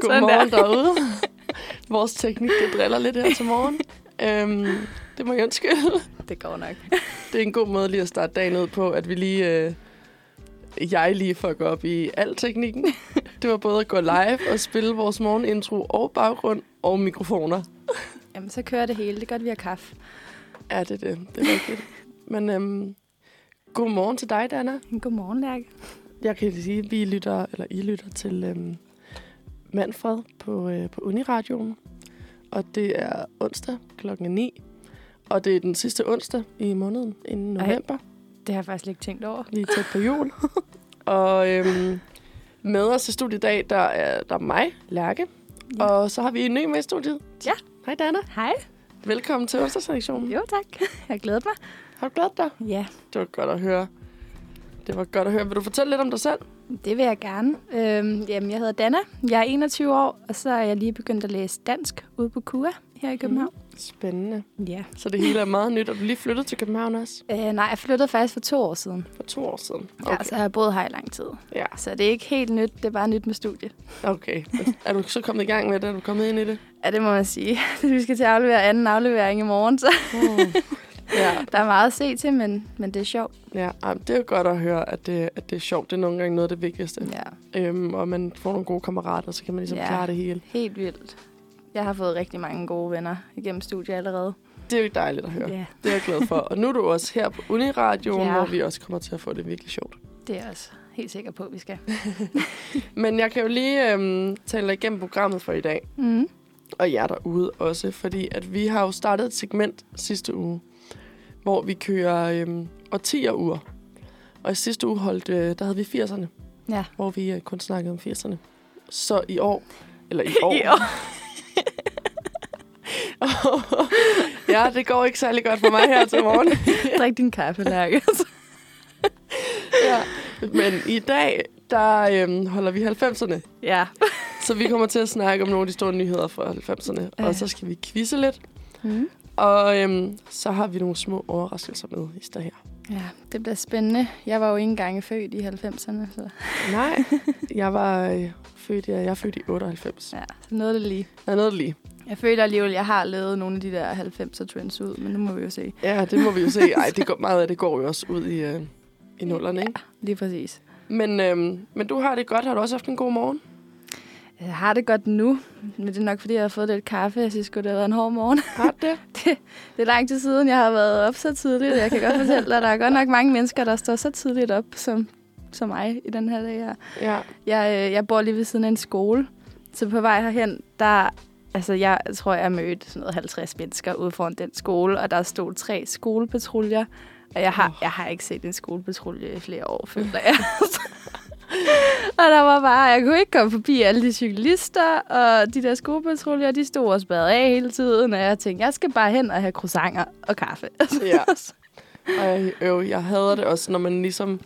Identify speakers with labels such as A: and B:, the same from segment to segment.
A: Godmorgen derude. Vores teknik, det driller lidt her til morgen. Øhm, det må jeg undskylde.
B: Det går nok.
A: Det er en god måde lige at starte dagen ud på, at vi lige... Øh, jeg lige fucker op i al teknikken. Det var både at gå live og spille vores morgenintro og baggrund og mikrofoner.
B: Jamen, så kører det hele. Det er godt, vi har kaffe.
A: Ja, det er det. Det er rigtigt. Men øhm, god morgen til dig, Dana.
B: Godmorgen, Lærke.
A: Jeg kan lige sige, at vi lytter, eller I lytter til øhm, Manfred på, øh, på Uniradioen. Og det er onsdag klokken 9. Og det er den sidste onsdag i måneden inden
B: Ej.
A: november.
B: Det har jeg faktisk ikke tænkt over.
A: Lige tæt på jul. og øhm, med os i studiet i dag, der er, der er mig, Lærke.
B: Ja.
A: Ja. Og så har vi en ny med i studiet.
B: Ja.
A: Hej, Dana.
B: Hej.
A: Velkommen til onsdagsredaktionen.
B: Jo, tak. Jeg glæder mig.
A: Har du glædet dig?
B: Ja,
A: Det var godt at høre. Det var godt at høre. Vil du fortælle lidt om dig selv?
B: det vil jeg gerne. Øhm, jamen, jeg hedder Dana. Jeg er 21 år, og så er jeg lige begyndt at læse dansk ude på KUA her i København.
A: Spændende.
B: Mm. Ja.
A: Så det hele er meget nyt, og du er lige flyttet til København også
B: Øh, nej, jeg flyttede faktisk for to år siden.
A: for to år siden.
B: Okay. Ja, så har jeg boet her i lang tid.
A: Ja,
B: Så det er ikke helt nyt, det er bare nyt med studie.
A: okay. Men Er du så kommet i gang med det? Er du kommet ind i det?
B: Ja, det må man sige. vi skal til at aflevere anden aflevering i morgen, så
A: Oh. ja,
B: der er meget at se til, men, men det er sjovt.
A: ja. Ej, men det er jo godt at høre, at det, at det er sjovt. Det er nogle gange noget af det vigtigste.
B: Ja,
A: øhm, og man får nogle gode kammerater, så kan man ligesom
B: Ja.
A: ja. klare det hele.
B: helt vildt. Jeg har fået rigtig mange gode venner igennem studiet allerede.
A: Det er jo dejligt at høre.
B: Ja,
A: Det er jeg glad for. Og nu er du også her på Uniradioen,
B: Ja.
A: ja. hvor vi også kommer til at få det virkelig sjovt.
B: det er jeg også helt sikker på, at vi skal.
A: Men jeg kan jo lige øhm, tale dig igennem programmet for i dag,
B: Mm.
A: og jer derude også, fordi at vi har jo startet et segment sidste uge, hvor vi kører øhm, årtier uger. Og i sidste uge holdt, øh, der havde vi 80'erne,
B: Ja.
A: hvor vi øh, kun snakkede om 80'erne. Så i år, eller i år, ja, det går ikke særlig godt for mig her til morgen.
B: Drik din kaffe, Lærke.
A: ja. Men i dag, der øhm, holder vi 90'erne.
B: ja.
A: Så vi kommer til at snakke om nogle af de store nyheder fra 90'erne.
B: Ja.
A: Og så skal vi quizze lidt.
B: Mm.
A: Og øhm, så har vi nogle små overraskelser med i stedet her.
B: ja, det bliver spændende. Jeg var jo ikke engang født i 90'erne, så
A: Nej, jeg var øh, født, jeg, jeg er født i 98.
B: ja, så nåede det lige.
A: Der er noget lige.
B: Jeg føler alligevel, at jeg har lavet nogle af de der 90'er trends ud, men nu må vi jo se.
A: Ja, det må vi jo se. Ej, det går, meget af det går jo også ud i, øh, i nullerne, ikke?
B: Lige præcis.
A: Men, øhm, men du har det godt. Har du også haft en god morgen?
B: Jeg har det godt nu, men det er nok, fordi jeg har fået lidt kaffe. Jeg synes sgu, det har været en hård morgen.
A: Har du det?
B: Det er lang tid siden, jeg har været op så tidligt. og Jeg kan godt fortælle dig, at der er godt nok mange mennesker, der står så tidligt op som, som mig i den her dag. her.
A: Ja.
B: Jeg, øh, jeg bor lige ved siden af en skole, så på vej herhen, der... Altså, jeg tror, jeg mødte sådan noget 50 mennesker ude foran den skole, og der stod tre skolepatruljer. Og jeg har, jeg har ikke set en skolepatrulje i flere år, føler jeg. og der var bare, jeg kunne ikke komme forbi alle de cyklister, og de der skolepatruljer, de stod og spadede af hele tiden, og jeg tænkte, jeg skal bare hen og have croissanter og kaffe.
A: Ja. Ej, øv, jeg hader det også, når man ligesom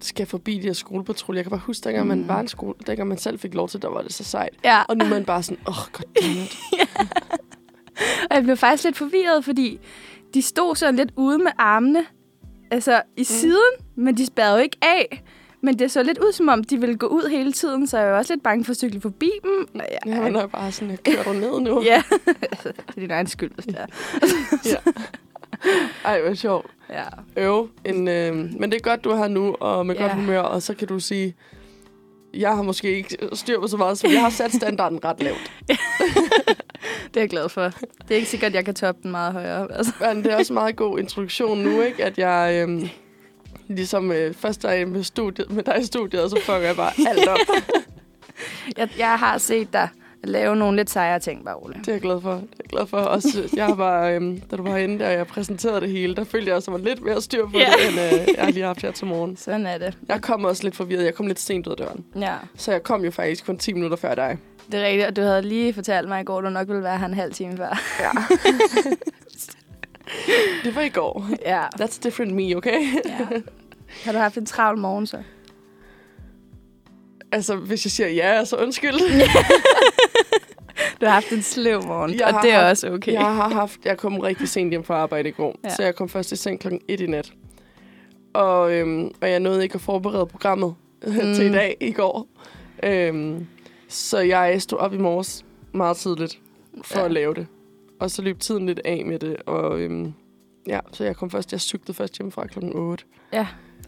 A: skal forbi de her skolepatruljer. Jeg kan bare huske, dengang man var en skole, dengang man selv fik lov til, der var det så sejt.
B: ja.
A: Og nu er man bare sådan, åh, oh, goddammit.
B: Og jeg blev faktisk lidt forvirret, fordi de stod sådan lidt ude med armene, altså i mm. siden, men de spærrede jo ikke af. Men det så lidt ud, som om de ville gå ud hele tiden, så jeg var også lidt bange for at cykle forbi dem. Og jeg,
A: Ja, man er bare sådan, jeg kører dig ned nu.
B: ja, det er din egen skyld, hvis det er.
A: Ej, hvor sjovt.
B: Ja.
A: Øv. En, øh, men det er godt, du er her nu, og med
B: Ja.
A: godt humør, og så kan du sige, jeg har måske ikke styr på så meget, så jeg har sat standarden ret lavt.
B: Det er jeg glad for. Det er ikke sikkert, at jeg kan toppe den meget højere. Altså.
A: Men det er også en meget god introduktion nu, ikke? At jeg øhm, ligesom øh, først er jeg med, studiet, med dig i studiet, og så fucker jeg bare alt op.
B: Jeg, jeg har set dig lave nogle lidt sejere ting, bare Ole.
A: Det er jeg glad for. Det er jeg glad for. Også, jeg var, øhm, da du var inde der, og jeg præsenterede det hele, der følte jeg også, at jeg var lidt mere styr på
B: Ja.
A: yeah. det, end øh, jeg har lige haft her til morgen.
B: Sådan er det.
A: Jeg kom også lidt forvirret. Jeg kom lidt sent ud af døren.
B: Ja,
A: Så jeg kom jo faktisk kun 10 minutter før dig.
B: det er rigtigt. Og du havde lige fortalt mig i går, at du nok ville være her en halv time før.
A: Ja. det var i går.
B: Ja.
A: That's different me, okay?
B: ja. Har du haft en travl morgen så?
A: Altså, hvis jeg siger ja, så undskyld.
B: Du har haft en sløv morgen,
A: Jeg
B: og
A: har
B: det er
A: haft-
B: også okay.
A: Jeg har haft... Jeg kom rigtig sent hjem fra arbejde i går,
B: Ja.
A: ja. så jeg kom først i seng klokken 1 i nat. Og, øhm, og jeg nåede ikke at forberede programmet mm. til i dag i går. Øhm, Så jeg stod op i morges meget tidligt for
B: Ja.
A: ja. at lave det. Og så løb tiden lidt af med det, og øhm, ja, så jeg kom først, jeg cyklede først hjemmefra klokken 8.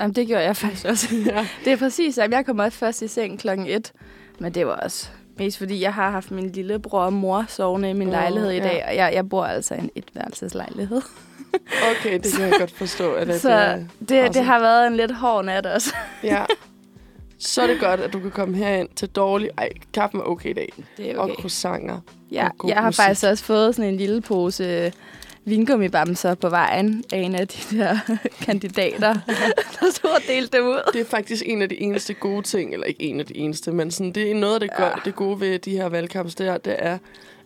B: Jamen, det gjorde jeg faktisk også.
A: Ja.
B: Det er præcis som Jeg kom også først i seng klokken 1, men det var også mest fordi, jeg har haft min lillebror og mor sovende i min
A: Åh,
B: lejlighed i
A: ja.
B: dag, og jeg, jeg bor altså i en etværelseslejlighed.
A: Okay, det kan jeg godt forstå. At, at,
B: Så
A: øh,
B: Det,
A: Også.
B: det har været en lidt hård nat også.
A: Ja. Så er det godt, at du kan komme herind til dårlig... Ej, kaffen er okay i dag.
B: Det er
A: Okay. Og
B: okay.
A: croissanter.
B: Ja,
A: og god
B: jeg har
A: musik.
B: faktisk også fået sådan en lille pose øh, vingummibamser på vejen af en af de der kandidater, der stod og delte dem ud.
A: Det er faktisk en af de eneste gode ting, eller ikke en af de eneste, men sådan, det er noget af det, gør,
B: Ja.
A: det gode ved de her valgkampe, det er, det er,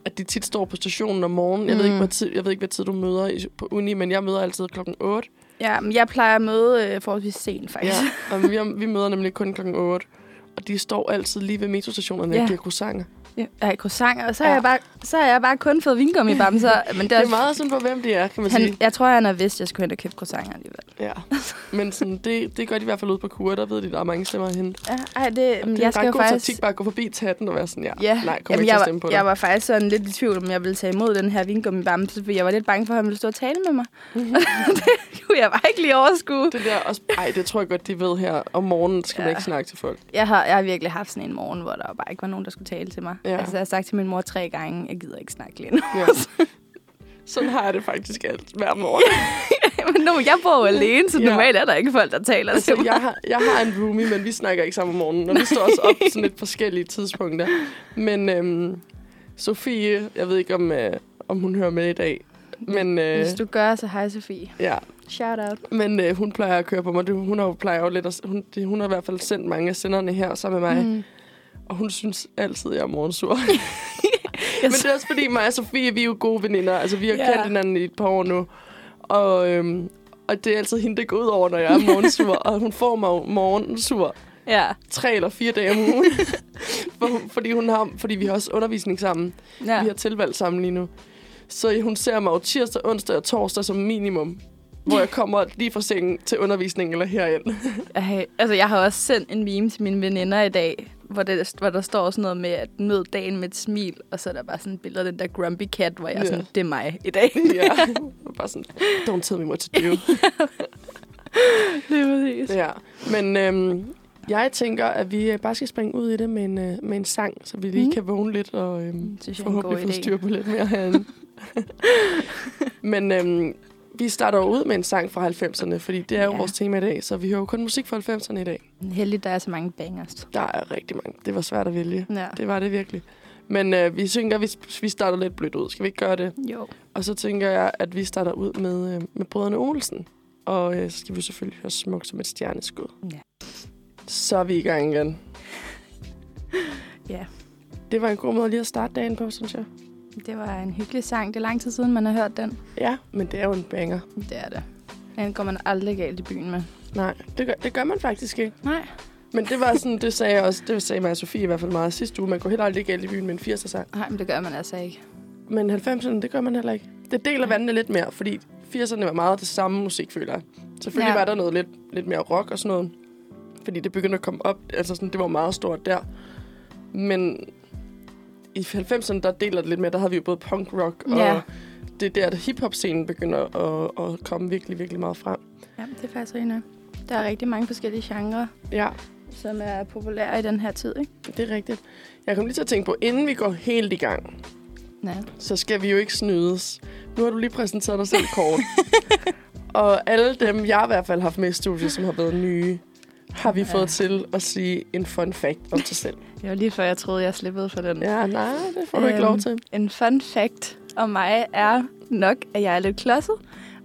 A: at de tit står på stationen om morgenen. Jeg, mm. ved, ikke,
B: Mm.
A: hvad tid, jeg ved ikke, hvad tid du møder i, på uni, men jeg møder altid klokken 8.
B: Ja, men jeg plejer at møde øh, forholdsvis sent,
A: Ja,
B: faktisk.
A: og vi, vi møder nemlig kun klokken 8. Og de står altid lige ved metrostationerne
B: Ja.
A: og giver croissanter.
B: Ja. ja croissanter, og så har,
A: Ja.
B: jeg bare, så har jeg bare kun fået vingummibamser. Men det
A: Det
B: er,
A: er meget sådan på, hvem de er, kan man
B: han,
A: sige.
B: jeg tror, han har vidst, at jeg skulle hen og købe croissanter alligevel.
A: Ja. Men sådan, det, det gør de i hvert fald ude på kur, der ved de, der er mange stemmer at hente.
B: Ja, ej, det,
A: Det er
B: jeg
A: jeg
B: skal jo
A: ret god faktisk...
B: faktisk...
A: taktik bare at gå forbi tatten og være sådan, ja,
B: Ja,
A: nej, kom
B: Jamen,
A: ikke til
B: jeg,
A: at stemme på
B: var,
A: dig.
B: jeg var faktisk sådan lidt i tvivl, om jeg ville tage imod den her vingummibamse, for jeg var lidt bange for, at han ville stå og tale med mig.
A: Mhm.
B: det kunne jeg bare ikke lige overskue.
A: Det der også, ej, det tror jeg godt, de ved her. Om morgenen skal ja.
B: Ja.
A: man ikke snakke til folk.
B: Jeg har, jeg har virkelig haft sådan en morgen, hvor der bare ikke var nogen, der skulle tale til mig.
A: Ja.
B: Altså, jeg har sagt til min mor tre gange, jeg gider ikke snakke lige nu.
A: Ja. Sådan har jeg det faktisk alt hver morgen.
B: Men nu, jeg bor jo alene, så
A: Ja.
B: normalt er der ikke folk, der taler til
A: Altså,
B: mig.
A: jeg, har, jeg har en roomie, men vi snakker ikke sammen om morgenen, og vi står også op på sådan lidt forskellige tidspunkter. Men øhm, Sofie, jeg ved ikke, om, øh, om hun hører med i dag, men, øh,
B: Hvis du gør, så hej Sofie.
A: ja,
B: Shout out.
A: men øh, hun plejer at køre på mig. Det- Hun har jo plejer jo lidt at, hun, det, hun har i hvert fald sendt mange af senderne her sammen med mig, mm. og hun synes altid, jeg er morgensur. Men det er også fordi mig og Sofie, vi er jo gode veninder. Altså, vi har
B: Ja.
A: yeah. kendt hinanden i et par år nu. Og, øhm, og det er altid hende, det går ud over, når jeg er morgensur. og hun får mig jo morgensur
B: Ja.
A: tre eller fire dage om ugen. For, hun- fordi, hun har, fordi vi har også undervisning sammen. Ja.
B: ja.
A: Vi har tilvalg sammen lige nu. Så hun ser mig jo tirsdag, onsdag og torsdag som minimum. Hvor jeg kommer lige fra sengen til undervisningen eller herind.
B: Ej, altså, jeg har også sendt en meme til mine veninder i dag, hvor, det, hvor der står sådan noget med, at mød dagen med et smil, og så er der bare sådan et billede af den der grumpy cat, hvor jeg er
A: Ja.
B: sådan, det er mig i dag.
A: ja. Bare sådan, don't tell me what to do.
B: det er præcis.
A: Ja, men øhm, jeg tænker, at vi øh, bare skal springe ud i det med en, øh, med en sang, så vi lige
B: Mm.
A: mm. kan vågne lidt og øhm,
B: synes jeg er en god
A: forhåbentlig få
B: idé.
A: styr på lidt mere herinde. men øhm, vi starter jo ud med en sang fra 90'erne, fordi det er jo
B: Ja.
A: ja. vores tema i dag, så vi hører jo kun musik fra 90'erne i dag.
B: Heldigt, der er så mange bangers.
A: Der er rigtig mange. Det var svært at vælge.
B: Ja.
A: Det var det virkelig. Men øh, vi tænker, at vi, vi starter lidt blødt ud. Skal vi ikke gøre det?
B: Jo.
A: Og så tænker jeg, at vi starter ud med, øh, med brødrene Olsen. Og øh, så skal vi selvfølgelig høre smukt som et stjerneskud.
B: Ja.
A: Så er vi i gang igen.
B: Ja.
A: Det var en god måde lige at starte dagen på, synes jeg.
B: Det var en hyggelig sang. Det er lang tid siden, man har hørt den.
A: Ja, men det er jo en banger.
B: Det er det. Den går man aldrig galt i byen med.
A: Nej, det gør, det gør man faktisk ikke.
B: Nej.
A: Men det var sådan, det sagde jeg også, det sagde mig og Sofie i hvert fald meget sidste uge. Man går heller aldrig galt i byen med en 80'er sang.
B: Nej, men det gør man altså ikke.
A: Men 90'erne, det gør man heller ikke. Det deler vandene lidt mere, fordi 80'erne var meget det samme musik, føler jeg. Selvfølgelig
B: Ja.
A: ja. var der noget lidt, lidt mere rock og sådan noget. Fordi det begyndte at komme op. Altså sådan, det var meget stort der. Men i 90'erne, der deler det lidt mere. Der havde vi jo både punk rock, og
B: Ja.
A: ja. det er der, at hiphop-scenen begynder at, at komme virkelig, virkelig meget frem.
B: Ja, det er faktisk rigtigt. Der er rigtig mange forskellige genrer,
A: Ja,
B: som er populære i den her tid, ikke?
A: det er rigtigt. Jeg kom lige til at tænke på, inden vi går helt i gang,
B: Ja.
A: så skal vi jo ikke snydes. Nu har du lige præsenteret dig selv kort. og alle dem, jeg i hvert fald har haft med i studiet, som har været nye, har vi
B: Ja.
A: ja. fået til at sige en fun fact om sig selv.
B: Det var lige før, jeg troede, jeg slippede for den.
A: Ja, nej, det får du ikke
B: Øhm,
A: lov til.
B: En fun fact om mig er nok, at jeg er lidt klodset,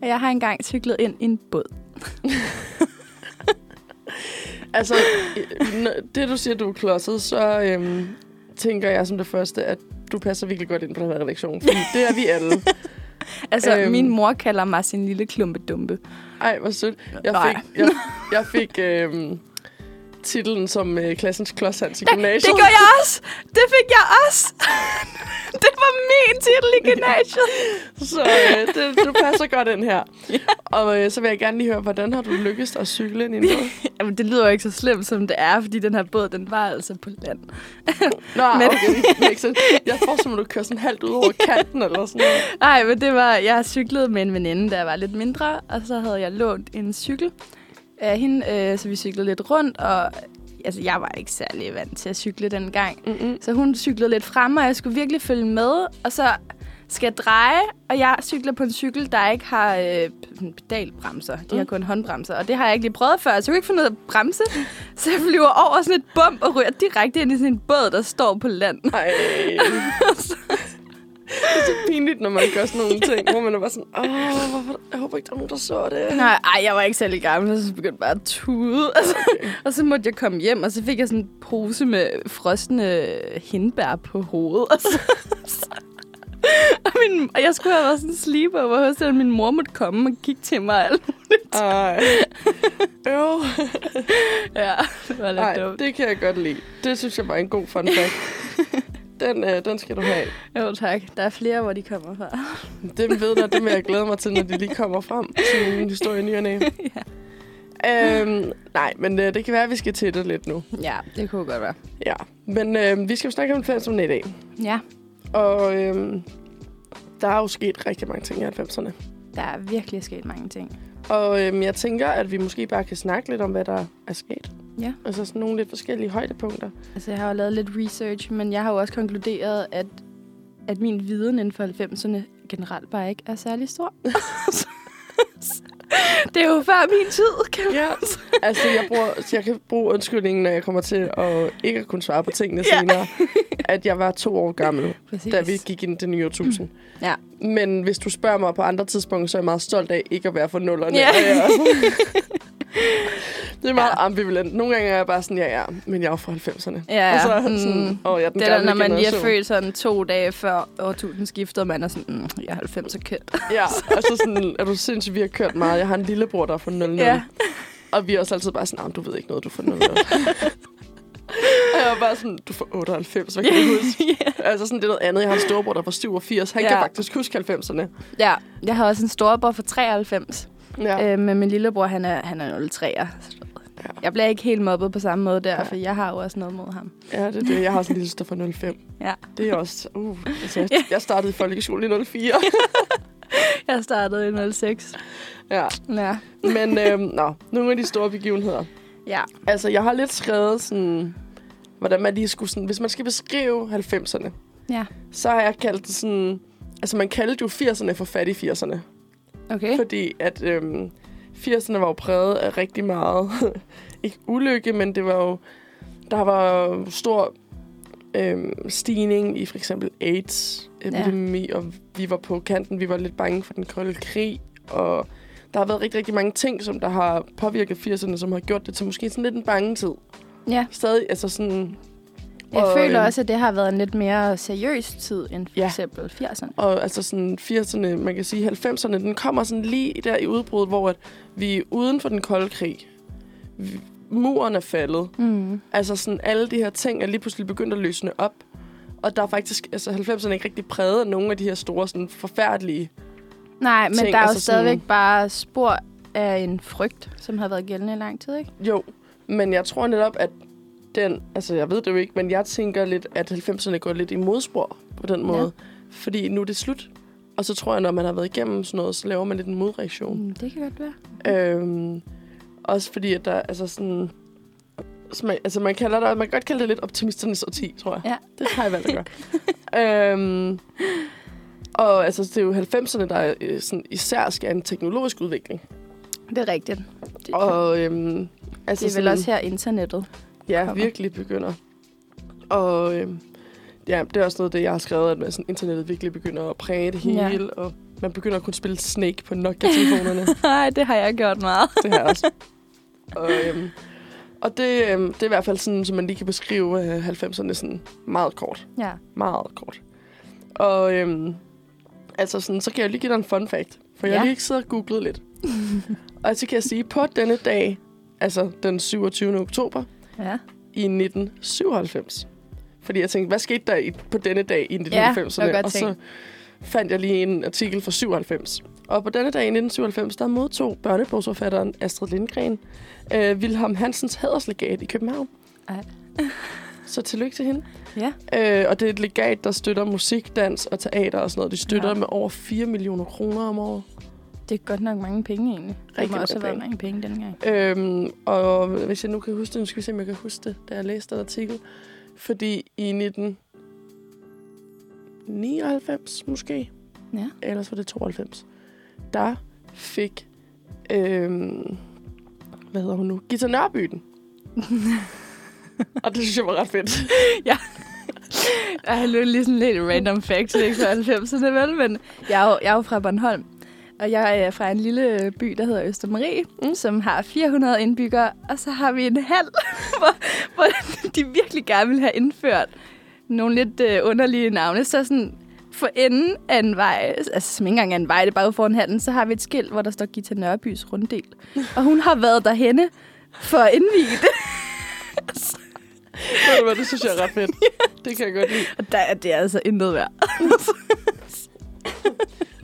B: og jeg har engang cyklet ind i en båd.
A: Altså, øh, n- det du siger, du er klodset, så øhm, tænker jeg som det første, at du passer virkelig godt ind på den her redaktion. Fordi det er vi alle.
B: Altså, øhm.
A: Øhm.
B: min mor kalder mig sin lille klumpedumpe.
A: Ej, hvor sødt. Jeg
B: Nej.
A: fik, jeg, jeg fik øhm, titlen som øh, klassens klods Hans i
B: Det
A: gymnasiet.
B: gjorde jeg også! Det fik jeg også! det var min titel i gymnasiet.
A: Så øh, det, du passer godt ind her.
B: Ja.
A: Og øh, så vil jeg gerne lige høre, hvordan har du lykkes at cykle ind i en båd?
B: Jamen, det lyder jo ikke så slemt, som det er, fordi den her båd, den var altså på land.
A: Nå,
B: Men-
A: men... okay. det er ikke sådan- Jeg får som, at du kører sådan halvt ud over kanten eller sådan noget.
B: Nej, men det var, jeg cyklede med en veninde, der var lidt mindre, og så havde jeg lånt en cykel af hende, øh, så vi cyklede lidt rundt, og altså, jeg var ikke særlig vant til at cykle dengang.
A: Mm-mm.
B: Så hun cyklede lidt frem, og jeg skulle virkelig følge med, og så skal jeg dreje, og jeg cykler på en cykel, der ikke har øh, sådan pedalbremser. De har
A: Mm.
B: kun håndbremser, og det har jeg ikke lige prøvet før, så jeg kunne ikke finde ud af at bremse. Så jeg flyver over sådan et bump og ryger direkte ind i sådan en båd, der står på land.
A: Ej. Det er så pinligt, når man gør sådan nogle ting, hvor man er bare sådan, åh, hvorfor, jeg håber ikke, der er nogen, der så det.
B: Nej, ej, jeg var ikke særlig gammel, så jeg begyndte bare at tude. Altså, og så måtte jeg komme hjem, og så fik jeg sådan en pose med frosne øh, hindbær på hovedet. Og, så, og, min, og jeg skulle have været sådan en sleepover, så min mor måtte komme og kigge til mig. og alt.
A: Ej. Øv.
B: Ja, det var lidt
A: Ej,
B: dumt.
A: det kan jeg godt lide. Det synes jeg var en god fun fact. Den, øh, den skal du have.
B: Jo, tak. Der er flere, hvor de kommer fra.
A: Dem ved jeg, dem vil jeg glæde mig til, når de lige kommer frem til en historie i ny og næ. øhm, nej, men øh, det kan være, at vi skal til det lidt nu.
B: Ja, det kunne godt være.
A: Ja, men øh, vi skal jo snakke om fællesomne i dag.
B: Ja,
A: Og øh, der er jo sket rigtig mange ting i 90'erne.
B: der er virkelig sket mange ting.
A: Og øh, jeg tænker, at vi måske bare kan snakke lidt om, hvad der er sket.
B: Ja.
A: Altså sådan nogle lidt forskellige højdepunkter.
B: Altså, jeg har jo lavet lidt research, men jeg har jo også konkluderet, at, at min viden inden for 90'erne generelt bare ikke er særlig stor. det er jo før min tid, kan man
A: Ja. Altså, jeg, bruger, jeg kan bruge undskyldningen, når jeg kommer til at ikke at kunne svare på tingene
B: Ja.
A: ja. senere. At jeg var to år gammel,
B: Præcis.
A: da vi gik ind i det nye årtusind.
B: Mm. Ja.
A: Men hvis du spørger mig på andre tidspunkter, så er jeg meget stolt af ikke at være for nullerne.
B: Ja.
A: Og jeg er- det er meget ambivalent. Nogle gange er jeg bare sådan, ja, ja, men jeg er jo fra 90'erne.
B: Ja,
A: Og så er
B: mm.
A: jeg sådan, åh, jeg er den
B: Det er da,
A: gamle
B: når man lige er
A: generation.
B: født sådan to dage før årtusind skifter, og man er sådan, mm, jeg er 90 og kendt.
A: Ja, og så sådan, er du sindssygt, vi har kørt meget. Jeg har en lillebror, der er fra 00.
B: Ja.
A: Og vi er også altid bare sådan, "Ah, men du ved ikke noget, du er fra 00. og jeg var bare sådan, du er fra 98, hvad kan du huske? Altså sådan, det er noget andet. Jeg har en storebror, der er fra 87. Han
B: Ja.
A: ja. kan faktisk huske 90'erne.
B: ja, jeg har også en storebror for 93,
A: Ja.
B: ja. øh, men min lillebror, han er, han er 03'er.
A: Ja.
B: Jeg bliver ikke helt mobbet på samme måde der,
A: Nej.
B: for jeg har jo også noget mod ham.
A: ja, det er det. Jeg har også en lille søster fra 05.
B: Ja.
A: Det er også... Uh, altså, jeg, jeg startede i folkeskole i 04.
B: Jeg startede i 06.
A: ja.
B: Ja.
A: Men øhm, nå, nogle af de store begivenheder.
B: Ja.
A: Altså, jeg har lidt skrevet sådan... Hvordan man lige skulle sådan... Hvis man skal beskrive 90'erne,
B: Ja.
A: så har jeg kaldt det sådan... Altså, man kaldte jo 80'erne for fattig 80'erne.
B: Okay.
A: Fordi at øhm, 80'erne var jo præget af rigtig meget... ikke ulykke, men det var jo... Der var jo stor øhm, stigning i for eksempel AIDS-epidemi, ja. og vi var på kanten. Vi var lidt bange for den kolde krig, og der har været rigtig, rigtig mange ting, som der har påvirket 80'erne, som har gjort det til måske sådan lidt en bange tid.
B: Ja.
A: Stadig, altså sådan...
B: Jeg
A: Og,
B: føler
A: øhm,
B: også, at det har været en lidt mere seriøs tid end for
A: Ja.
B: eksempel 80'erne.
A: Og altså sådan 80'erne, man kan sige 90'erne, den kommer sådan lige der i udbruddet, hvor at vi er uden for den kolde krig. Vi- Muren er faldet.
B: Mm.
A: Altså sådan alle de her ting er lige pludselig begyndt at løsne op. Og der er faktisk, altså 90'erne er ikke rigtig præget af nogle af de her store, sådan forfærdelige.
B: Nej, men
A: Ting,
B: der er jo
A: altså sådan-
B: stadigvæk bare spor af en frygt, som har været gældende i lang tid, ikke?
A: Jo, men jeg tror netop, at den, altså jeg ved det jo ikke, men jeg tænker lidt, at 90'erne går lidt i modspor på den måde. Ja. Fordi nu er det slut. Og så tror jeg, når man har været igennem sådan noget, så laver man lidt en modreaktion.
B: Mm, det kan godt være.
A: Øhm, også fordi, at der altså sådan... som Man, altså man, kalder det, man kan godt kalde det lidt optimisternes årti, tror jeg.
B: Ja.
A: Det har jeg valgt at gøre. øhm, og altså, det er jo 90'erne, der øh, sådan, især skal have en teknologisk udvikling.
B: Det er rigtigt. Det,
A: Og øhm, altså,
B: det er vel
A: sådan-
B: også her internettet.
A: ja,
B: kommer.
A: virkelig begynder. Og øhm, ja, det er også noget af det, jeg har skrevet, at man, sådan, internettet virkelig begynder at præge det
B: Ja.
A: hele. Og man begynder at kunne spille Snake på Nokia-telefonerne.
B: Nej, det har jeg gjort meget.
A: det her også. Og, øhm, og det, øhm, det er i hvert fald sådan, som man lige kan beskrive øh, 90'erne sådan meget kort.
B: Ja.
A: Meget kort. Og øhm, altså sådan, så kan jeg lige give dig en fun fact. For jeg
B: Ja.
A: har lige siddet og googlet lidt. og så kan jeg sige, på denne dag, altså den 27. oktober
B: ja.
A: i 1997, Fordi jeg tænkte, hvad skete der i, på denne dag i
B: Ja,
A: 1990'erne?
B: det var godt
A: og så
B: tænkt.
A: fandt jeg lige en artikel fra 97. Og på denne dag i 1997, der modtog børnebogsforfatteren Astrid Lindgren øh, Vilhelm Hansens hæderslegat i København.
B: Ej.
A: så tillykke til hende.
B: Ja.
A: Øh, og det er et legat, der støtter musik, dans og teater og sådan noget. De støtter
B: Ja.
A: ja. med over 4 millioner kroner om året.
B: Det er godt nok mange penge, egentlig. det må
A: Rigtig
B: også have
A: mange
B: været
A: penge.
B: mange penge dengang.
A: Øhm, og hvis jeg nu kan huske det, nu skal vi se, om jeg kan huske det, da jeg læste den artikel. Fordi i 1999 måske,
B: Ja.
A: ellers var det 92, der fik, øhm, hvad hedder hun nu, Gita Nørby den. og det synes jeg var ret fedt.
B: Ej, det er lige sådan lidt random fact, ikke for 90'erne, vel? Men jeg er, jo, jeg er jo fra Bornholm, og jeg er øh, fra en lille by, der hedder Østermarie, mm. som har 400 indbyggere, og så har vi en hal, hvor, hvor de virkelig gerne vil have indført nogle lidt øh, underlige navne. Så sådan for enden af en vej, altså som ikke engang er en vej, det er bare ude foran handen, så har vi et skilt, hvor der står Gita Nørbys runddel. Og hun har været derhenne for at indvige det.
A: Ved du hvad, det synes jeg er ret fedt. Det kan jeg godt lide.
B: Og der er det altså intet værd.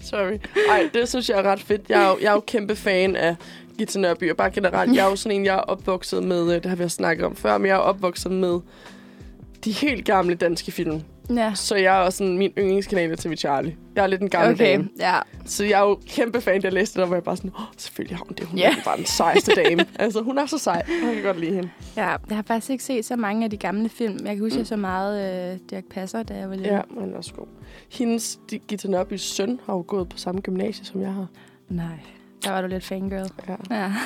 A: Sorry. Ej, det synes jeg er ret fedt. Jeg er jo, jeg er jo kæmpe fan af Gita Nørby, og bare generelt. Jeg er jo sådan en, jeg er opvokset med, øh, det har vi også snakket om før, men jeg er opvokset med de helt gamle danske film.
B: Ja.
A: Så jeg er også sådan, min yndlingskanal er TV Charlie. Jeg er lidt en gammel okay. dame.
B: ja.
A: Så jeg er jo kæmpe fan, da jeg læste det, og var jeg bare sådan, åh, selvfølgelig har hun det. Hun
B: Ja.
A: yeah. er bare den sejeste dame. altså, hun er så sej. Jeg kan godt lide hende.
B: Ja, jeg har faktisk ikke set så mange af de gamle film. Jeg kan huske, jeg så meget øh, Dirk Passer, da jeg var lille.
A: Mm. Ja, han er også god. Hendes, de- Gita Nørbys søn, har jo gået på samme gymnasie, som jeg har.
B: Nej, der var du lidt fangirl.
A: Ja.
B: Ja.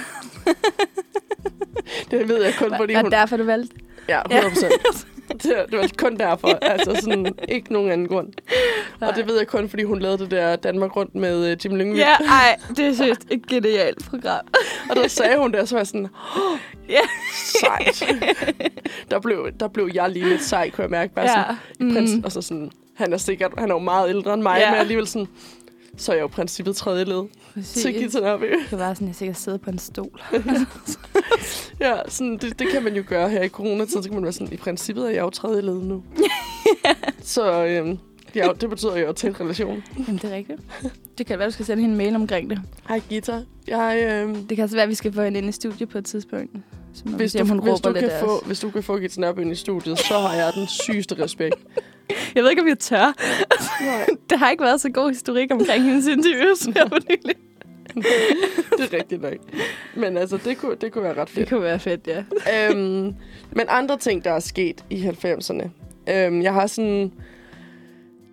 A: Det ved jeg kun, fordi
B: Var,
A: hun... Mm.
B: var derfor, du valgte?
A: Ja, 100 procent. det, det var kun derfor. Altså sådan, ikke nogen anden grund. Nej. Og det ved jeg kun, fordi hun lavede det der Danmark rundt med øh, Jim Lyngvild.
B: Ja, ej, det er seriøst et genialt program.
A: Og der sagde hun det, og så var jeg sådan, "Åh,
B: Ja.
A: sejt. der, blev, der blev jeg lige lidt sej, kunne jeg mærke. Bare ja. sådan,
B: mm.
A: prins, og så sådan, han er sikkert, han er jo meget ældre end mig,
B: Ja.
A: ja. men alligevel sådan, så er jeg jo i princippet tredje led til
B: Præcis.
A: Gita Nørby.
B: Det var sådan, jeg sikkert sidder på en stol.
A: Ja, sådan, det, det kan man jo gøre her i coronatiden. Så kan man være sådan, i princippet er jeg jo tredje led nu. så øhm, ja, det betyder jo tæt relation.
B: Jamen, det er rigtigt. Det kan være, du skal sende hende en mail omkring det.
A: Hej Gita, jeg, øhm,
B: Det kan også være, at vi skal få hende ind i studiet på et tidspunkt. Så man
A: hvis,
B: ser,
A: du,
B: om hun
A: hvis,
B: råber
A: du
B: lidt
A: kan
B: af
A: få,
B: os.
A: hvis du kan få Gita Nørby ind i studiet, så har jeg den sygeste respekt.
B: Jeg ved ikke, om jeg tør.
A: Nej.
B: Der har ikke været så god historik omkring hendes interviews her på nylig.
A: det er rigtigt nok. Men altså, det kunne, det kunne være ret
B: Det
A: fedt.
B: kunne være fedt, ja.
A: øhm, men andre ting, der er sket i 90'erne. Øhm, jeg har sådan...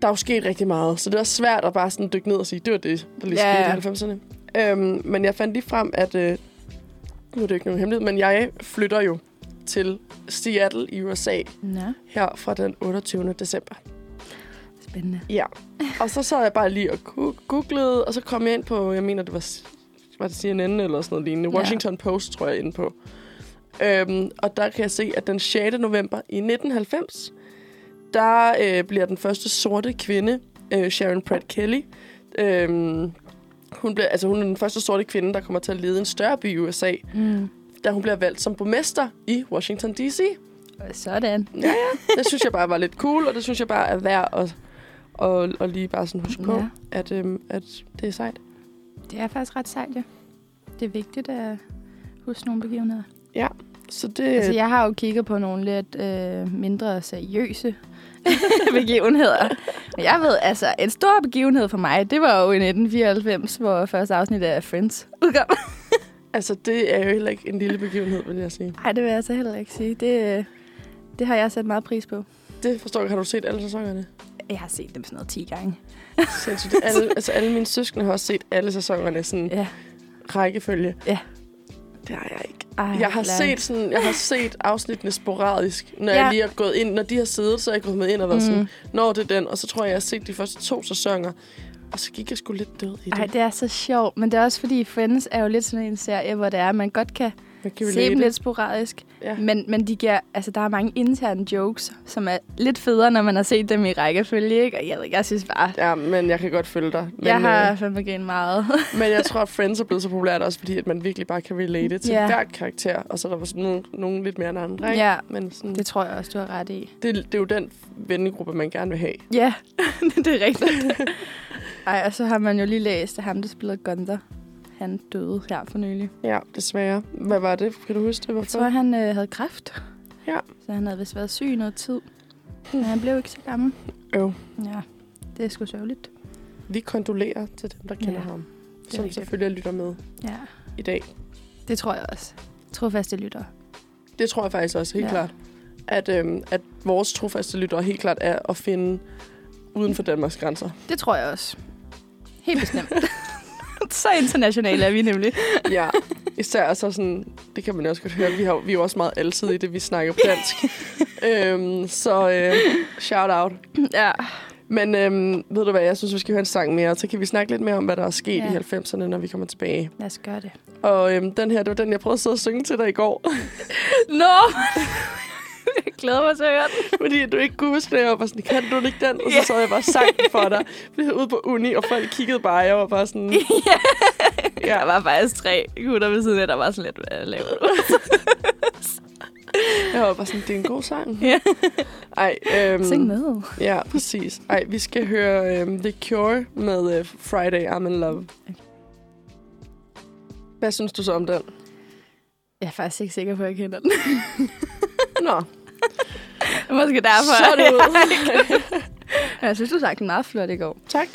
A: Der er jo sket rigtig meget, så det er svært at bare sådan dykke ned og sige, det var det, der lige
B: Ja, ja.
A: yeah. skete i 90'erne. Øhm, men jeg fandt lige frem, at... Øh, nu er det ikke nogen hemmelighed, men jeg flytter jo til Seattle i USA
B: Nå,
A: her fra den 28. december.
B: spændende.
A: Ja. Og så sad jeg bare lige og gu- googlede, og så kom jeg ind på, jeg mener, det var, var det CNN eller sådan noget lignende.
B: Ja.
A: Washington Post, tror jeg, inde på. Øhm, og der kan jeg se, at den 6. november i 1990, der øh, bliver den første sorte kvinde, øh, Sharon Pratt Kelly, øhm, hun, bliver, altså, hun er den første sorte kvinde, der kommer til at lede en større by i USA,
B: Mm.
A: da hun bliver valgt som borgmester i Washington D.C.
B: Sådan.
A: Det synes jeg bare var lidt cool, og det synes jeg bare er værd at, at, at lige bare sådan huske på,
B: Ja.
A: ja. at, øhm, at det er sejt.
B: Det er faktisk ret sejt, ja. Det er vigtigt at huske nogle begivenheder.
A: Så det, altså,
B: Altså,
A: ja.
B: jeg har jo kigget på nogle lidt øh, mindre seriøse begivenheder. Men jeg ved, altså, en stor begivenhed for mig, det var jo i 1994, hvor første afsnit af Friends udkom.
A: altså, det er jo heller ikke en lille begivenhed, vil jeg sige.
B: Nej, det vil jeg så heller ikke sige. Det, øh, det har jeg sat meget pris på.
A: Det forstår jeg. Har du set alle sæsonerne?
B: Jeg har set dem sådan noget 10 gange.
A: Sindssygt. Alle, altså, alle mine søskende har også set alle sæsonerne sådan
B: Ja.
A: rækkefølge.
B: Ja.
A: Det har jeg ikke.
B: Ej,
A: Jeg har,
B: Lærke.
A: set sådan, jeg har set afsnittene sporadisk, når
B: Ja.
A: jeg lige er gået ind. Når de har siddet, så er jeg gået med ind og været
B: Mm.
A: mm. sådan, når det er den. Og så tror jeg, jeg har set de første to sæsoner. Og så gik jeg sgu lidt død i det.
B: Ej, det er så sjovt. Men det er også fordi, Friends er jo lidt sådan en serie, hvor det er, at man godt kan
A: Hvad kan vi
B: se dem
A: lide?
B: lidt sporadisk.
A: Ja.
B: Men, men de giver, altså, der er mange interne jokes, som er lidt federe, når man har set dem i rækkefølge. Ikke? Og jeg, ved ikke, jeg synes bare,
A: ja, men jeg kan godt følge dig. Men,
B: men, jeg har
A: øh,
B: fandme grinet meget.
A: men jeg tror, at Friends er blevet så populært også, fordi at man virkelig bare kan relate til
B: Ja.
A: yeah. hver karakter. Og så er der sådan nogle, nogle lidt mere end andre, ikke?
B: ja,
A: Men sådan,
B: det
A: det,
B: tror jeg også, du har ret i.
A: det, det er jo den vennegruppe, man gerne vil have.
B: Ja, det er rigtigt. Ej, og så har man jo lige læst, at ham, der spiller Gunther, han døde her for nylig.
A: Ja, desværre. Hvad var det? Kan du huske det?
B: Jeg
A: Hvorfor?
B: tror, han øh, havde kræft.
A: Ja.
B: Så han havde vist været syg i noget tid. Men han blev ikke så gammel.
A: Øv.
B: Ja, det er sgu sørgeligt.
A: Vi kondolerer til dem, der kender
B: Ja,
A: ham.
B: er
A: Som
B: rigtigt.
A: selvfølgelig lytter med
B: Ja,
A: i dag.
B: det tror jeg også. Trofaste lytter.
A: Det tror jeg faktisk også, helt
B: Ja.
A: ja. klart. At, øhm, at vores trofaste lyttere helt klart er at finde uden for Danmarks grænser.
B: Det tror jeg også. Helt bestemt. så internationale er vi nemlig.
A: Ja, især så sådan, det kan man jo også godt høre, vi, har, vi er jo også meget altid i det, vi snakker på dansk. øhm, så øh, shout out.
B: ja.
A: Men øhm, ved du hvad, jeg synes, vi skal høre en sang mere, og så kan vi snakke lidt mere om, hvad der er sket
B: Ja.
A: ja. i 90'erne, når vi kommer tilbage.
B: Lad os gøre det.
A: Og øhm, den her, det var den, jeg prøvede at sidde og synge til dig i går,
B: Nå! jeg glæder mig til at høre den.
A: fordi du ikke kunne huske det. Jeg var bare sådan, kan du ikke den? Og så
B: Ja.
A: sad jeg bare og sang den for dig. Vi var ude på uni, og folk kiggede bare, jeg var bare sådan...
B: Ja. Der var faktisk tre gutter ved siden af, der var sådan lidt, hvad laver du?
A: Jeg var bare sådan, det er en god sang.
B: Ja.
A: Ej, øhm,
B: Sing med.
A: Ja, præcis. Ej, vi skal høre øhm, The Cure med øh, Friday I'm in Love. Hvad synes du så om den?
B: Jeg er faktisk ikke sikker på, at jeg kender den.
A: Nå,
B: Måske derfor.
A: så er det ud.
B: Jeg synes, du sagde den meget flot i går.
A: tak.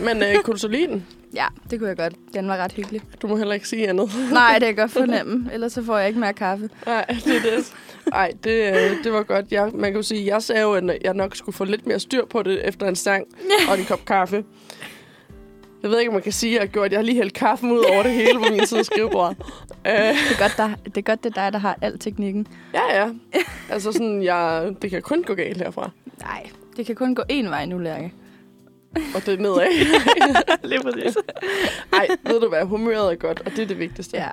A: Men øh, kunne du så lide den?
B: Ja, det kunne jeg godt. Den var ret hyggelig.
A: Du må heller ikke sige andet.
B: Nej, det kan jeg godt fornemme. Ellers så får jeg ikke mere kaffe.
A: Nej, det er det. Ej, det, øh, det var godt. Jeg, man kan jo sige, jeg sagde jo, at jeg nok skulle få lidt mere styr på det efter en sang og en kop kaffe. Jeg ved ikke, om man kan sige, at jeg har gjort. Jeg har lige hældt kaffen ud over det hele på min side af skrivebordet. Øh,
B: Det er godt, der, det, er godt, det er dig, der har al teknikken.
A: ja, ja. Altså sådan, jeg, det kan kun gå galt herfra.
B: Nej, det kan kun gå én vej nu, Lærke.
A: Og det er nedad.
B: Lige præcis.
A: Nej, ved du hvad, humøret er godt, og det er det vigtigste.
B: Ja.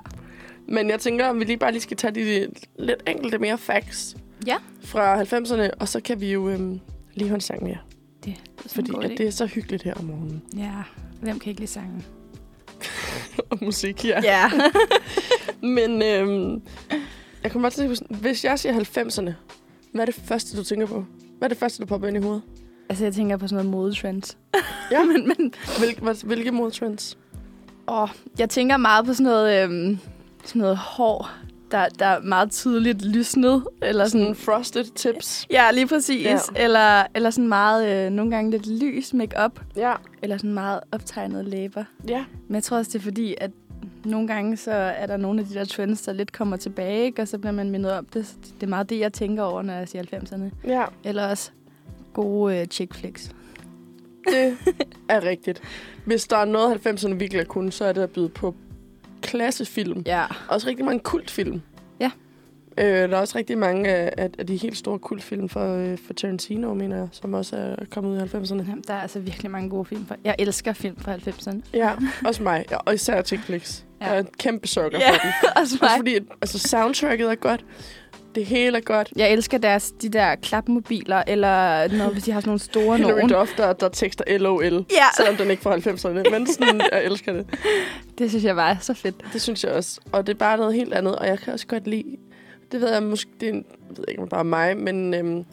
A: Men jeg tænker, om vi lige bare lige skal tage de lidt enkelte mere facts
B: Ja.
A: fra 90'erne, og så kan vi jo øhm, lige høre en sang mere.
B: Det er sådan
A: Fordi
B: en god
A: at
B: idé.
A: det er så hyggeligt her om morgenen.
B: Ja, hvem kan ikke lide sangen?
A: og musik, ja.
B: Ja.
A: Men øhm, jeg kommer bare til at tænke på sådan, hvis jeg siger 90'erne, hvad er det første, du tænker på? Hvad er det første, der popper ind i hovedet?
B: altså, jeg tænker på sådan noget modetrends.
A: Ja.
B: men, men
A: Hvil, hvad- hvilke modtrends?
B: åh, jeg tænker meget på sådan noget, øhm, sådan noget hår, der, der er meget tydeligt lysnet. Eller sådan,
A: Sådan frosted tips.
B: ja, lige præcis.
A: Ja.
B: Eller, eller sådan meget, øh, nogle gange lidt lys makeup
A: Ja.
B: Eller sådan meget optegnet læber.
A: Ja.
B: Men jeg tror også, det er fordi, at nogle gange så er der nogle af de der trends, der lidt kommer tilbage, ikke? og så bliver man mindet om det. Så Det er meget det, jeg tænker over, når jeg siger 90'erne.
A: Ja.
B: Eller også gode øh, chick flicks.
A: Det er rigtigt. Hvis der er noget, 90'erne virkelig kunne, så er det at byde på klassefilm.
B: Ja.
A: Også rigtig mange kultfilm.
B: Ja.
A: Øh, der er også rigtig mange af, af, af de helt store kultfilm for, øh, for Tarantino, mener jeg, som også er kommet ud i 90'erne.
B: Jamen, der er altså virkelig mange gode film. For... Jeg elsker film fra 90'erne.
A: Ja, også mig. Ja, og især Chick Flicks.
B: Ja.
A: Ja. Jeg er en kæmpe sukker
B: Ja,
A: for dem.
B: også
A: Også fordi, at, altså, soundtracket er godt. Det hele er godt.
B: Jeg elsker deres, de der klapmobiler, eller når, hvis de har sådan nogle store
A: Hilary
B: nogen.
A: Duff, der, der tekster LOL.
B: Ja.
A: Selvom den ikke er fra 90'erne, men sådan, jeg elsker det.
B: Det synes jeg bare er så fedt.
A: Det synes jeg også. Og det er bare noget helt andet, og jeg kan også godt lide... Det ved jeg måske... Det er, en- jeg ved ikke, om det bare er mig, men øhm,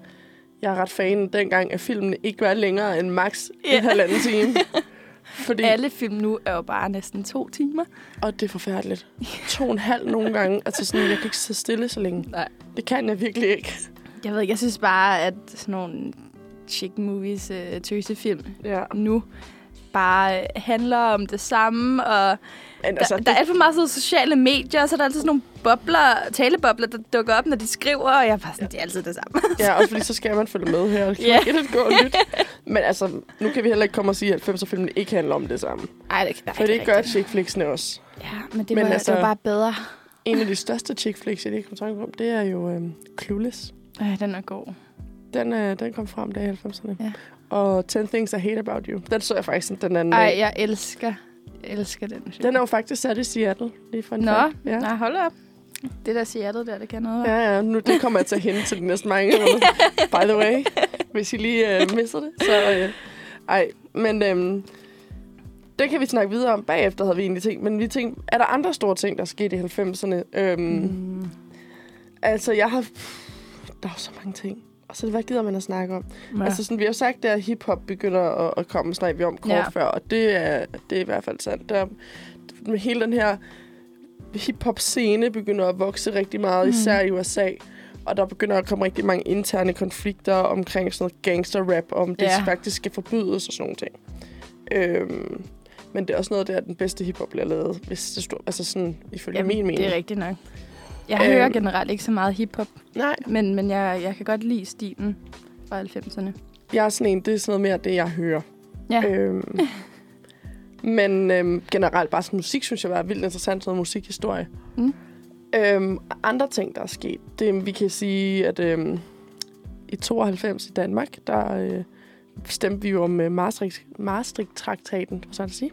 A: jeg er ret fan dengang, at filmen ikke var længere end max
B: Ja.
A: en halvanden time. Fordi,
B: Alle film nu er jo bare næsten to timer.
A: og det er forfærdeligt. To og en halv nogle gange. Altså sådan, jeg kan ikke sidde stille så længe.
B: Nej.
A: Det kan jeg virkelig ikke.
B: Jeg ved ikke, jeg synes bare, at sådan nogle chick movies, øh, tøsefilm
A: Ja.
B: nu, bare øh, handler om det samme, og
A: Men
B: altså,
A: altså,
B: der, der er
A: det,
B: alt for meget sådan noget sociale medier, og så er der altid sådan nogle bobler, talebobler, der dukker op, når de skriver, og jeg er bare sådan, det er altid det samme.
A: ja, også fordi så skal man følge med her. Det kan
B: Ja.
A: yeah. ikke gå og lytte. Men altså, nu kan vi heller ikke komme og sige, at 90'er-filmene ikke handler om det samme.
B: Ej, det, nej,
A: For det gør chick flicksene også.
B: Ja, men det,
A: Men
B: var, altså,
A: altså-
B: det var bare bedre.
A: En af de største chick flicks, jeg lige kom i tanke om, det er jo øhm, Clueless.
B: Øh, den er god.
A: Den, øh, den kom frem der i 90'erne.
B: Ja.
A: Og 10 Things I Hate About You. Den så jeg faktisk den anden
B: Ej,
A: dag.
B: jeg elsker, jeg elsker den film.
A: Den er jo faktisk sat i Seattle, lige for en
B: Nå,
A: fact.
B: ja.
A: ja.
B: nej, hold op. Det der Seattle der, det kan noget. hva'?
A: Ja, ja, nu det kommer jeg til at hente til de næste mange runder. By the way, hvis I lige øh, misser det, så... Øh, ej, men øhm, det kan vi snakke videre om. Bagefter havde vi egentlig tænkt, men vi tænkte, er der andre store ting, der skete i 90'erne? Øhm, mm.
B: Mm.
A: Altså, jeg har... Der er jo så mange ting. Og så hvad gider man at snakke om? Ja. Altså, sådan, vi har jo sagt, at hiphop begynder at, at komme, snakker vi om kort ja.
B: Ja.
A: før, og det er, det er i hvert fald sandt. Der, med hele den her hiphop-scene begynder at vokse rigtig meget, mm.
B: Mm.
A: især i USA. Og der begynder at komme rigtig mange interne konflikter omkring sådan noget gangster-rap, om det
B: Ja.
A: faktisk skal forbydes og sådan nogle ting. Øhm, men det er også noget, der er den bedste hiphop bliver lavet, hvis det står, altså sådan, ifølge Jamen, min mening.
B: det er rigtigt nok. Jeg
A: Øhm.
B: øhm. hører generelt ikke så meget hiphop,
A: Nej,
B: men, men jeg, jeg kan godt lide stilen fra 90'erne.
A: jeg er sådan en, det er sådan noget mere det, jeg hører.
B: Ja.
A: Øhm, men øhm, generelt bare sådan musik, synes jeg var vildt interessant, sådan noget musikhistorie.
B: Mm.
A: Øhm, andre ting, der er sket, det vi kan sige, at øhm, i 92 i Danmark, der øh, stemte vi jo om øh, Maastricht, Maastricht-traktaten, hvad skal jeg sige?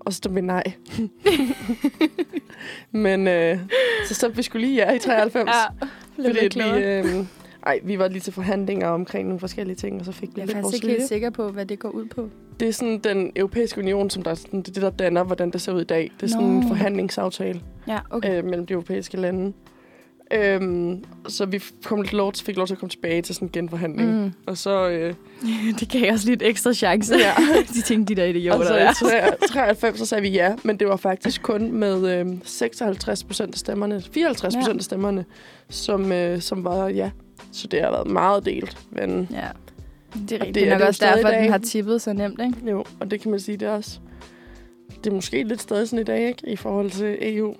A: Og så stemte vi nej. men øh, så stemte vi skulle lige ja i 93.
B: blev
A: Fordi
B: lidt
A: at vi,
B: klogere.
A: øh, ej, vi var lige til forhandlinger omkring nogle forskellige ting, og så fik vi
B: Jeg er
A: lidt
B: faktisk
A: vores
B: ikke
A: vilje.
B: helt sikker på, hvad det går ud på.
A: Det er sådan den europæiske union, som der, er sådan, det, er det, der danner, hvordan det ser ud i dag. Det er sådan
B: Nå.
A: en forhandlingsaftale
B: Ja, okay.
A: øh, mellem de europæiske lande. Øhm, så vi f- kom lidt lov, fik lov til at komme tilbage til sådan en genforhandling. Mm.
B: Mm.
A: Og så, øh,
B: det gav os lidt ekstra chance.
A: Ja.
B: de tænkte, de der idioter
A: altså
B: der.
A: i 93, så sagde vi ja, men det var faktisk kun med øh, 56 procent af stemmerne, 54 procent
B: Ja.
A: af stemmerne, som, øh, som var ja. Så det har været meget delt, men
B: Ja. Det er rigtigt.
A: Og det
B: Det
A: er
B: er nok
A: det jo
B: også
A: stadig
B: derfor,
A: i dag.
B: den har tippet så nemt, ikke?
A: Jo, og det kan man sige, det er også... Det er måske lidt stadig sådan i dag, ikke? I forhold til E EU. Ja.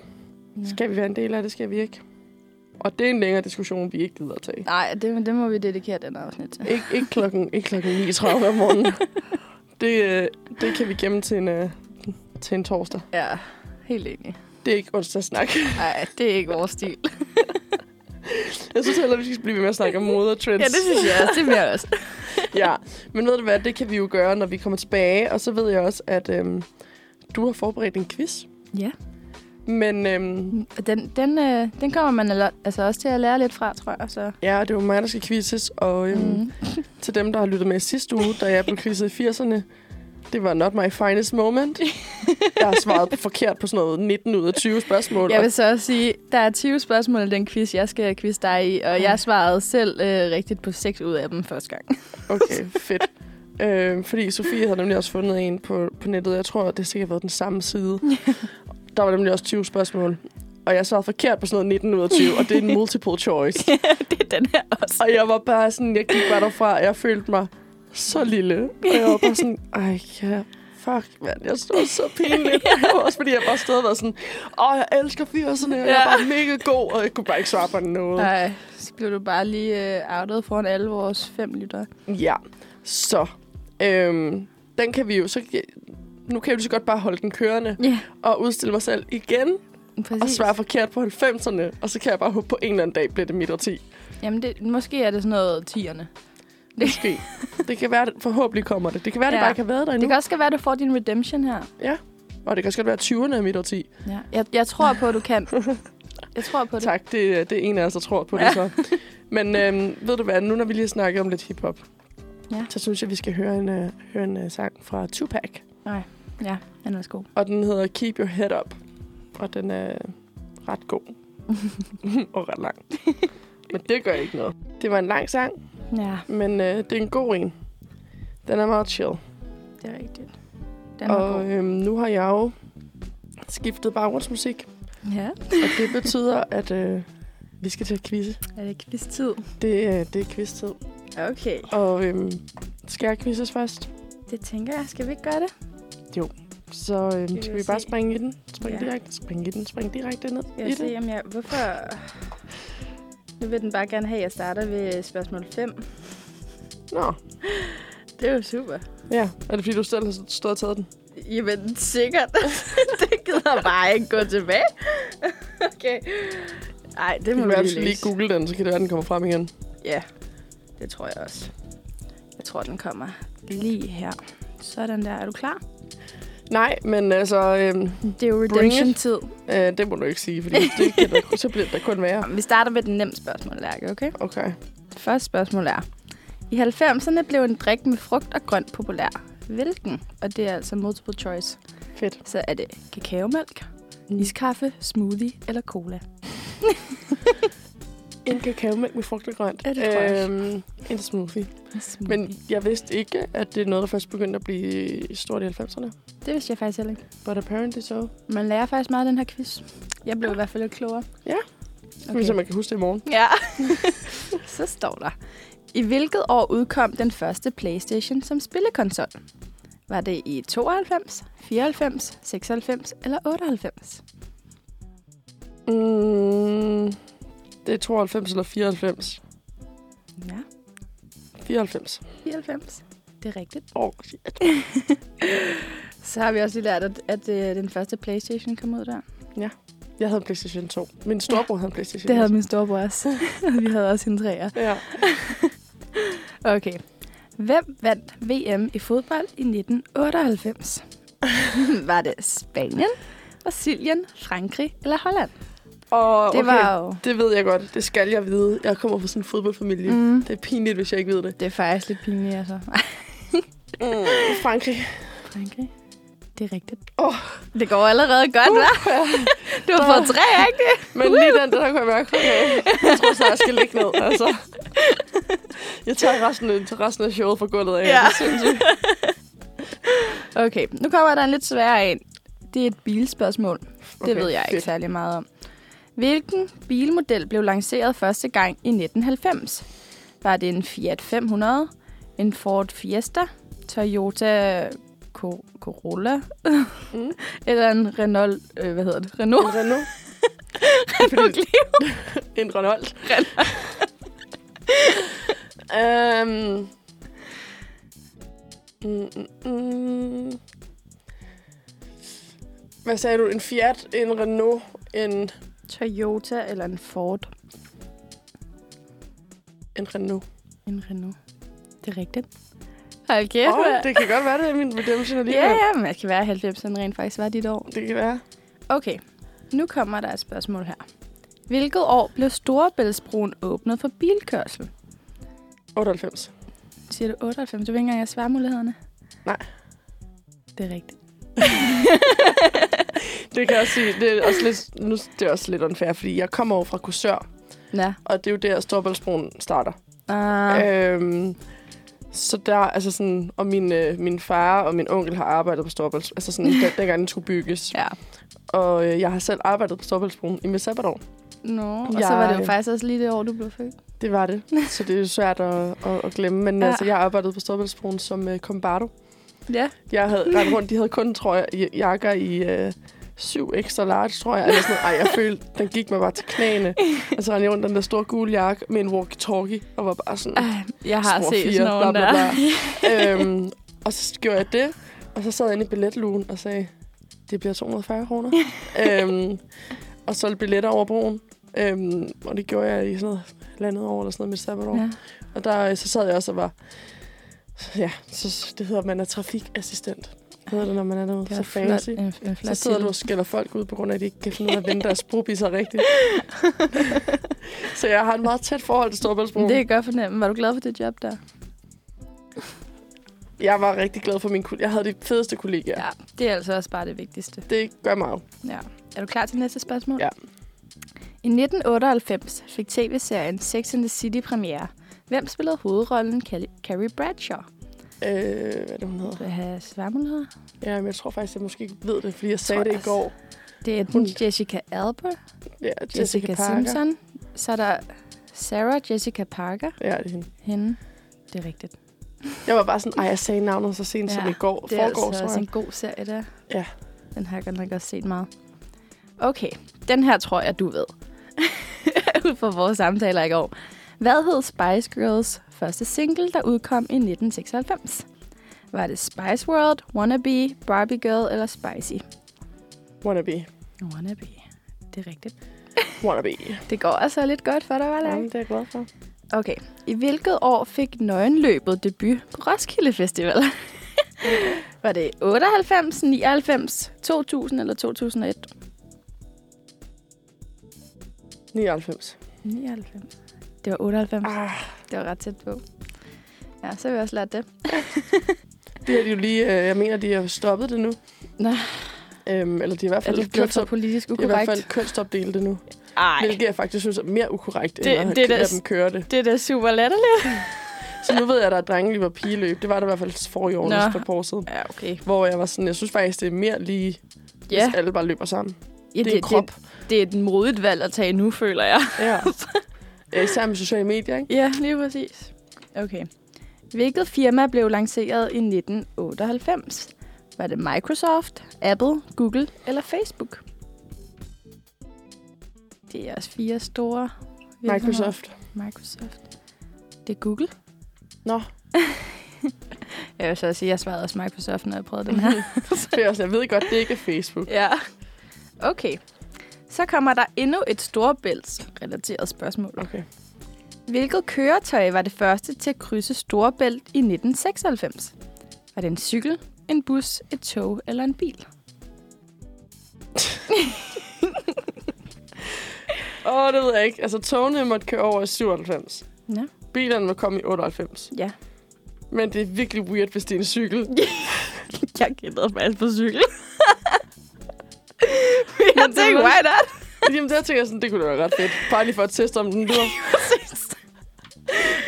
A: Mm. Skal vi være en del af det, skal vi ikke? Og det er en længere diskussion, vi ikke gider at tage.
B: Nej, det, det må vi dedikere den afsnit til.
A: Ikke, ikke klokken, ikke klokken 9.30 om morgenen. Det, øh, det kan vi gemme til en, øh, til en torsdag.
B: Ja, helt enig.
A: Det er ikke onsdagssnak.
B: Nej, det er ikke vores stil.
A: Jeg synes heller, vi skal blive ved med at snakke om mode og trends.
B: ja, det synes jeg også. Det bliver også.
A: ja. Men ved du hvad, det kan vi jo gøre, når vi kommer tilbage. Og så ved jeg også, at øhm, du har forberedt en quiz.
B: Ja.
A: Men øhm,
B: Den, den, øh, den kommer man al- altså også til at lære lidt fra, tror jeg. Så.
A: ja, det er jo mig, der skal quizzes. Og øhm, mm.
B: Mm.
A: Til dem, der har lyttet med i sidste uge, da jeg blev quizet i 80'erne. Det var not my finest moment. Jeg har svaret forkert på sådan noget 19 ud af 20 spørgsmål.
B: Jeg vil så også sige, der er 20 spørgsmål i den quiz, jeg skal quizze dig i, og jeg svarede selv øh, rigtigt på 6 ud af dem første gang.
A: og- Okay, fedt. Øh, fordi Sofie havde nemlig også fundet en på, på nettet. Jeg tror, det har sikkert været den samme side. Der var nemlig også 20 spørgsmål. Og jeg svarede forkert på sådan noget 19 ud af 20, og det er en multiple choice.
B: det er den her også.
A: Og jeg var bare sådan, jeg gik bare derfra, og jeg følte mig så lille. Og jeg var bare sådan, ej, ja, fuck, mand, jeg stod så pinligt. Ja. Også fordi jeg bare stod og var sådan, åh, jeg elsker 80'erne, og ja. jeg er
B: Ja.
A: bare mega god, og jeg kunne bare ikke svare på noget. Ja.
B: Nej, så blev du bare lige øh, outet foran alle vores fem lyttere.
A: ja. Så, øhm, den kan vi jo, så nu kan jeg jo lige så godt bare holde den kørende
B: Ja,
A: og udstille mig selv igen
B: præcis.
A: og svare forkert på 90'erne. Og så kan jeg bare håbe på en eller anden dag bliver det midt og 10.
B: Jamen, det, måske er det sådan noget tierne.
A: Måske. det kan være, forhåbentlig kommer det. Det kan være, ja. det
B: Ja.
A: bare ikke har været der endnu.
B: Det kan også være, at du får din redemption her.
A: Ja, og det kan også godt være 20'erne er mit årti.
B: Ja. Jeg, jeg tror på, at du kan. Jeg tror på det.
A: Tak, det, det er en af os, der tror på det
B: Ja.
A: så. Men øhm, ved du hvad, nu når vi lige har snakket om lidt hiphop,
B: Ja.
A: så synes jeg, vi skal høre en, øh, høre en øh, sang fra Tupac.
B: Nej, ja, han er også god.
A: Og den hedder Keep Your Head Up. Og den er ret god. og ret lang. Men det gør ikke noget. Det var en lang sang,
B: Ja,
A: men øh, det er en god en. Den er meget chill.
B: det er rigtigt. Den er
A: Og
B: god.
A: øhm, nu har jeg jo skiftet baggrundsmusik.
B: Ja,
A: Og det betyder, at øh, vi skal til at quizze.
B: er det ikke vist tid?
A: Det, er- det er quiz-tid.
B: Okay.
A: Og øhm, skal jeg quizzes først?
B: Det tænker jeg. Skal vi ikke gøre det?
A: Så øhm,
B: vil
A: skal vi
B: se.
A: bare springe i den? Spring
B: Ja.
A: direkte, spring i den, spring direkte ned
B: Jeg
A: i
B: vil se,
A: det.
B: om jeg... Hvorfor... Nu vil den bare gerne have, at jeg starter ved spørgsmål 5.
A: Nå,
B: Det er jo super.
A: ja. Er det fordi, du selv har stået og taget den?
B: Jamen, sikkert. det gider jeg bare ikke gå tilbage. okay. Nej, det
A: Det
B: må
A: må
B: vi
A: være, du
B: lige
A: skal lige
B: læse.
A: google den, så kan det være, den kommer frem igen.
B: Ja, det tror jeg også. Jeg tror, den kommer lige her. Sådan der. Er du klar?
A: Nej, men altså, øhm,
B: Det er jo redemption-tid.
A: øh, det må du ikke sige, fordi det kan der, så bliver der kun værre.
B: Vi starter med den nemme spørgsmål, Lærke, okay?
A: Okay.
B: Det første spørgsmål er, i 90'erne blev en drik med frugt og grønt populær. Hvilken? Og det er altså multiple choice.
A: Fedt.
B: Så er det kakaomælk, iskaffe, smoothie eller cola?
A: En kakaomælk med frugt og grønt.
B: Ja, det tror jeg
A: øhm, en smoothie. Men jeg vidste ikke, at det er noget, der først begyndte at blive stort i 90'erne.
B: det vidste jeg faktisk heller ikke.
A: But apparently so.
B: Man lærer faktisk meget af den her quiz. Jeg blev i hvert fald lidt klogere.
A: Ja. Okay. Så
B: Okay.
A: man kan huske det i morgen.
B: Ja. Så står der. I hvilket år udkom den første PlayStation som spillekonsol? Var det i 92, 94, 96 eller 98?
A: Mm, det er 92 eller 94.
B: Ja,
A: 94.
B: 94. Det er rigtigt.
A: Åh, oh, shit.
B: Så har vi også lige lært, at, at øh, den første PlayStation kom ud der.
A: Jeg havde en PlayStation 2. Min storebror havde en PlayStation
B: Det havde min storebror også. Og vi havde også en træer.
A: Ja.
B: Okay. Hvem vandt VM i fodbold i 1998? Var det Spanien, Brasilien, Frankrig eller Holland?
A: Og,
B: Det var jo...
A: Det ved jeg godt. Det skal jeg vide. Jeg kommer fra sådan en fodboldfamilie. Mm. Det er pinligt, hvis jeg ikke ved det.
B: Det er faktisk lidt pinligt, altså.
A: Mm. Frankrig.
B: Frankrig. Det er rigtigt.
A: Åh.
B: Det går allerede godt, hva'? Du har fået tre, ikke?
A: Men lige den, der kunne jeg mærke, okay. Jeg tror snart, jeg skal ligge ned. Altså. Jeg tager resten af, resten af showet fra gulvet af.
B: Ja.
A: Det er sindssygt.
B: Okay, nu kommer der en lidt sværere en. Det er et bilspørgsmål. Det
A: Okay,
B: ved jeg ikke
A: fedt.
B: særlig meget om. Hvilken bilmodel blev lanceret første gang i 1990? Var det en Fiat 500, en Ford Fiesta, Toyota Co- Corolla,
A: Mm.
B: eller en Renault, øh, hvad hedder det? Renault,
A: En Renault.
B: Renault Clio?
A: En Renault. Renault. øhm. mm, mm, mm. Hvad sagde du? En Fiat, en Renault, en,
B: Toyota eller en Ford?
A: en Renault.
B: En Renault. Det er rigtigt. Hold kæft,
A: Åh, oh,
B: mand.
A: det kan godt være, det er min redemption alligevel.
B: Ja, ja, men det kan være, at 90'erne rent faktisk var dit år.
A: Det kan være.
B: Okay, nu kommer der et spørgsmål her. Hvilket år blev Storebæltsbroen åbnet for bilkørsel?
A: 98.
B: Siger du 98? Du ved ikke engang, jeg svarer mulighederne.
A: Nej.
B: Det er rigtigt.
A: Det kan jeg også sige. Det er også lidt, nu, det er også lidt unfair, fordi jeg kommer over fra Korsør,
B: Ja.
A: og det er jo der, Storbæltsbroen starter.
B: Uh, øh.
A: Øhm, så der, altså sådan, og min, øh, min far og min onkel har arbejdet på Storbælts, altså sådan, den, dengang den skulle bygges.
B: Ja.
A: Og øh, jeg har selv arbejdet på Storbæltsbroen i mit sabbatår.
B: Nå, og
A: Jeg-
B: så var det jo faktisk også lige det år, du blev født.
A: Det var det. Så det er jo svært at, at, at glemme. Men
B: Ja.
A: ja. altså, jeg arbejdede på Storbæltsbroen som øh, kombardo.
B: Ja.
A: Jeg havde rendt rundt, de havde kun trøjer, j- jakker i øh, syv ekstra large, tror jeg. Eller sådan noget. Ej, jeg følte, den gik mig bare til knæene. Og så rendte jeg rundt i den der store gule jakke med en walkie-talkie, og var bare sådan...
B: Jeg har
A: spor
B: set
A: fire,
B: sådan nogen
A: bla, bla,
B: der.
A: bla. øhm, og så gjorde jeg det, og så sad jeg inde i billetlugen og sagde, det bliver 240 kroner. øhm, og solgte billetter over broen. Øhm, og det gjorde jeg i sådan noget landet år eller sådan noget mit sabbatår. Ja.
B: Ja.
A: Og der, øh, så sad jeg også og var... Ja, så, det hedder, man er trafikassistent. Hedder det, når man er derude.
B: Det
A: så
B: var
A: fancy.
B: flot, en, en flot
A: Så sidder du
B: titel.
A: og skælder folk ud, på grund af, at de ikke kan finde ud af at vende deres brobisser rigtigt. så jeg har et meget tæt forhold til Storbæltsbroen.
B: Det kan jeg godt fornemme. Var du glad for det job der?
A: Jeg var rigtig glad for min kollega. Jeg havde de fedeste kollegaer. Ja.
B: Det er altså også bare det vigtigste.
A: Det gør mig jo.
B: Ja. Er du klar til næste spørgsmål?
A: Ja.
B: I 1998 fik tv-serien Sex and the City premiere. Hvem spillede hovedrollen Cali- Carrie Bradshaw?
A: Øh, hvad er det, hun hedder?
B: Vil jeg have svarmuligheder?
A: Ja, men jeg tror faktisk, jeg måske ikke ved det, fordi jeg
B: Tror
A: sagde det
B: jeg
A: i går.
B: Det er den
A: Hun-
B: Jessica Alba, Jessica,
A: Ja, Jessica,
B: Jessica
A: Parker.
B: Simpson. Så er der Sarah Jessica Parker.
A: Ja, det er hende.
B: Hende. Det er rigtigt.
A: Jeg var bare sådan, ej, jeg sagde navnet så sent ja, som
B: Ja,
A: i går.
B: Det er
A: Foregår,
B: altså
A: tror
B: også en
A: jeg.
B: god serie, der.
A: Ja.
B: Den har jeg godt nok også set meget. Okay, den her tror jeg, du ved. Ud fra vores samtaler i går. Hvad hed Spice Girls første single, der udkom i 1996? Var det Spice World, Wannabe, Barbie Girl eller Spicy?
A: Wannabe.
B: Wannabe. Det er rigtigt.
A: Wannabe.
B: Det går altså lidt godt for dig, var
A: Ja,
B: det?
A: det er jeg glad for.
B: Okay. I hvilket år fik Nøgenløbet debut på Roskilde Festival? Var det 98, 99, 2000 eller 2001?
A: 99.
B: 99. Det var 98.
A: Ah,
B: Det var ret tæt på. Ja, så har vi også lært det.
A: det er de jo lige... Øh, jeg mener, de har stoppet det nu.
B: Nå.
A: Øhm, eller de er i hvert
B: Er
A: fald...
B: det blevet
A: kønsop-
B: så politisk
A: i hvert
B: ukorrekt?
A: fald kønsopdelt det nu.
B: Ej,
A: Hvilket jeg faktisk synes er mere ukorrekt, end
B: Det-
A: at
B: det er
A: det,
B: da-
A: lade dem køre det.
B: det er da super latterligt.
A: Så nu ved jeg, at der er drengeløb og pigeløb. Det var der i hvert fald for i
B: Nå.
A: år, for et par år siden.
B: Ja, okay.
A: Hvor jeg var sådan, jeg synes faktisk, det er mere lige, hvis
B: Ja,
A: alle bare løber sammen.
B: ja
A: det er en krop.
B: Det, det er et modigt valg at tage nu, føler jeg.
A: Ja. Ja, Især med sociale medier, ikke?
B: Ja, lige præcis. Okay. Hvilket firma blev lanceret i 1998? Var det Microsoft, Apple, Google eller Facebook? Det er også fire store virksomheder.
A: Microsoft.
B: Microsoft. Det er Google.
A: Nå.
B: jeg vil så også sige, at jeg svarede også Microsoft, når jeg prøvede den her.
A: For jeg, er sådan, jeg ved godt, det ikke er Facebook.
B: ja. Okay. Så kommer der endnu et storebæltsrelateret spørgsmål.
A: Okay.
B: Hvilket køretøj var det første til at krydse Storebælt i 1996? Var det en cykel, en bus, et tog eller en bil?
A: Åh, oh, det ved jeg ikke. Altså, togene måtte køre over i 97.
B: Ja.
A: Bilerne må komme i 98.
B: ja.
A: Men det er virkelig weird, hvis det er en cykel.
B: Jeg gættede faktisk på cykel.
A: Men
B: jeg
A: det
B: tænkte,
A: var-
B: why not?
A: Jamen, der tænker jeg sådan, det kunne da være ret fedt. Bare lige for at teste, om den lyder.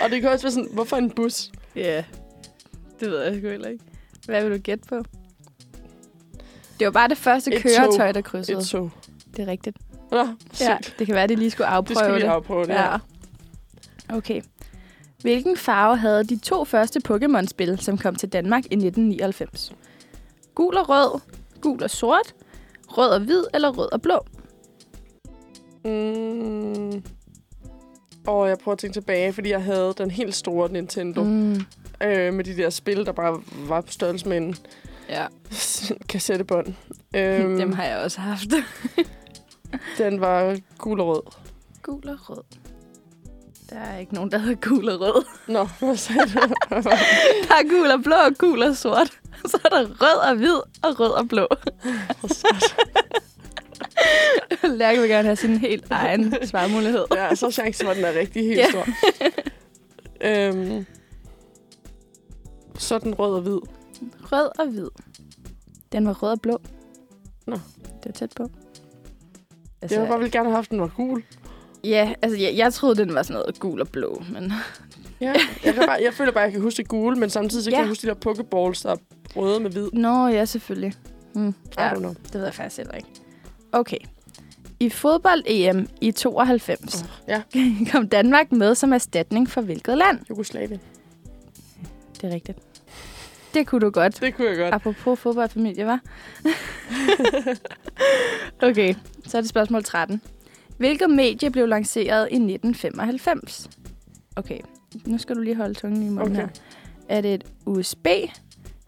A: Og det kan også være sådan, hvorfor en bus?
B: Ja, det ved jeg sgu heller ikke. Hvad vil du gætte på? Det var bare det første
A: Et
B: køretøj, der krydsede.
A: Et tog.
B: Det er rigtigt.
A: Nå,
B: Ja,
A: sygt.
B: det kan være, at de lige skulle afprøve
A: Det skal vi lige afprøve, det her.
B: Ja. Okay. Hvilken farve havde de to første Pokémon-spil, som kom til Danmark i 1999? Gul og rød, gul og sort, rød og hvid eller rød og blå?
A: Mm. Og jeg prøver at tænke tilbage, fordi jeg havde den helt store Nintendo. Mm. Øh, med de der spil, der bare var på størrelse med en
B: Ja,
A: kassettebånd. Øhm,
B: dem har jeg også haft.
A: Den var gul og rød.
B: Gul og rød. Der er ikke nogen, der hedder gul og rød.
A: Nå, hvad sagde du?
B: Der er gul og blå og gul og sort. Så er der rød og hvid og rød og blå. Lærke vil gerne have sin helt egen svarmulighed.
A: ja, så er chancen, at den er rigtig helt
B: Ja.
A: stor. øhm, så er den rød og hvid.
B: Rød og hvid. Den var rød og blå.
A: Nå.
B: Det var tæt på.
A: Altså, jeg ville bare vildt gerne have haft, den var gul.
B: Ja, altså jeg, jeg troede, den var sådan noget gul og blå, men
A: Ja. Jeg, kan bare, jeg føler bare, at jeg kan huske det gule, men samtidig så kan
B: Ja.
A: jeg huske de der pokeballs, der er røde med hvid.
B: Nå, ja, selvfølgelig. Hmm.
A: Ja.
B: Ja,
A: I don't know.
B: det ved jeg faktisk heller ikke. Okay. I fodbold-EM i 92
A: Ja.
B: kom Danmark med som erstatning for hvilket land?
A: Jugoslavien.
B: Det er rigtigt. Det kunne du godt.
A: Det kunne jeg godt.
B: Apropos fodboldfamilie, var. okay, så er det spørgsmål 13. Hvilket medie blev lanceret i 1995? Okay, nu skal du lige holde tungen i munden
A: Okay.
B: okay. her. Er det et USB,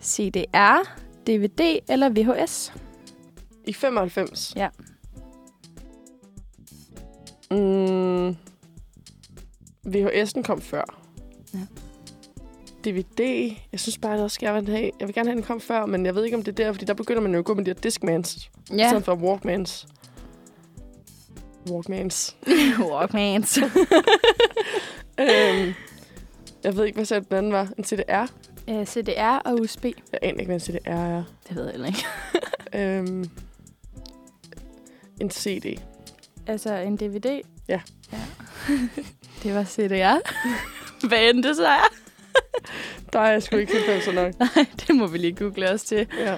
B: CDR, DVD eller VHS?
A: I 95?
B: Ja.
A: Mm, VHS'en kom før.
B: Ja.
A: DVD, jeg synes bare, at også skal jeg vil have. Jeg vil gerne have, at den kom før, men jeg ved ikke, om det er der, fordi der begynder man jo at gå med de her Discmans, i
B: Ja,
A: stedet for Walkmans. Walkmans.
B: Walkmans.
A: øhm, jeg ved ikke, hvad selv den anden var. En CDR?
B: Øh, CDR og USB.
A: Jeg aner ikke, hvad en CDR er.
B: Det ved jeg heller ikke.
A: Øhm, en CD.
B: Altså en DVD?
A: Ja.
B: ja. det var CDR. Hvad end det så er?
A: Der er jeg sgu ikke 90'er nok.
B: Nej, det må vi lige google os til.
A: Ja.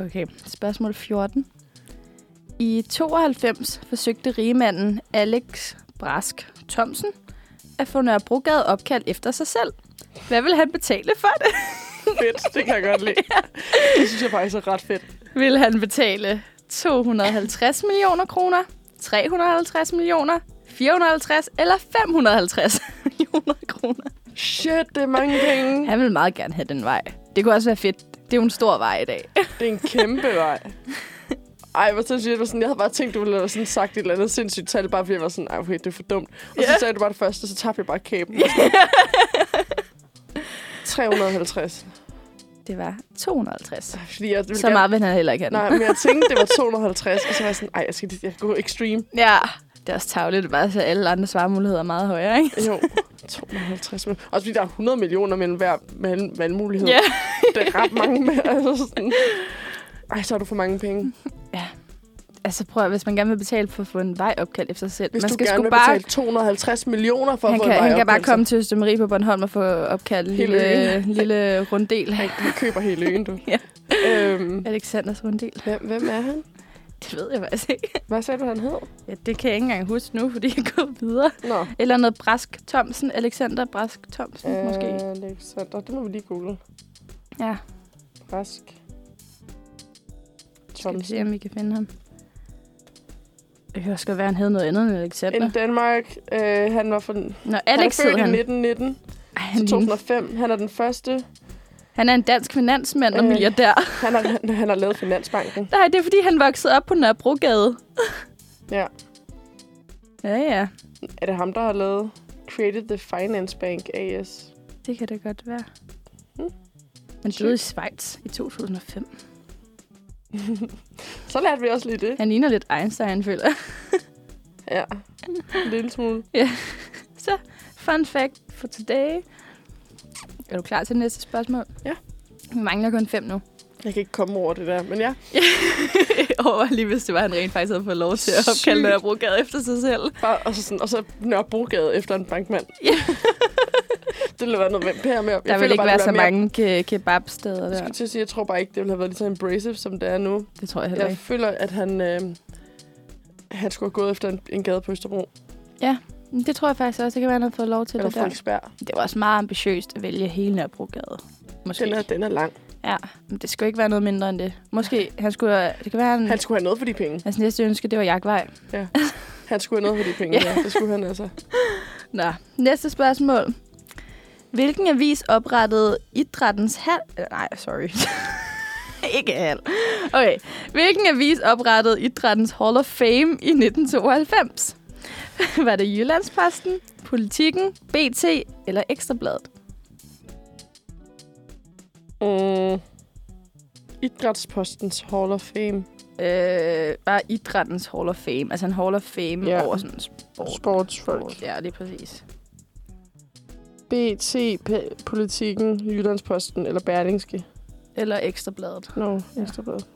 B: Okay, spørgsmål 14. I 92 forsøgte rigemanden Alex Brask Thomsen at få Nørrebrogade opkaldt efter sig selv. Hvad vil han betale for det?
A: fedt. Det kan jeg godt lide. Det synes jeg faktisk er ret fedt.
B: Vil han betale 250 millioner kroner, 350 millioner, 450 eller 550 millioner kroner?
A: Shit, det er mange penge.
B: Han vil meget gerne have den vej. Det kunne også være fedt. Det er jo en stor vej i dag.
A: Det er en kæmpe vej. Ej, hvor sindssygt. Jeg, var sådan, jeg havde bare tænkt, du ville have sådan sagt et eller andet sindssygt tal, bare fordi jeg var sådan, ej, okay, det er for dumt. Og så
B: Ja.
A: sagde du bare det første, og så tabte jeg bare kæben. 350.
B: det var 250.
A: Altså, Fordi jeg ville
B: Så meget vil han heller ikke have den.
A: Nej, men jeg tænkte, det var 250, og så var jeg sådan, ej, jeg skal, jeg skal gå extreme.
B: Ja, det er også tavligt, bare så alle andre svarmuligheder er meget højere, ikke?
A: Jo, 250 millioner. Også fordi der er 100 millioner mellem hver val- valgmulighed.
B: Ja.
A: Det er ret mange med. Altså sådan. Ej, så har du for mange penge.
B: Altså prøv at, hvis man gerne vil betale for at få en vej opkaldt efter sig selv.
A: Hvis
B: man
A: du gerne
B: sgu
A: vil
B: bare,
A: betale 250 millioner for at
B: han
A: få
B: kan,
A: en vej
B: han kan bare
A: opkaldt, så-
B: komme til Østemarie på Bornholm og få opkaldt en
A: Hele
B: lille,
A: øen.
B: lille runddel.
A: Han, han køber hele øen, du.
B: Ja.
A: Øhm,
B: Alexanders runddel.
A: hvem, hvem er han?
B: Det ved jeg faktisk ikke.
A: Hvad sagde du, han hed?
B: Ja, det kan jeg ikke engang huske nu, fordi jeg går videre.
A: Nå.
B: Eller noget Brask Thomsen. Alexander Brask Thomsen, øh. måske.
A: Øh, Alexander, det må vi lige google.
B: Ja,
A: Rask.
B: skal vi
A: Thompson.
B: se, om vi kan finde ham. Det kan også godt være, han havde noget andet end Alexander.
A: In Danmark. Øh, han var fra...
B: Nå,
A: han er
B: Alex
A: født
B: hed
A: i
B: han.
A: 1919
B: Ej, han,
A: til
B: ligner-
A: 2005. Han er den første
B: han er en dansk finansmand og
A: Øh.
B: milliardær.
A: Han har, han, han har lavet Finansbanken.
B: Nej, det er, fordi han voksede op på Nørrebrogade.
A: Ja.
B: Ja, ja.
A: Er det ham, der har lavet Created the Finance Bank AS?
B: Det kan det godt være. Hmm.
A: Mm.
B: Han
A: Sygt.
B: døde i Schweiz i 2005.
A: Så lærte vi også lige det.
B: Han ligner lidt Einstein, føler jeg.
A: Ja. En lille smule.
B: Fun fact for today. Er du klar til næste spørgsmål?
A: Ja.
B: Vi mangler kun fem nu.
A: Jeg kan ikke komme over det der, men ja.
B: Over lige hvis det var, han rent faktisk havde fået lov til at opkalde
A: Sygt.
B: Nørrebrogade efter sig selv.
A: Bare, og, så sådan, og så Nørrebrogade efter en bankmand.
B: Ja.
A: det ville være noget med. Jeg
B: Der ville ikke være så mange ke- kebabsteder
A: Jeg
B: der.
A: skulle til at sige, jeg tror bare ikke, det ville have været lige så embracive, som det er nu.
B: Det tror jeg heller
A: Jeg
B: ikke.
A: føler, at han, øh, han skulle have gået efter en, en gade på Østerbro.
B: Men Det tror jeg faktisk også. Det kan være, han havde fået lov til
A: Eller
B: det der.
A: Frederiksberg.
B: Det var også meget ambitiøst at vælge hele Nørrebrogade. Måske.
A: Den er, den er lang.
B: Ja, men det skulle ikke være noget mindre end det. Måske han skulle... øh, Det kan være, han,
A: Han skulle have noget for de penge.
B: hans næste ønske, det var jagtvej.
A: Han skulle have noget for de penge, ja. Det skulle han altså.
B: Nå, næste spørgsmål. Hvilken avis oprettede idrættens hal... øh, Nej, sorry. ikke hal. Okay. Hvilken avis oprettede idrættens Hall of Fame i 1992? Var det Jyllandsposten, Politikken, BT eller Ekstrabladet?
A: Mm. Idrætspostens Hall of Fame.
B: Øh, bare idrættens Hall of Fame. Altså en Hall of Fame
A: Ja.
B: over sådan sport.
A: Sportsfolk.
B: Ja, lige præcis.
A: BT, P- Politiken, Jyllandsposten eller Berlingske.
B: Eller Ekstrabladet.
A: Nå,
B: Ja.
A: no, Ekstrabladet.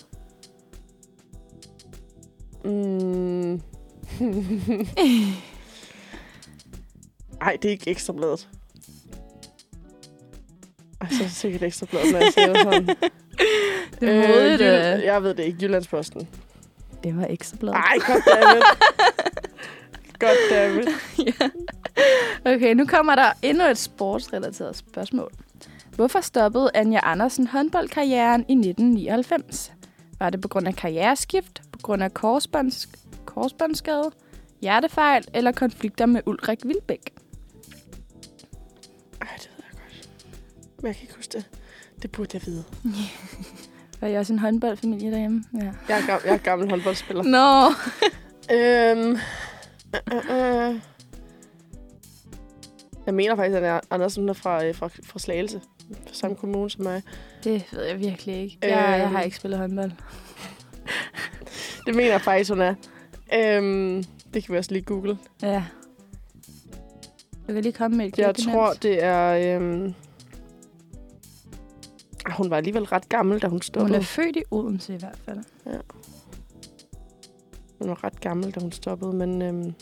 A: Mm. Ej, det er ikke Ekstrabladet. Ej, så er det sikkert Ekstrabladet, når jeg siger det sådan.
B: Det er modigt.
A: Jyll-
B: Øh,
A: Jeg ved det ikke. Jyllandsposten.
B: det var Ekstrabladet.
A: Ej, goddammit. goddammit.
B: Okay, nu kommer der endnu et sportsrelateret spørgsmål. Hvorfor stoppede Anja Andersen håndboldkarrieren i 1999? Var det på grund af karriereskift, på grund af korsbånds korsbåndsskade, hjertefejl eller konflikter med Ulrik Vilbæk?
A: Ej, det ved jeg godt. Men jeg kan ikke huske det. Det burde jeg vide.
B: Var jeg også en håndboldfamilie derhjemme? Ja.
A: Jeg er, gam- jeg er gammel håndboldspiller.
B: Nå,
A: øhm, øh, øh, øh. Jeg mener faktisk, at Anna Andersen er fra, øh, fra, fra Slagelse. Fra samme kommune som mig.
B: det ved jeg virkelig ikke. Jeg,
A: Øhm.
B: jeg har ikke spillet håndbold.
A: Det mener jeg faktisk, hun er. Øhm, det kan vi også lige google.
B: Ja. Du kan lige komme med et
A: Jeg
B: gæt
A: tror,
B: imens.
A: det er... Øhm, ah, hun var alligevel ret gammel, da hun
B: Hun
A: stoppede.
B: er født i Odense i hvert fald.
A: Hun var ret gammel, da hun stoppede, men øhm,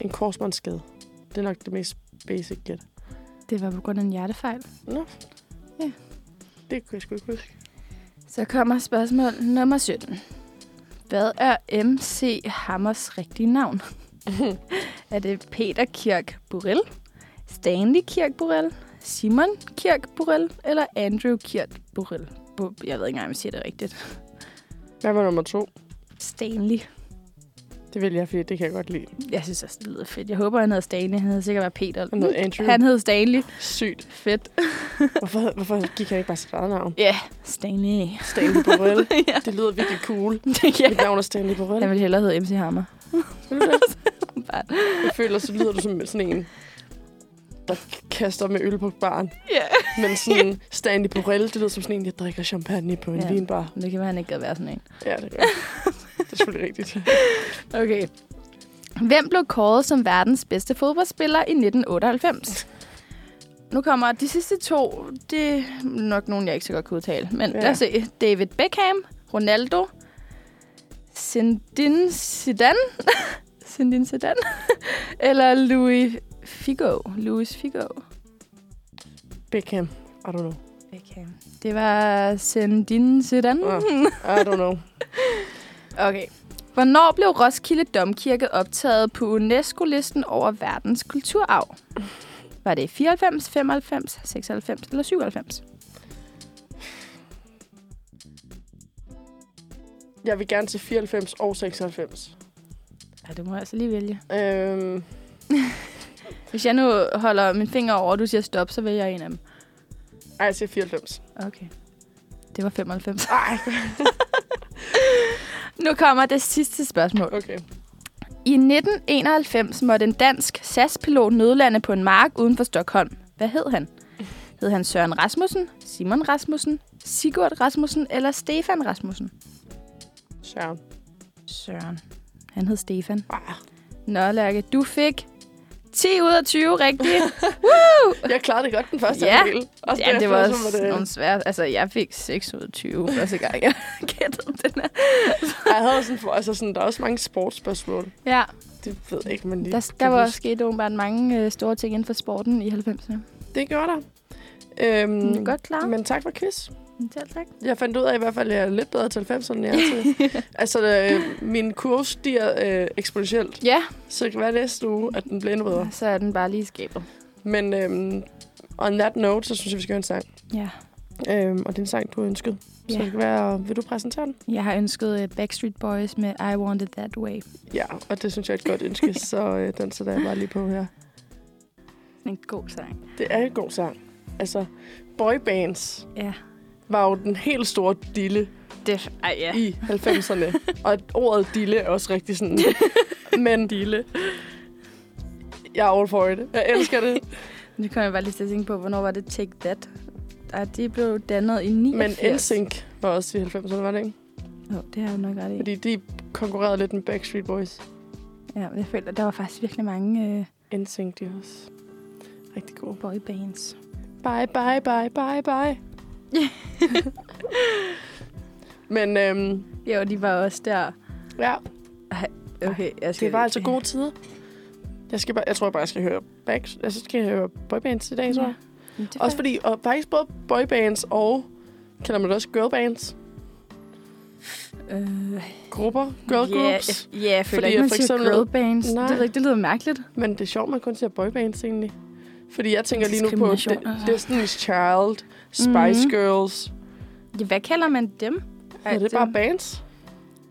A: en korsbåndsskade. Det er nok det mest basic gæt.
B: Det var på grund af en hjertefejl.
A: Nå.
B: Ja.
A: Det kunne jeg sgu ikke huske.
B: Så kommer spørgsmål nummer 17. Hvad er MC Hammers rigtige navn? er det Peter Kirk Burrell, Stanley Kirk Burrell, Simon Kirk Burrell eller Andrew Kirk Burrell? Bu- Jeg ved ikke engang, om jeg siger det rigtigt.
A: Hvad var nummer to?
B: Stanley.
A: Det vil jeg, fordi det kan jeg godt lide.
B: Jeg synes også, det lyder fedt. Jeg håber, han hedder Stanley. Han hedder sikkert bare Peter.
A: Han hedder Andrew.
B: Han hed Stanley.
A: Sygt.
B: Fedt.
A: Hvorfor, hvorfor gik han ikke bare sit eget navn?
B: Ja, yeah. Stanley.
A: Stanley Borrell.
B: ja.
A: Det lyder virkelig cool.
B: ja.
A: Mit navn er Stanley Borrell.
B: Jeg ville hellere hedde MC Hammer.
A: Ved du det? Jeg føler, så lyder du som sådan en der kaster med øl på barn.
B: Yeah.
A: Men sådan Stanley Borrell, det lyder som sådan en, jeg drikker champagne på en
B: Ja.
A: ja. vinbar.
B: Det kan være, han ikke gad være sådan en.
A: Ja, det er, det er selvfølgelig rigtigt.
B: Okay. Hvem blev kåret som verdens bedste fodboldspiller i 1998? Nu kommer de sidste to. Det er nok nogen, jeg ikke så godt kan udtale. Men ja.
A: Ja.
B: lad os se. David Beckham, Ronaldo, Zinedine Zidane, Zinedine Zidane eller Louis Figo. Louis Figo.
A: Beckham. I don't know.
B: Beckham. Det var Zinedine Zidane.
A: Ah. I don't know.
B: Okay. Hvornår blev Roskilde Domkirke optaget på UNESCO-listen over verdens kulturarv? Var det i 94, 95, 96 eller 97?
A: Jeg vil gerne til 94 og 96.
B: Ja, det må jeg altså lige vælge.
A: Øhm,
B: Hvis jeg nu holder min finger over, og du siger stop, så vælger jeg en af dem.
A: ej, jeg siger 94.
B: Okay. Det var 95.
A: Ej,
B: Nu kommer det sidste spørgsmål.
A: okay.
B: I 1991 måtte en dansk SAS-pilot nødlande på en mark uden for Stockholm. Hvad hed han? Hed han Søren Rasmussen, Simon Rasmussen, Sigurd Rasmussen eller Stefan Rasmussen?
A: Søren.
B: Søren. Han hed Stefan.
A: Ah,
B: Nå, Lærke, du fik 10 ud af 20 rigtigt.
A: jeg klarede det godt den første
B: Ja.
A: april. Også
B: ja, det var
A: derfor,
B: også
A: så
B: nogle svære... Altså, jeg fik 6 ud af 20 første gang, jeg gættede den her.
A: Ej, Jeg havde sådan, for, altså sådan, der er også mange sportsspørgsmål.
B: Ja,
A: Det ved jeg ikke, man lige
B: der, der
A: kan
B: var
A: huske.
B: sket åbenbart mange øh, store ting inden for sporten i 90'erne.
A: Det gjorde der. Øhm,
B: Mm. Godt klar. Men,
A: Men tak for quiz.
B: Selv tak.
A: Jeg fandt ud af i hvert fald, at jeg er lidt bedre til 90'erne, end jeg er til. altså, øh, min kurve stiger øh, eksponentielt.
B: Ja,
A: Så det kan være næste uge, at den bliver endnu bedre.
B: så er den bare lige i skabet.
A: Men øhm, on that note, så synes jeg, vi skal høre en sang.
B: Ja.
A: Øhm, og det er en sang, du har ønsket. Så
B: Ja.
A: det kan være, vil du præsentere den?
B: Jeg har ønsket øh, Backstreet Boys med I Want It That Way.
A: Ja, og det synes jeg er et godt ønske, så øh, den sætter jeg bare lige på her.
B: En god sang.
A: Det er en god sang. Altså, boybands
B: Ja.
A: var jo den helt store dille
B: Det, ej, ja.
A: i 90'erne. og ordet dille er også rigtig sådan... Men dille. Jeg er all for it. Jeg elsker det.
B: Nu kommer jeg bare lige til at tænke på, hvornår var det Take That? Ej, det blev dannet i 89.
A: Men NSYNC var også i 90'erne, var det ikke?
B: Jo, det har du nok ret i.
A: Fordi de konkurrerede lidt med Backstreet Boys.
B: Ja, men jeg føler, der var faktisk virkelig mange øh,
A: NSYNC, de er også rigtig gode.
B: boybands.
A: Bye, bye, bye, bye, bye. Men øhm,
B: Jo, de var også der.
A: ja,
B: Okay, jeg skal...
A: det var altså gode tider. Jeg, skal bare, jeg tror bare, jeg skal høre back, altså, skal jeg høre boybands i dag, tror jeg.
B: Men det var-
A: Også fordi, og faktisk både boybands og, kalder man det også girlbands,
B: Øh,
A: grupper, girl
B: ja,
A: groups.
B: jeg- Ja, jeg føler
A: Fordi
B: ikke,
A: jeg
B: man
A: for
B: siger
A: eksempel-
B: girlbands.
A: Nej.
B: Det, ved jeg ikke, det lyder mærkeligt.
A: Men det er sjovt, man kun ser boybands egentlig. Fordi jeg tænker lige nu på
B: Diskrimination,
A: D-
B: altså.
A: Destiny's Child, Spice
B: Mhm.
A: Girls.
B: Ja, hvad kalder man dem?
A: Ej, er det bare bands?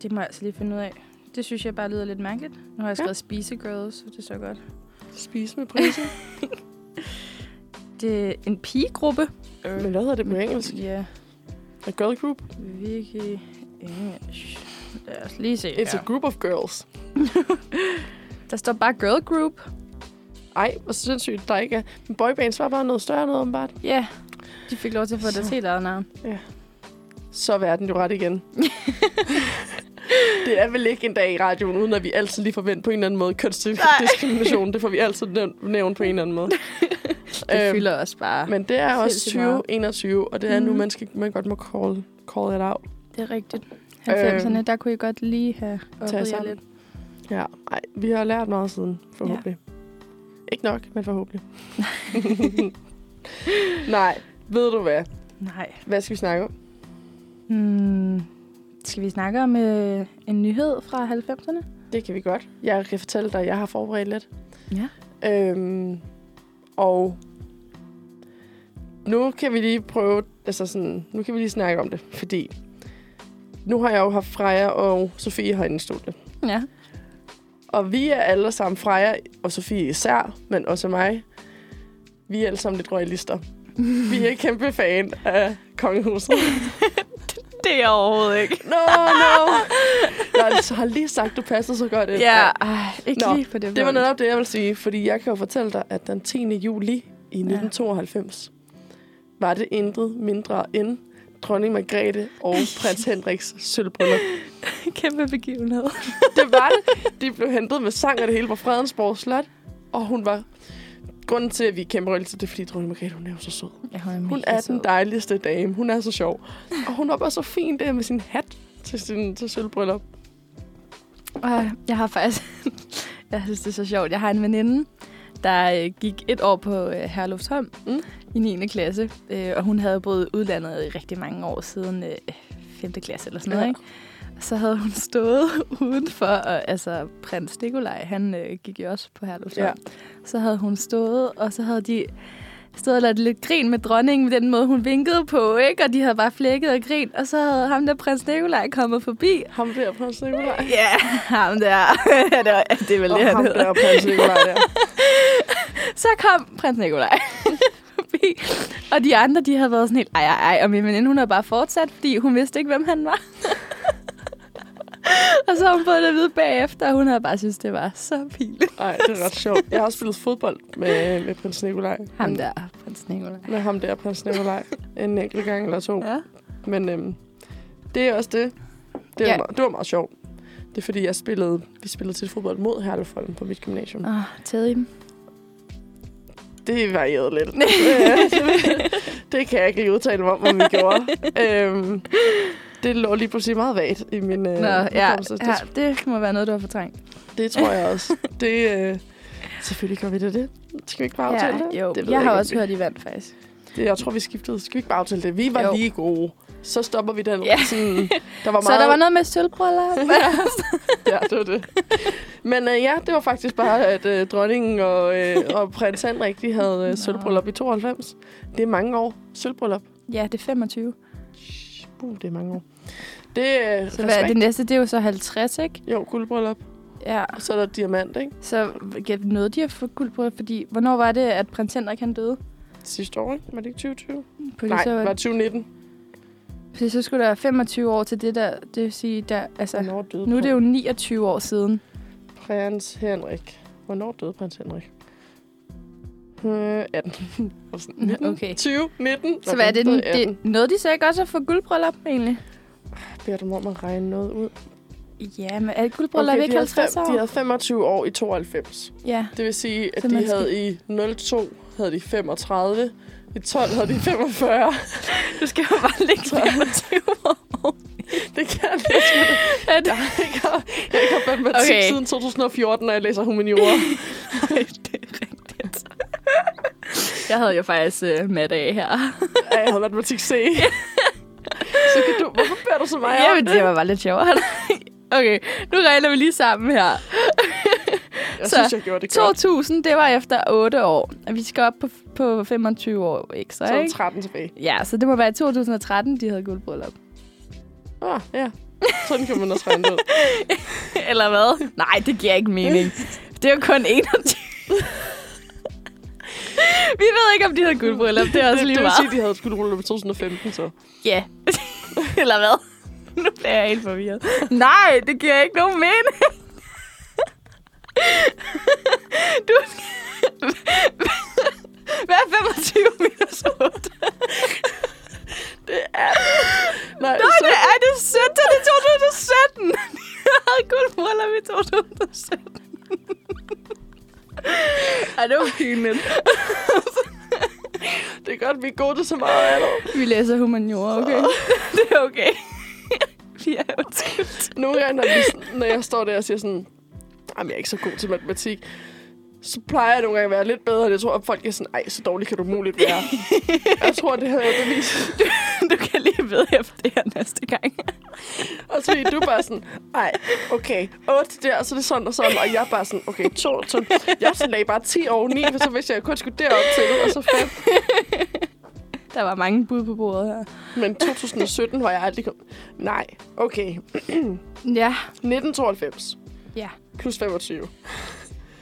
B: det må jeg altså lige finde ud af. Det synes jeg bare lyder lidt mærkeligt. Nu har jeg skrevet ja. spisegirls, så det er så godt.
A: Spise med priser.
B: Det er en pigegruppe.
A: Men hvad hedder det på engelsk?
B: Ja,
A: A girl group?
B: virkelig engelsk. Lad os lige se
A: It's
B: her.
A: a group of girls.
B: Der står bare girl group.
A: Ej, hvor sindssygt, der ikke er. Men boybands var bare noget større noget, åbenbart.
B: Ja, de fik lov til at få deres helt eget navn.
A: Så er verden jo ret igen. det er vel ikke en dag i radioen, uden at vi altid lige får vendt på en eller anden måde. Kønsdiskrimination, diskrimination, det får vi altid nævnt, nævnt på en eller anden måde.
B: Det
A: Øhm,
B: fylder også bare.
A: Men det er også
B: Sindssygt meget.
A: 2021, og det er nu,
B: Mhm.
A: man, skal, man godt må call, call it out.
B: Det er rigtigt. 90'erne, der kunne I godt lige have
A: Tage
B: oppet Øhm. jer
A: sammen.
B: lidt.
A: Ja, ej, vi har lært meget siden, forhåbentlig. Ja. Ikke nok, men forhåbentlig. Nej, ved du hvad?
B: Nej.
A: Hvad skal vi snakke om?
B: Hmm. Skal vi snakke om øh, en nyhed fra 90'erne?
A: Det kan vi godt. Jeg kan fortælle dig, at jeg har forberedt lidt.
B: Ja.
A: Øhm, og nu kan vi lige prøve, altså sådan, nu kan vi lige snakke om det, fordi nu har jeg jo haft Freja og Sofie herinde i studiet.
B: Ja.
A: Og vi er alle sammen, Freja og Sofie især, men også mig, vi er alle sammen lidt royalister. Vi er kæmpe fan af kongehuset.
B: Det er jeg overhovedet ikke.
A: No, no. Jeg altså, har- har lige sagt, du passer så godt ind.
B: Ja, ej, ikke
A: Nå,
B: Nå, lige på det
A: Det var
B: punkt.
A: netop det, jeg vil sige, fordi jeg kan jo fortælle dig, at den 10. juli i 1992 var det intet mindre end dronning Margrethe og prins Henriks sølvbryllup.
B: Kæmpe begivenhed.
A: Det var det. De blev hentet med sang og det hele på Fredensborg Slot, og hun var... Grunden til, at vi kæmper altid, det er, fordi dronning Margrethe, hun er jo så sød.
B: Ja, hun er,
A: Hun
B: mega
A: er
B: sød.
A: den dejligste dame. Hun er så sjov. Og hun var bare så fin der med sin hat til, sin, til sølvbryllup.
B: Ej, Jeg har faktisk... jeg synes, det er så sjovt. Jeg har en veninde, der øh, gik et år på øh, Herlufsholm
A: Mm.
B: mm. i 9. klasse. Øh, og hun havde boet i udlandet i rigtig mange år siden øh, 5. klasse eller sådan noget,
A: Ja.
B: ja. ikke? Og Så havde hun stået udenfor, og altså prins Nikolaj, han øh, gik jo også på Herlufsholm.
A: Ja.
B: Ja. Så havde hun stået, og så havde de stod og lavede lidt grin med dronningen med den måde, hun vinkede på, ikke? Og de havde bare flækket og grin, og så havde ham der prins Nikolaj kommet forbi,
A: Ham der, prins Nikolaj.
B: Ja, ham der. det, var, det er vel
A: Og
B: det, han
A: ham
B: hedder.
A: der, prins Nikolaj der.
B: Så kom prins Nikolaj forbi. Og de andre, de havde været sådan helt, ej, ej, ej. Og min veninde, hun har bare fortsat, fordi hun vidste ikke, hvem han var. og så har hun fået det at vide bagefter, og hun havde bare synes det var så pinligt.
A: Nej, det er ret sjovt. Jeg har også spillet fodbold med, med prins Nikolaj.
B: Ham der, prins Nikolaj.
A: Med ham der, prins Nikolaj. En enkelt gang eller to. Ja.
B: Ja.
A: Men øhm, det er også det. Det, er
B: Ja.
A: ja. meget, det var meget sjovt. Det er fordi, jeg spillede, vi spillede til fodbold mod Herlefholm på mit gymnasium.
B: Åh, tæde i dem.
A: Øh, Det varierede lidt. Øh, det kan jeg ikke lige udtale mig om, hvad vi gjorde. øhm, det lå lige pludselig meget vagt i min øh,
B: Nå, ja,
A: hukommelse.
B: ja,
A: Det,
B: det må være noget, du har fortrængt.
A: det tror jeg også. Det, øh, selvfølgelig gør vi det det. Skal vi ikke bare aftale det?
B: jo,
A: det ved
B: jeg har
A: ikke, om
B: også
A: vi-
B: hørt, de vandt faktisk.
A: Det, jeg tror, vi skiftede. Skal vi ikke bare aftale det? Vi var jo.
B: Jo.
A: lige gode. Så stopper vi den.
B: Ja.
A: Sådan, der var
B: Så
A: meget...
B: der var noget med sølvbriller.
A: Ja, det var det. Men øh, ja, det var faktisk bare, at øh, dronningen og, øh, og prins Henrik, de havde øh, sølvbryllup i 92. Det er mange år. Sølvbryllup.
B: ja, det er 25.
A: Uh, det er mange år. Det er øh,
B: Så hvad er det
A: det?
B: næste? Det er jo så 50, ikke?
A: Jo, guldbryllup.
B: Ja.
A: Og så er der diamant, ikke?
B: Så gæt noget, de har fået guld på, fordi hvornår var det, at prins Henrik han døde?
A: Sidste år, ikke? Var det ikke 2020?
B: På
A: Nej,
B: så,
A: det var 2019.
B: fordi så skulle der 25 år til det der, det vil sige, der, altså,
A: Hvornår døde
B: nu er det jo 29 år siden.
A: prins Henrik? Hvornår døde prins Henrik? Øh, 18. Og sådan 19.
B: Okay.
A: 20, 19.
B: Så hvad er det,
A: den
B: den,
A: døde 18.
B: det noget, de så ikke også at få guldbryllup egentlig?
A: Beder dem om at regne noget ud.
B: Ja, men er guldbryllup okay,
A: de,
B: ikke
A: havde
B: 50
A: fem-
B: år?
A: de havde 25 år i 92.
B: Ja,
A: Det vil sige, at
B: Så
A: de
B: man skal-
A: havde i 02 havde de 35. I 12 havde de 45.
B: du skal jo bare lægge 25 år.
A: Det kan jeg ikke.
B: Er det,
A: Jeg har ikke haft- jeg har ikke haft matematik okay.
B: Okay.
A: siden 2014, når jeg læser humaniora.
B: det er rigtigt. Jeg havde jo faktisk uh, maddag her.
A: Ja, jeg havde matematik C. så kan du, hvorfor beder du så meget
B: Ja,
A: om
B: men det var bare lidt sjovere. okay, nu regner vi lige sammen her.
A: Jeg
B: så-
A: synes, jeg gjorde det godt.
B: 2000, det var efter 8 år. Og vi skal op på, på 25 år
A: Så
B: ekstra,
A: er der
B: ikke?
A: 13 tilbage.
B: Ja, så det må være i 2013, de havde guldbryllup.
A: Ah, ja. Sådan kan man også regne det ud.
B: Eller hvad? Nej, det giver ikke mening. Det er jo kun 21. vi ved ikke, om de havde guldbryllup. Det er også
A: det,
B: lige
A: det vil sige,
B: meget.
A: at de havde skulle rulle på 2015, så.
B: Ja. Eller hvad? Nu bliver jeg helt forvirret. Nej, det giver ikke nogen mening. Du Hvad er 25 minus 8?
A: Det er Nej,
B: Nå,
A: så,
B: det er det 17. Det er 2017. Jeg havde kun bryllup i 2017. Ej, det var pinligt.
A: det er godt, vi er gode til så meget andet.
B: Vi læser humaniora, okay? Det er okay. Vi er jo
A: Nogle gange, når, vi, når jeg står der og siger sådan, jamen jeg er ikke så god til matematik, så plejer jeg nogle gange at være lidt bedre, og jeg tror, at folk er sådan, ej, så dårlig kan du muligt være. jeg tror, det havde jeg bevist.
B: Du kan lige ved efter det her næste gang.
A: Og så er du bare sådan, ej, okay, 8 der, og så er det sådan og sådan, og jeg er bare sådan, okay, 2, 2. Jeg lagde bare 10 oveni, for så vidste jeg, at jeg kun skulle derop til, og så 5.
B: Der var mange bud på bordet her.
A: Men 2017 var jeg aldrig kom... Nej, okay.
B: Ja.
A: 1992
B: Ja.
A: plus 25.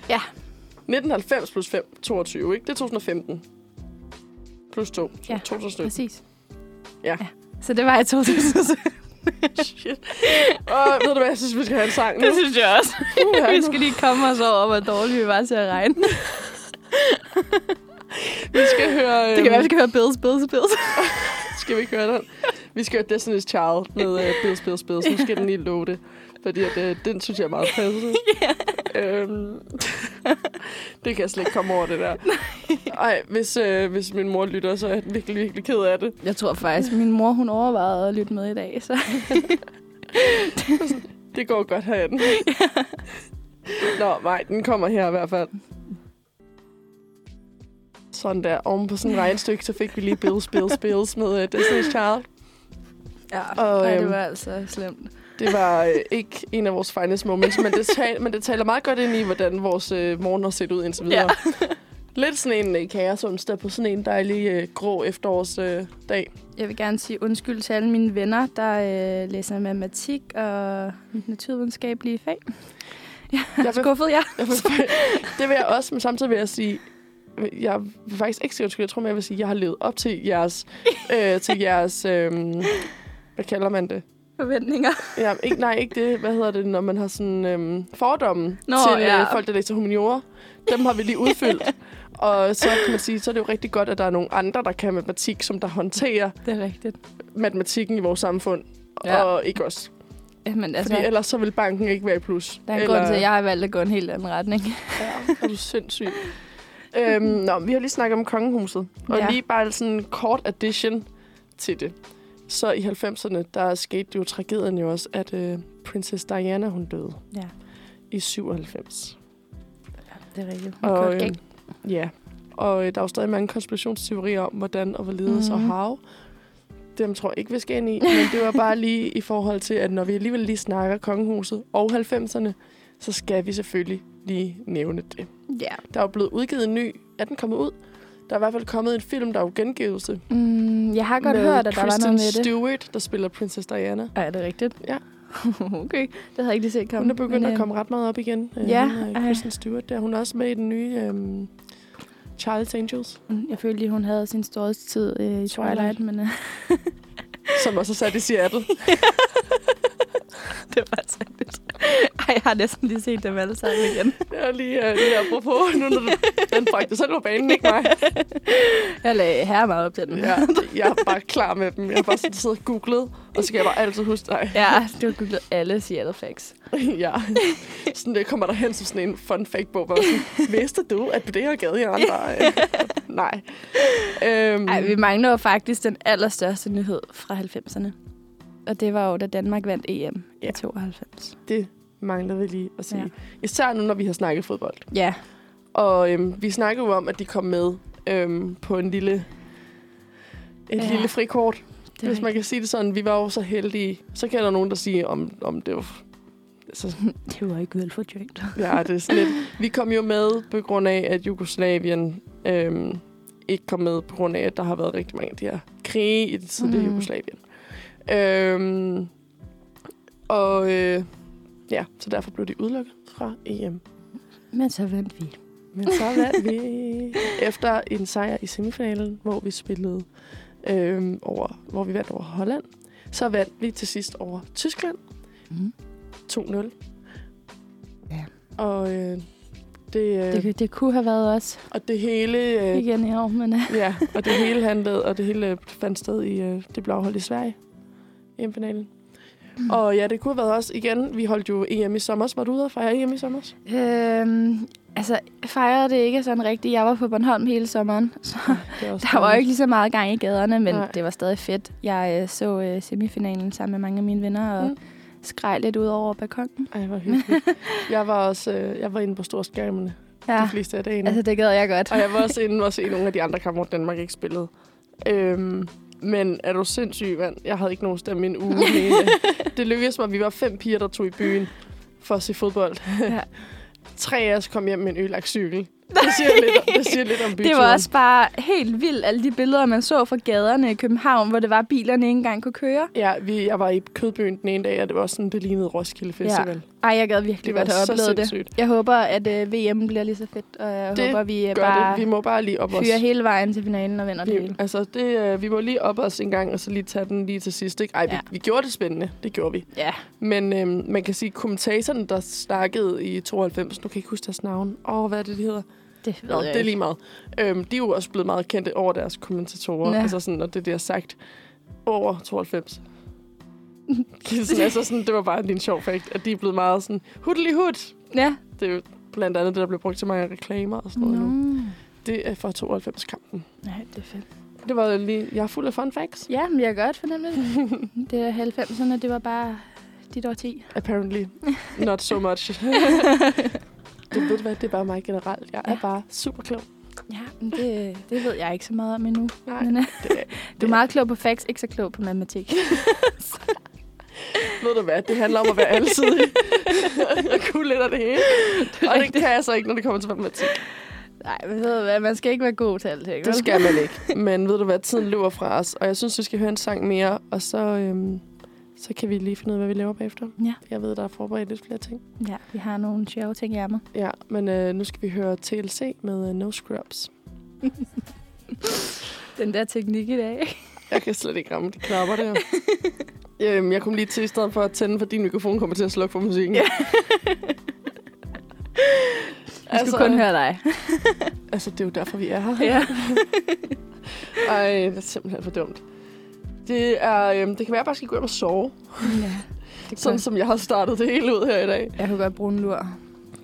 B: Ja.
A: 1990 plus 5, 22, ikke? Det er 2015. Plus 2,
B: Ja,
A: 2017.
B: Præcis.
A: Ja.
B: Så det var i 2000.
A: Shit. Og ved du hvad, jeg synes, vi skal have en sang nu.
B: det synes jeg også.
A: Uha,
B: Vi
A: nu.
B: skal lige komme os over, hvor dårlige vi var til at regne.
A: Vi skal høre...
B: Det kan
A: øhm,
B: være, vi skal høre Bills, Bills, Bills.
A: Skal vi ikke høre den? Vi skal høre Destiny's Child med uh, Bids, Bids, Bids. Nu skal den lige love det. Fordi at, uh, den synes jeg er meget passende. Yeah. Øhm, det kan jeg slet ikke komme over, det der. Ej, hvis, øh, hvis min mor lytter, så er jeg virkelig, virkelig ked af det.
B: Jeg tror faktisk, min mor hun overvejede at lytte med i dag. Så.
A: Det går godt herinde. Nå, nej, den kommer her i hvert fald. Sådan der. Oven på sådan et regnstykke, så fik vi lige Bills, Bills, Bills med uh, Destiny's Child.
B: Ja,
A: Og,
B: og,
A: øhm,
B: det var altså slemt.
A: Det var øh, ikke en af vores finest moments, men det, tal, men det taler meget godt ind i, hvordan vores øh, morgen har set ud indtil videre. Ja. Lidt sådan en øh, kaosonsdag på sådan en dejlig øh, grå efterårsdag. Øh, dag.
B: Jeg vil gerne sige undskyld til alle mine venner, der øh, læser matematik og naturvidenskabelige fag.
A: jeg vil,
B: Skuffet jer.
A: jeg vil, det vil jeg også, men samtidig vil jeg sige, jeg vil faktisk ikke sige undskyld. Jeg tror mere, jeg vil sige, at jeg har levet op til jeres... Øh, til jeres øh, hvad kalder man det?
B: Forventninger.
A: Ja, ikke, nej, ikke det. Hvad hedder det, når man har sådan øhm, fordomme Nå,
B: Nå,
A: til ja.
B: ja.
A: øh, folk, der læser humaniora? Dem har vi lige udfyldt. og så kan man sige, så er det jo rigtig godt, at der er nogle andre, der kan matematik, som der håndterer
B: Det er rigtigt.
A: matematikken i vores samfund. Ja.
B: Ja.
A: Og ikke os.
B: Jamen, altså,
A: Fordi ellers så vil banken ikke være i plus.
B: der er en Eller... grund til, at jeg har valgt at gå en helt anden retning.
A: Ja, er du sindssyg. øhm, nå, vi har lige snakket om kongehuset. Og ja.
B: Ja.
A: lige bare sådan en kort addition til det. Så i 90'erne, der skete jo tragedien jo også, at øh, prinsesse Diana, hun døde.
B: Ja.
A: I 97.
B: Det er rigtigt.
A: Og, øh, ja. Og øh, der er jo stadig mange konspirationsteorier om, hvordan og hvorledes mm-hmm.
B: Mhm.
A: og how. Dem tror jeg ikke, vi skal ind i. Men det var bare lige i forhold til, at når vi alligevel lige snakker kongehuset og 90'erne, så skal vi selvfølgelig lige nævne det.
B: Ja.
A: Der er jo blevet udgivet en ny... Er den kommet ud? Der er i hvert fald kommet en film, der er jo gengivelse.
B: Mm, jeg har godt
A: med
B: hørt, at der var
A: Kristen
B: noget med det.
A: Stewart, der spiller Princess Diana.
B: Ej, er det rigtigt?
A: Ja.
B: okay. Det havde jeg ikke lige set komme.
A: Hun er begyndt
B: men,
A: at
B: øh,
A: komme ret meget op igen. Øh,
B: ja,
A: hende, øh,
B: ej.
A: Kristen Stewart der. Hun er også med i den nye øhm, Charles Angels.
B: mm, Jeg følte lige, hun havde sin storhedstid øh, i Twilight,
A: Twilight.
B: Twilight men øh,
A: Som også er sat i Seattle.
B: det var altså lidt. Ej, jeg har næsten lige set dem alle sammen igen.
A: Det er lige, uh, lige apropos, nu når du, den bragte selv på banen, ikke mig?
B: Jeg lagde her meget op til den.
A: Ja, jeg er bare klar med dem. Jeg har bare sådan siddet og googlet, og så skal jeg bare altid huske dig.
B: ja du har googlet alle Seattle facts.
A: ja. Sådan det kommer der hen som sådan en fun fact bog, hvor jeg var sådan, vidste du, at det her gade i andre? Nej. Øhm,
B: Ej, vi mangler jo faktisk den allerstørste nyhed fra 90'erne. Og det var jo, da Danmark vandt EM
A: Ja.
B: i 92.
A: Det mangler vi lige at sige. Ja.
B: Ja.
A: Især nu, når vi har snakket fodbold.
B: Ja,
A: Og øhm, vi snakkede jo om, at de kom med øhm, på en lille... Et ja.
B: Ja.
A: lille frikort.
B: det
A: Hvis man kan sige det sådan, vi var jo så heldige. Så kan der nogen, der siger, om, om det var... Altså,
B: Det var ikke vel fortjent.
A: ja, det er sådan lidt. Vi kom jo med på grund af, at Jugoslavien øhm, ikke kom med på grund af, at der har været rigtig mange af de her krige i det tidlige mm.
B: Mhm.
A: Jugoslavien. Øhm, og øh, ja, så derfor blev de udelukket fra EM.
B: Men så vandt vi.
A: Men så vandt vi efter en sejr i semifinalen, hvor vi spillede øhm, over, hvor vi vandt over Holland. Så vandt vi til sidst over Tyskland
B: Mm.
A: 2-0.
B: Ja.
A: Og øh, det, øh, det
B: Det, det kunne have været os
A: og det hele øh,
B: igen i år, men øh,
A: ja, og det hele handlede og det hele øh, fandt sted i øh, det blev afholdt i Sverige i finalen. Mm. Og ja, det kunne have været os igen. Vi holdt jo EM i sommer. Var du ude og fejre EM i sommer?
B: Øhm, altså, jeg fejrede det ikke sådan rigtigt. Jeg var på Bornholm hele sommeren, så
A: Det er også
B: der var jo
A: dejligt.
B: ikke lige så meget gang i gaderne, men
A: Nej.
B: Nej. det var stadig fedt. Jeg øh, så øh, semifinalen sammen med mange af mine venner og
A: Mm.
B: mm. skreg lidt ud over balkongen.
A: Ej, hvor hyggeligt. jeg var også øh, jeg var inde på storskærmene ja. de
B: Ja,
A: fleste af dagene.
B: altså det gad jeg godt.
A: Og jeg var også inde og se nogle af de andre kampe, hvor Danmark ikke spillede. Øhm, men er du sindssyg, mand? Jeg havde ikke nogen stemme i en uge. den ene. det lykkedes mig, at vi var fem piger, der tog i byen for at se fodbold. Ja.
B: Ja.
A: Tre af os kom hjem med en ølagt cykel. Det siger, lidt, det siger lidt om byturen.
B: Det var også bare helt vildt, alle de billeder, man så fra gaderne i København, hvor det var, at bilerne ikke engang kunne køre.
A: Ja, vi, jeg var i Kødbyen den ene dag, og det var sådan, det lignede Roskilde Festival.
B: Ej, jeg gad virkelig
A: Det
B: godt
A: var
B: have
A: så
B: oplevet det.
A: sindssygt.
B: Jeg håber, at øh, VM bliver lige så fedt, og jeg
A: Det
B: håber, vi øh,
A: Gør
B: bare
A: det. Vi må bare lige op os.
B: fyrer hele vejen til finalen og vinder det hele.
A: Altså, det, øh, vi må lige op os en gang, og så lige tage den lige til sidst. Ikke? Ej, ja.
B: Ja.
A: vi, vi gjorde det spændende. Det gjorde vi.
B: Ja.
A: Men øhm, man kan sige, kommentatorerne, der snakkede i 92, nu kan jeg ikke huske deres navn. Åh, oh, hvad er det, de hedder?
B: Det ved
A: Nå,
B: jeg
A: det er
B: ikke.
A: lige meget. Øhm, de er jo også blevet meget kendte over deres kommentatorer, ja.
B: Ja.
A: altså sådan, og det, de har sagt over 92. sådan, altså sådan, det var bare en lille sjov fact, at de er blevet meget sådan, hudli hud.
B: Ja.
A: Det er jo blandt andet det, der bliver brugt til mange reklamer og sådan noget. nu. Det er fra 92-kampen.
B: Nej, det er fedt.
A: Det var lige, jeg er fuld af fun facts,
B: Ja, men jeg kan godt fornemme det. det er 90'erne, det var bare dit årti.
A: apparently. Not so much. det ved du hvad, det er bare mig generelt. Jeg er
B: Ja.
A: bare super klog.
B: Ja, men det, det ved jeg ikke så meget om endnu.
A: Nej,
B: Men, øh,
A: det er,
B: du er meget klog på facts, ikke så klog på matematik.
A: ved du hvad, det handler om at være alsidig. Jeg kunne lidt af det hele. Og det kan jeg så ikke, når det kommer til matematik.
B: Nej, men ved du hvad, man skal ikke være god til alt, ikke?
A: Det skal man ikke. Men ved du hvad, tiden løber fra os, og jeg synes, vi skal høre en sang mere, og så, øhm, så kan vi lige finde ud af, hvad vi laver bagefter.
B: Ja.
A: Jeg ved, der er forberedt lidt flere ting.
B: Ja, vi har nogle sjove ting i ærmet.
A: Ja, men øh, nu skal vi høre TLC med øh, No Scrubs.
B: Den der teknik i dag.
A: Jeg kan slet ikke ramme de knapper der. øhm, jeg kom lige til, i stedet for at tænde for din mikrofon, kommer til at slukke for musikken.
B: Ja. Vi skulle kun høre dig.
A: Altså, det er jo derfor, vi er her.
B: Ja.
A: Ej, det er simpelthen for dumt. Det, er, øhm, det kan være, at jeg bare skal gå hjem og sove,
B: ja. Det
A: sådan som jeg har startet det hele ud her i dag.
B: Jeg kunne godt bruge en lur.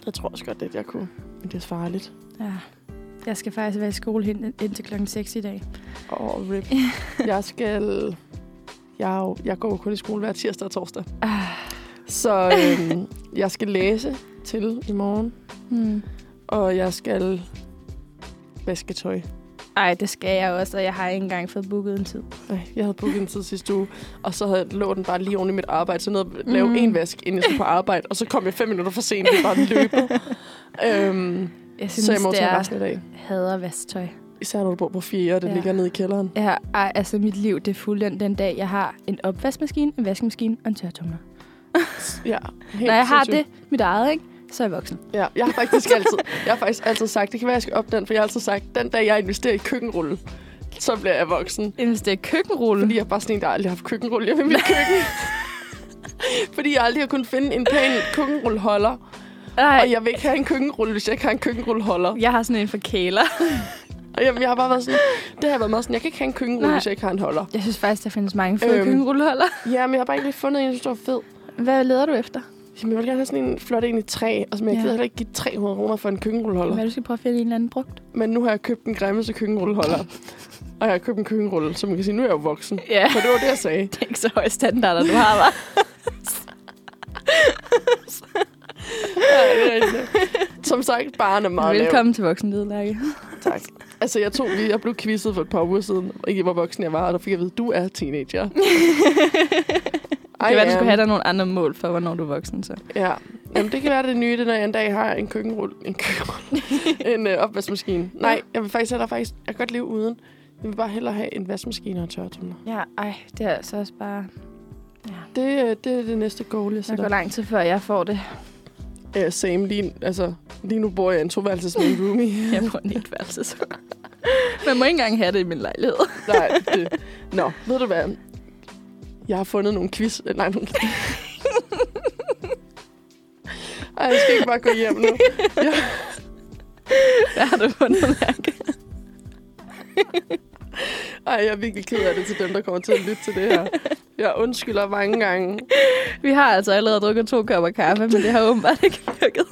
A: Jeg tror også godt, at jeg kunne. Men det er farligt.
B: Ja. Jeg skal faktisk være i skole hen, indtil klokken 6 i dag.
A: Åh, oh, rip. jeg skal... Jeg, er jo, jeg går jo kun i skole hver tirsdag og torsdag. Ah. Så øhm, jeg skal læse til i morgen,
B: Hmm.
A: og jeg skal vaske tøj.
B: Ej, det skal jeg også, og jeg har ikke engang fået booket en tid.
A: Ej, jeg havde booket en tid sidste uge, og så havde lå den bare lige oven i mit arbejde. Så jeg nåede at lave mm.
B: Mm.
A: en vask, inden jeg skulle på arbejde, og så kom jeg fem minutter for sent, og bare løbet. øhm,
B: Jeg synes,
A: så jeg må
B: det
A: tage
B: er
A: resten af dag.
B: hader vasktøj.
A: Især når du bor på fjerde, og det ja.
B: Ja.
A: ligger nede i kælderen.
B: Ja, ej, altså mit liv, det er fuldendt den dag, jeg har en opvaskemaskine, en vaskemaskine og en tørretumbler.
A: Ja, helt
B: Når jeg har
A: sindssygt.
B: det, mit eget, ikke? Så er jeg voksen.
A: Ja, jeg har faktisk altid, jeg har faktisk altid sagt, det kan være, jeg skal op den, for jeg har altid sagt, den dag jeg investerer i køkkenrulle, så bliver jeg voksen.
B: Investerer i køkkenrulle.
A: Fordi jeg er bare sådan en, der aldrig har haft køkkenrulle hjemme i mit køkken. Fordi jeg aldrig har kunnet finde en pæn køkkenrulleholder.
B: Ej,
A: Og jeg vil ikke have en køkkenrulle, hvis jeg ikke har en køkkenrulleholder.
B: jeg har sådan en for kæler.
A: Og jeg, jeg har bare været sådan, det har jeg været meget sådan, jeg kan ikke have en køkkenrulle,
B: Nej.
A: hvis jeg ikke har en holder.
B: Jeg synes faktisk, der findes mange fede
A: Øhm.
B: øhm. køkkenrulleholder.
A: Ja, men jeg har bare ikke lige fundet en, jeg synes, der var fed.
B: Hvad leder du efter?
A: Jamen, jeg vil gerne have sådan en flot en i træ, og som jeg
B: Ja.
A: gider heller ikke give 300 kroner for en køkkenrulleholder.
B: Hvad, du skal prøve at finde en eller anden brugt?
A: Men nu har jeg købt den grimmeste køkkenrulleholder. Og jeg har købt en køkkenrulle, så man kan sige, nu er jeg jo voksen.
B: Ja,
A: For det var det, jeg sagde.
B: det er ikke så høje standarder, du har, hva'?
A: Ja, det er rigtigt. Som sagt, barn er meget
B: Velkommen til voksenlivet, Lærke.
A: lav. Tak. Altså, jeg tog lige, jeg blev quizzet for et par uger siden, og ikke hvor voksen jeg var, og der fik jeg at vide, du er teenager.
B: Det kan være, du
A: am.
B: skulle have dig nogle andre mål for, hvornår du er voksen, så.
A: Ja. Jamen, det kan være det nye, det er, når jeg en dag har en køkkenrulle. En køkkenrulle. en øh, opvaskemaskine. Nej, jeg vil faktisk hellere faktisk... Jeg kan godt leve uden. Jeg vil bare hellere have en vaskemaskine og en tørretumbler.
B: Ja, ej, det er altså også bare...
A: Det, øh, det er det næste goal, jeg
B: Der går
A: sætter.
B: lang tid, før jeg får det.
A: Ja, same. Lige, altså, lige nu bor jeg i en toværelses med en roomie.
B: Jeg får en helt værelse, så. Man må ikke engang have det i min lejlighed.
A: Nej, det... Nå, ved du hvad? Jeg har fundet nogle quiz... eh, Nej, nogle... Ej, jeg skal ikke bare gå hjem nu.
B: Hvad har du fundet, Lærke?
A: Ej, jeg er virkelig ked af det til dem, der kommer til at lytte til det her. Jeg undskylder mange gange.
B: Vi har altså allerede drukket to kopper kaffe, men det har åbenbart ikke virket.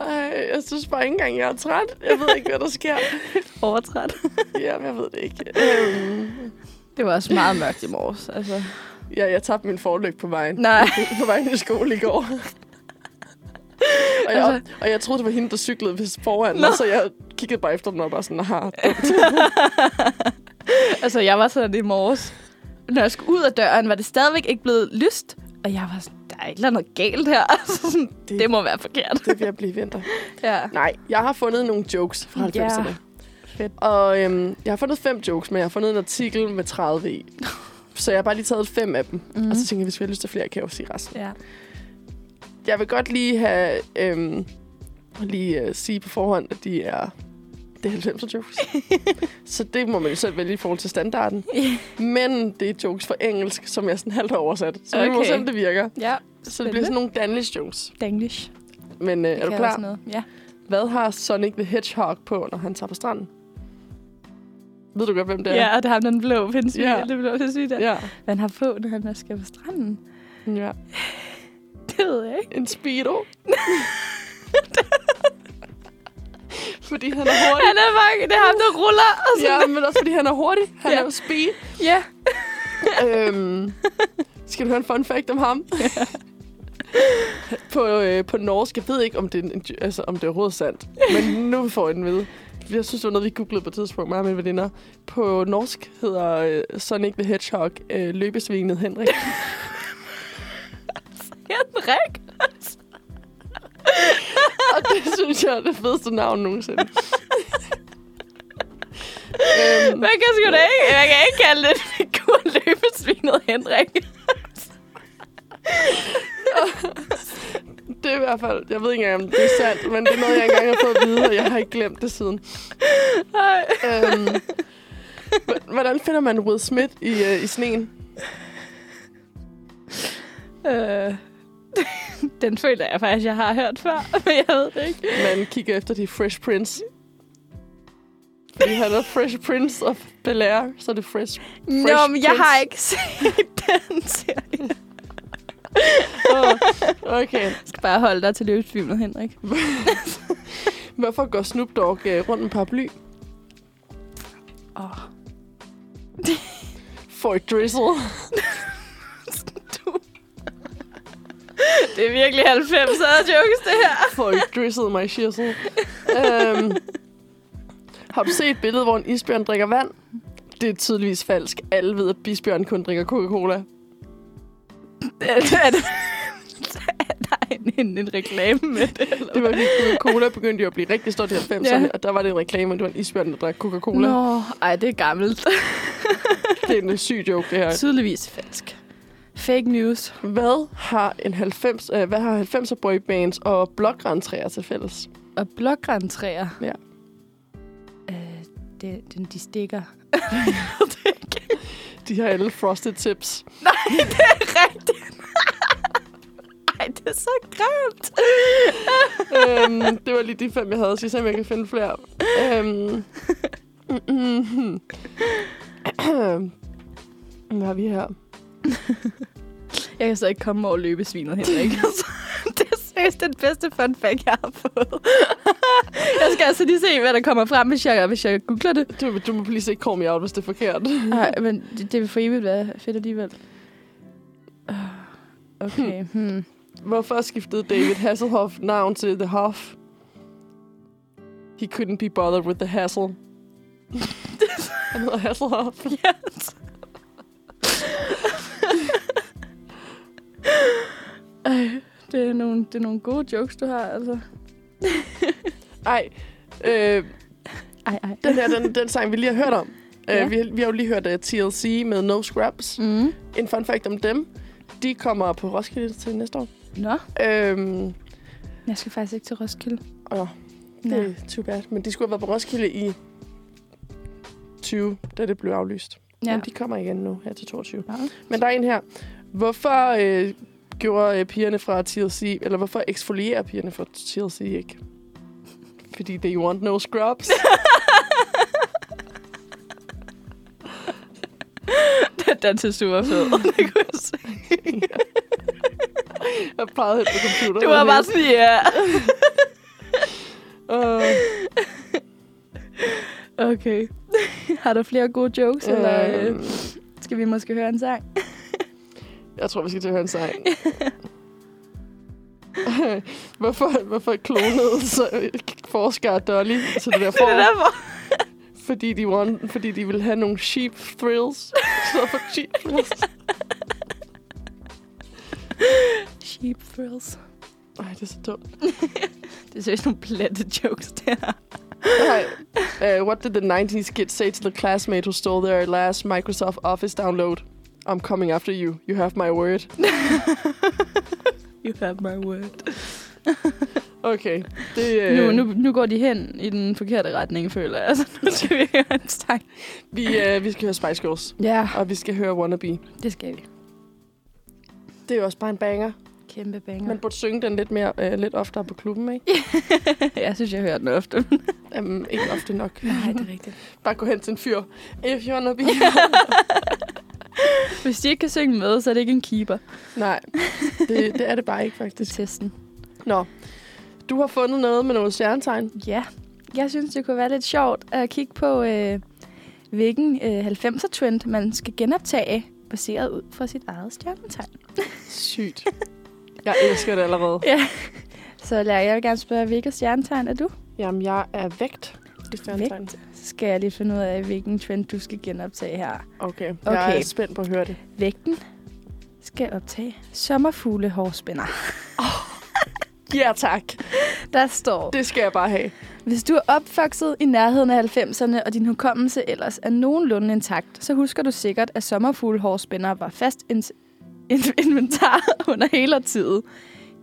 A: Ej, jeg synes bare ikke engang, jeg er træt. Jeg ved ikke, hvad der sker.
B: Overtræt.
A: Jamen, jeg ved det ikke. Øhm,
B: Det var også meget mørkt i morges, altså.
A: ja, jeg tabte min forlygt på vejen.
B: Nej.
A: på vejen til skole i går. og, jeg, altså... og jeg troede, det var hende, der cyklede hvis foran mig,
B: Nå. Øh,
A: så jeg kiggede bare efter den og bare sådan, har.
B: altså, jeg var sådan i morges. Når jeg skulle ud af døren, var det stadigvæk ikke blevet lyst. Og jeg var sådan, der er et eller andet galt her. Altså, sådan, det, det må være forkert.
A: Det vil jeg blive vinter.
B: Ja.
A: Nej, jeg har fundet nogle jokes fra
B: Ja.
A: 90'erne.
B: Fedt.
A: Og øhm, jeg har fundet fem jokes, men jeg har fundet en artikel med 30 i. Så jeg har bare lige taget fem af dem. Mm.
B: Mhm.
A: Og så tænker jeg, hvis vi har lyst til flere, kan jeg jo sige resten.
B: Ja.
A: Jeg vil godt lige have... Øhm, lige øh, sige på forhånd, at de er... Det er 90'er jokes. så det må man jo selv vælge i forhold til standarden. Men det er jokes fra engelsk, som jeg sådan halvt har oversat. Så okay. vi må
B: Okay.
A: se, om det virker.
B: ja.
A: Så det bliver sådan nogle Danish jokes.
B: Danglish.
A: Men øh,
B: Det
A: er du
B: kan
A: klar?
B: også noget. Ja.
A: Hvad har Sonic the Hedgehog på, når han tager på stranden? Ved du godt, hvem det er?
B: ja, og det har den blå pindsvin.
A: Ja.
B: Ja. Det blå pindsvin der. Ja.
A: ja.
B: Man har på, når han skal på stranden.
A: ja.
B: Det ved jeg ikke.
A: En speedo. fordi han er hurtig.
B: Han er bare, det er ham, der ruller. Og
A: Ja,
B: sådan.
A: men også fordi han er hurtig. Han
B: Ja.
A: er jo speed.
B: Ja.
A: øhm, skal du høre en fun fact om ham? på, øh, på norsk, jeg ved ikke, om det, er en, altså, om det er overhovedet sandt, men nu får jeg den ved. Jeg synes, det var noget, vi googlede på et tidspunkt, mig og mine veninder. På norsk hedder øh, Sonic the Hedgehog øh, løbesvinet Henrik.
B: Henrik.
A: og det synes jeg er det fedeste navn nogensinde. øhm,
B: Man kan sgu da ikke, man kan ikke kalde den figur løbesvinet Henrik.
A: det er i hvert fald, jeg ved ikke engang, om det er sandt, men det er noget, jeg engang har fået at vide, og jeg har ikke glemt det siden.
B: Nej.
A: øhm, h- hvordan finder man Will Smith i, øh, i sneen?
B: Øh, den føler jeg faktisk, jeg har hørt før, men jeg ved det ikke.
A: Man kigger efter de Fresh Prince. Fordi han er Fresh Prince of Bel-Air, så er det Fresh
B: Nå, men jeg
A: Prince.
B: har ikke set den serie.
A: Åh, Okay.
B: Jeg skal bare holde dig til løbesvinet, Henrik.
A: Hvorfor går Snoop Dogg øh, rundt med paraply?
B: Åh.
A: For et drizzle.
B: Du. Det er virkelig 90'er jokes, det her.
A: For et drizzle, my shizzle. øhm, har du set et billede, hvor en isbjørn drikker vand? Det er tydeligvis falsk. Alle ved, at bisbjørn kun drikker Coca-Cola.
B: Er det, der er en, en, en reklame med det, eller
A: Det var fordi Coca-Cola begyndte jo at blive rigtig stort i 90'erne,
B: Ja.
A: og der var det en reklame, hvor det var en isbjørn, der drak Coca-Cola. No.
B: Nå, ej, det er gammelt.
A: Det er en syg joke, det her.
B: Tydeligvis falsk. Fake news.
A: Hvad har, en 90, øh, hvad har 90'er boybands og blågrantræer til fælles?
B: Og blågrantræer.
A: Ja.
B: Øh, det, den, de stikker.
A: De har alle frosted tips.
B: Nej, det er rigtigt. Ej, det er så grimt.
A: øhm, det var lige de fem, jeg havde. Så jeg ser, om jeg kan finde flere. Øhm, mm, mm, Hvad har vi her?
B: Jeg kan så ikke komme over løbesvinet, Henrik. Altså, det er seriøst den bedste fun fact, jeg har fået. jeg skal altså lige se, hvad der kommer frem, hvis jeg, hvis jeg googler det.
A: Du, du må please ikke call me out, hvis det er forkert.
B: Nej, men det, det vil for evigt være fedt alligevel. Ah, Okay. Hmm.
A: Hvorfor skiftede David Hasselhoff navn til The Hoff? He couldn't be bothered with the hassle. Han hedder Hasselhoff.
B: Yes. Ej, det er, nogle, det er nogle gode jokes, du har, altså.
A: Ej, øh,
B: Ej, ej.
A: den der, den, den sang, vi lige har hørt om.
B: Ja.
A: Øh, vi, har- vi har jo lige hørt uh, TLC med No Scrubs.
B: Mm.
A: En fun fact om dem. De kommer på Roskilde til næste år.
B: Nå,
A: Øhm,
B: jeg skal faktisk ikke til Roskilde.
A: og det
B: Nej.
A: er too bad. Men de skulle have været på Roskilde i 20, da det blev aflyst. Ja.
B: Ja.
A: Men de kommer igen nu her til 22.
B: Nå.
A: Men der er en her. Hvorfor øh, gjorde øh, pigerne fra TLC, eller hvorfor eksfolierer pigerne fra TLC ikke? Fordi they want no scrubs.
B: Den til super fed. Det kunne jeg se.
A: Jeg plejede helt på computeren.
B: Du var bare sådan, ja.
A: Uh,
B: Okay. Har du flere gode jokes, øh. eller øh,
A: øh,
B: skal vi måske høre en sang?
A: jeg tror, vi skal til at høre en sang. hvorfor, hvorfor klonede så forsker Dolly til det der
B: Det er
A: form?
B: derfor.
A: Fordi de, want, fordi de vil have nogle sheep thrills. Så for sheep thrills.
B: Sheep thrills.
A: Ej, det er så dumt.
B: Det er seriøst nogle platte jokes, der.
A: Okay. Uh, what did the 90s kid say to the classmate who stole their last Microsoft Office download? I'm coming after you. You have my word.
B: You have my word.
A: Okay. Det, øh,
B: Nu, nu, nu går de hen i den forkerte retning, føler jeg. Altså, nu skal vi høre en sang.
A: Vi, øh, vi skal høre Spice Girls,
B: Ja,
A: og vi skal høre Wannabe.
B: det skal vi.
A: Det er jo også bare en banger.
B: Kæmpe banger.
A: Man burde synge den lidt, mere, øh, lidt oftere på klubben, ikke?
B: jeg synes, jeg hører den ofte.
A: Um, ikke ofte nok.
B: er rigtigt.
A: Bare gå hen til en fyr. If you wanna be...
B: Hvis de ikke kan synge med, så er det ikke en keeper.
A: Nej, det, det er det bare ikke,
B: Det
A: faktisk.
B: er testen.
A: Nå, du har fundet noget med nogle stjernetegn.
B: Ja, jeg synes, det kunne være lidt sjovt at kigge på, øh, hvilken øh, 90'er-trend man skal genoptage, baseret ud fra sit eget stjernetegn.
A: Sygt. Jeg elsker det allerede.
B: Så Lær, jeg vil gerne spørge, hvilket stjernetegn er du?
A: Jamen, jeg er vægt. i stjernetegn.
B: Så skal jeg lige finde ud af, hvilken trend du skal genoptage her.
A: Okay, jeg
B: Okay.
A: er spændt på at høre det.
B: Vægten skal optage sommerfuglehårspænder.
A: Ja, tak.
B: Der står,
A: Det skal jeg bare have.
B: hvis du er opvokset i nærheden af 90'erne, og din hukommelse ellers er nogenlunde intakt, så husker du sikkert, at sommerfuglehårspænder var fast in- in- inventar under hele tiden.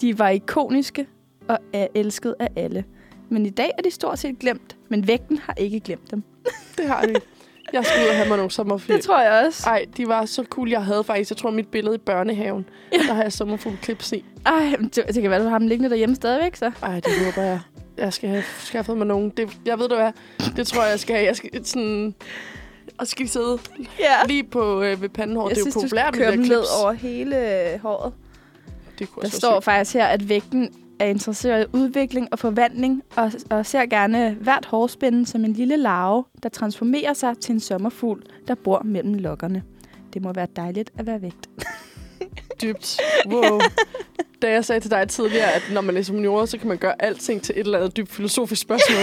B: De var ikoniske og er elsket af alle. Men i dag er de stort set glemt, men vægten har ikke glemt dem.
A: Det har jeg. Jeg skal ud og have mig nogle sommerfugl.
B: Det tror jeg også.
A: Ej, de var så cool, jeg havde faktisk. Jeg tror, mit billede i børnehaven,
B: Ja.
A: ja. der har jeg sommerfugleklips i.
B: Ej, men det, det kan være, du har dem liggende derhjemme stadigvæk, så.
A: Ej, det håber jeg. Jeg skal have skaffet mig nogen. Det, jeg ved du hvad, det tror jeg, jeg skal have. Jeg skal sådan... Og skal de sidde
B: Ja.
A: lige på øh, ved pandehår.
B: Jeg
A: det er
B: synes,
A: jo
B: du skal
A: populært med
B: køre
A: de
B: dem
A: der
B: ned
A: clips.
B: over hele øh, håret.
A: Det kunne
B: Der
A: også være
B: står
A: sygt.
B: faktisk her, at vægten er interesseret i udvikling og forvandling, og, og ser gerne hvert hårspænde som en lille larve, der transformerer sig til en sommerfugl, der bor mellem lokkerne. Det må være dejligt at være vægt.
A: dybt. Wow. Da jeg sagde til dig tidligere, at når man er senior, så kan man gøre alting til et eller andet dybt filosofisk spørgsmål.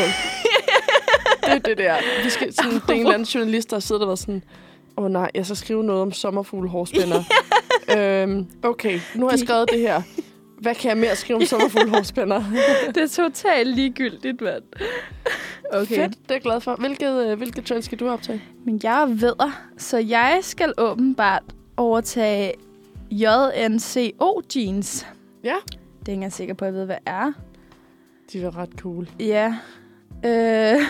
A: det er det der. Vi skal sådan, det er en eller anden journalist, der sidder der og er sådan, åh oh, nej, jeg skal skrive noget om sommerfuglehårspænder. øhm, okay, nu har jeg skrevet det her. Hvad kan jeg mere skrive om sommerfuglehårspænder?
B: det er totalt ligegyldigt, mand.
A: Okay. Fedt, det er jeg glad for. Hvilket, øh, hvilket trend skal du optage?
B: Men jeg er vedder, så jeg skal åbenbart overtage JNCO jeans.
A: Ja.
B: Det er jeg ikke engang sikker på, at jeg ved, hvad er.
A: De var ret cool.
B: Ja. Øh,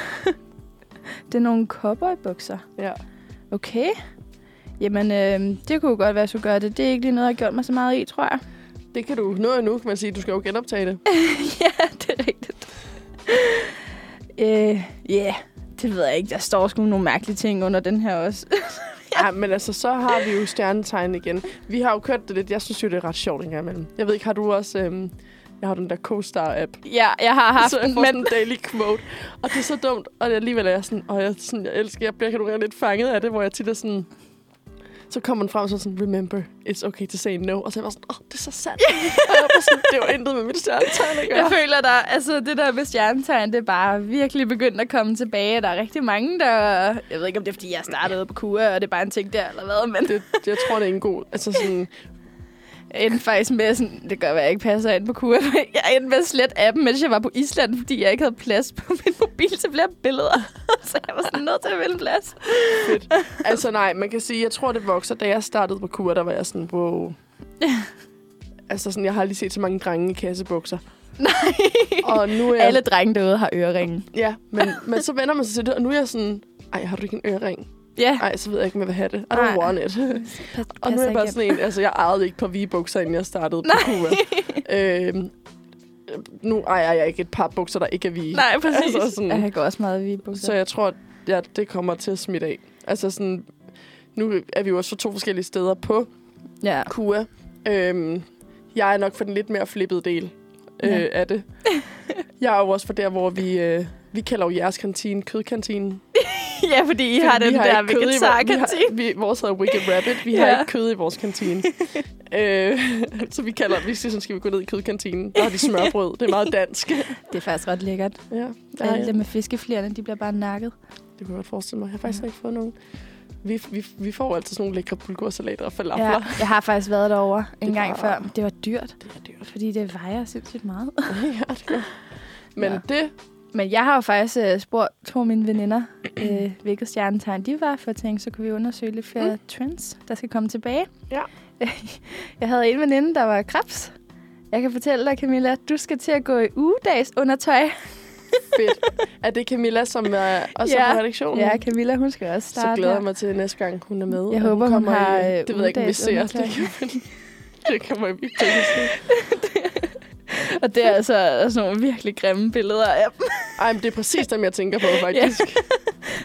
B: det er nogle cowboybukser.
A: Ja.
B: Okay. Jamen, øh, det kunne godt være, at jeg skulle gøre det. Det er ikke lige noget, jeg har gjort mig så meget i, tror jeg.
A: Det kan du nå endnu, kan man sige. Du skal jo genoptage det.
B: ja, det er rigtigt. Øh, Ja, yeah. det ved jeg ikke. Der står sgu nogle mærkelige ting under den her også.
A: Ja, men altså, så har vi jo stjernetegn igen. Vi har jo kørt det lidt. Jeg synes jo, det er ret sjovt engang imellem. Jeg ved ikke, har du også... Øhm, jeg har den der CoStar-app.
B: ja, jeg har haft
A: så jeg
B: den,
A: får men... sådan
B: men
A: en daily quote. Og det er så dumt. Og alligevel er jeg sådan... Og jeg, sådan, jeg elsker... Jeg bliver kan du være lidt fanget af det, hvor jeg tit er sådan... Så kommer den frem så sådan, remember, it's okay to say no. Og så er jeg bare sådan, åh, oh, det er så sandt. og jeg var sådan, det var intet med mit stjernetegn at
B: Jeg
A: gøre.
B: føler der, altså det der med stjernetegn, det er bare virkelig begyndt at komme tilbage. Der er rigtig mange, der... Jeg ved ikke, om det er, fordi jeg startede på KUA, og det er bare en ting der, eller hvad, men
A: Det, jeg tror, det er en god... Altså sådan,
B: jeg endte faktisk med sådan... Det gør, at jeg ikke passer ind på KUA, men jeg endte med at slette appen, mens jeg var på Island, fordi jeg ikke havde plads på min mobil til flere billeder. Så jeg var sådan nødt til at vælge plads.
A: Altså nej, man kan sige, jeg tror, det vokser. Da jeg startede på kur, der var jeg sådan, wow. altså sådan, jeg har lige set så mange drenge i kassebukser. Nej. Og nu er jeg,
B: Alle drenge derude har øreringen.
A: Ja, men, men så vender man sig til det, og nu er jeg sådan, ej, har du ikke en ørering?
B: Ja,
A: Ej, så ved jeg ikke, om jeg vil have det. I
B: Nej.
A: don't want it.
B: pas,
A: og nu er jeg bare sådan en, altså jeg ejede ikke på V-bukser, inden jeg startede på kur. øhm, nu ejer jeg ikke et par bukser, der ikke er vi.
B: Nej, præcis.
A: Altså sådan-
B: Ja, jeg går også meget i bukser.
A: Så jeg tror, at ja, det kommer til at smitte af. Altså sådan, nu er vi jo også fra to forskellige steder på
B: Ja.
A: Kua. Øhm, jeg er nok for den lidt mere flippede del øh,
B: Ja.
A: af det. Jeg er jo også for der, hvor vi... Øh, vi kalder jo jeres kantine kødkantinen.
B: ja, fordi I har
A: Fordi
B: den
A: vi
B: der
A: ikke kød i vor-
B: vegetarkantine.
A: Vi, har- vi, vores hedder Wicked Rabbit. Vi ja.
B: Ja.
A: har ikke kød i vores kantine. øh, så vi kalder vi siger, sådan skal vi gå ned i kødkantinen. Der har de smørbrød. Det er meget dansk. ja,
B: Det er faktisk ret lækkert.
A: ja,
B: Alle
A: ja.
B: dem med fiskeflerne, de bliver bare nakket.
A: Det kunne jeg godt forestille mig. Jeg har faktisk ikke fået nogen. Vi, vi, vi får altid sådan nogle lækre bulgursalater og falafler. Ja.
B: jeg har faktisk været derovre en
A: Det
B: gang
A: var-
B: før. men Det var dyrt,
A: Det er dyrt.
B: fordi det vejer sindssygt meget.
A: ja, det gør. Men
B: Ja.
A: ja. det
B: Men jeg har jo faktisk øh, spurgt to af mine veninder, øh, hvilket stjernetegn de var, for jeg tænkte, så kunne vi undersøge lidt flere mm. trends, der skal komme tilbage.
A: Ja.
B: jeg havde en veninde, der var krebs. Jeg kan fortælle dig, Camilla, at du skal til at gå i ugedags undertøj.
A: Fedt. Er det Camilla, som er også
B: Ja.
A: er på redaktionen?
B: Ja, Camilla, hun skal også
A: Mm. Så
B: starte
A: glæder
B: her.
A: jeg mig til næste gang, hun er med.
B: Jeg
A: og
B: håber, hun
A: kommer
B: har,
A: i-
B: øh,
A: Det ved jeg ikke, om vi
B: ugedags
A: ser. Det
B: undertøj.
A: kan, det kommer vi ikke til at se.
B: Og det er altså der er sådan nogle virkelig grimme billeder af dem.
A: Ej, men det er præcis dem, jeg tænker på, faktisk.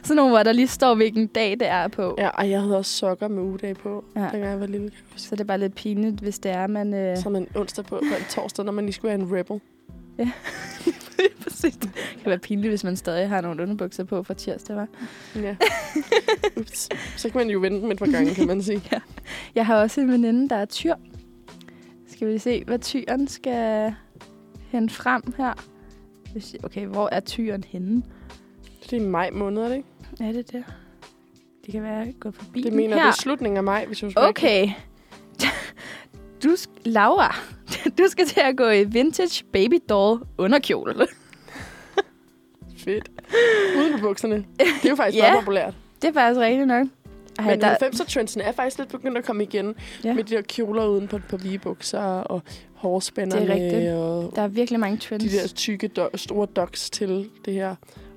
B: Sådan nogle, hvor der lige står, hvilken dag det er på.
A: Ja, og jeg havde også sokker med ugedag på, ja.
B: Ja.
A: dengang jeg var lille.
B: Så det er bare lidt pinligt, hvis det er, man... Øh...
A: Så man onsdag på, på en torsdag, når man lige skulle være en rebel.
B: Præcis. Det kan være pinligt, hvis man stadig har nogle underbukser på fra tirsdag, var.
A: Ja. Ups. Så kan man jo vente dem et par gange, kan man sige.
B: Jeg har også en veninde, der er tyr. Skal vi lige se, hvad tyren skal hente frem her? Hvis- Okay, hvor er tyren henne?
A: Det er i maj måned, er det ikke?
B: Er det der? Det kan være, at jeg går forbi
A: Det
B: den
A: mener,
B: her.
A: det er slutningen af maj, hvis du skal
B: Okay. Du, sk- Laura, du skal til at gå i vintage baby doll underkjole.
A: Fedt. Uden på bukserne. Det er jo faktisk
B: Ja.
A: meget populært.
B: Det er faktisk rigtigt nok. Ej,
A: Men
B: der,
A: 90'er-trendsen er faktisk lidt begyndt at komme igen. Ja.
B: Ja.
A: Med de der kjoler uden på, på vigebukser og hårspænderne.
B: Det er rigtigt.
A: Og
B: der er virkelig mange trends.
A: de der tykke, do- store docs til det her.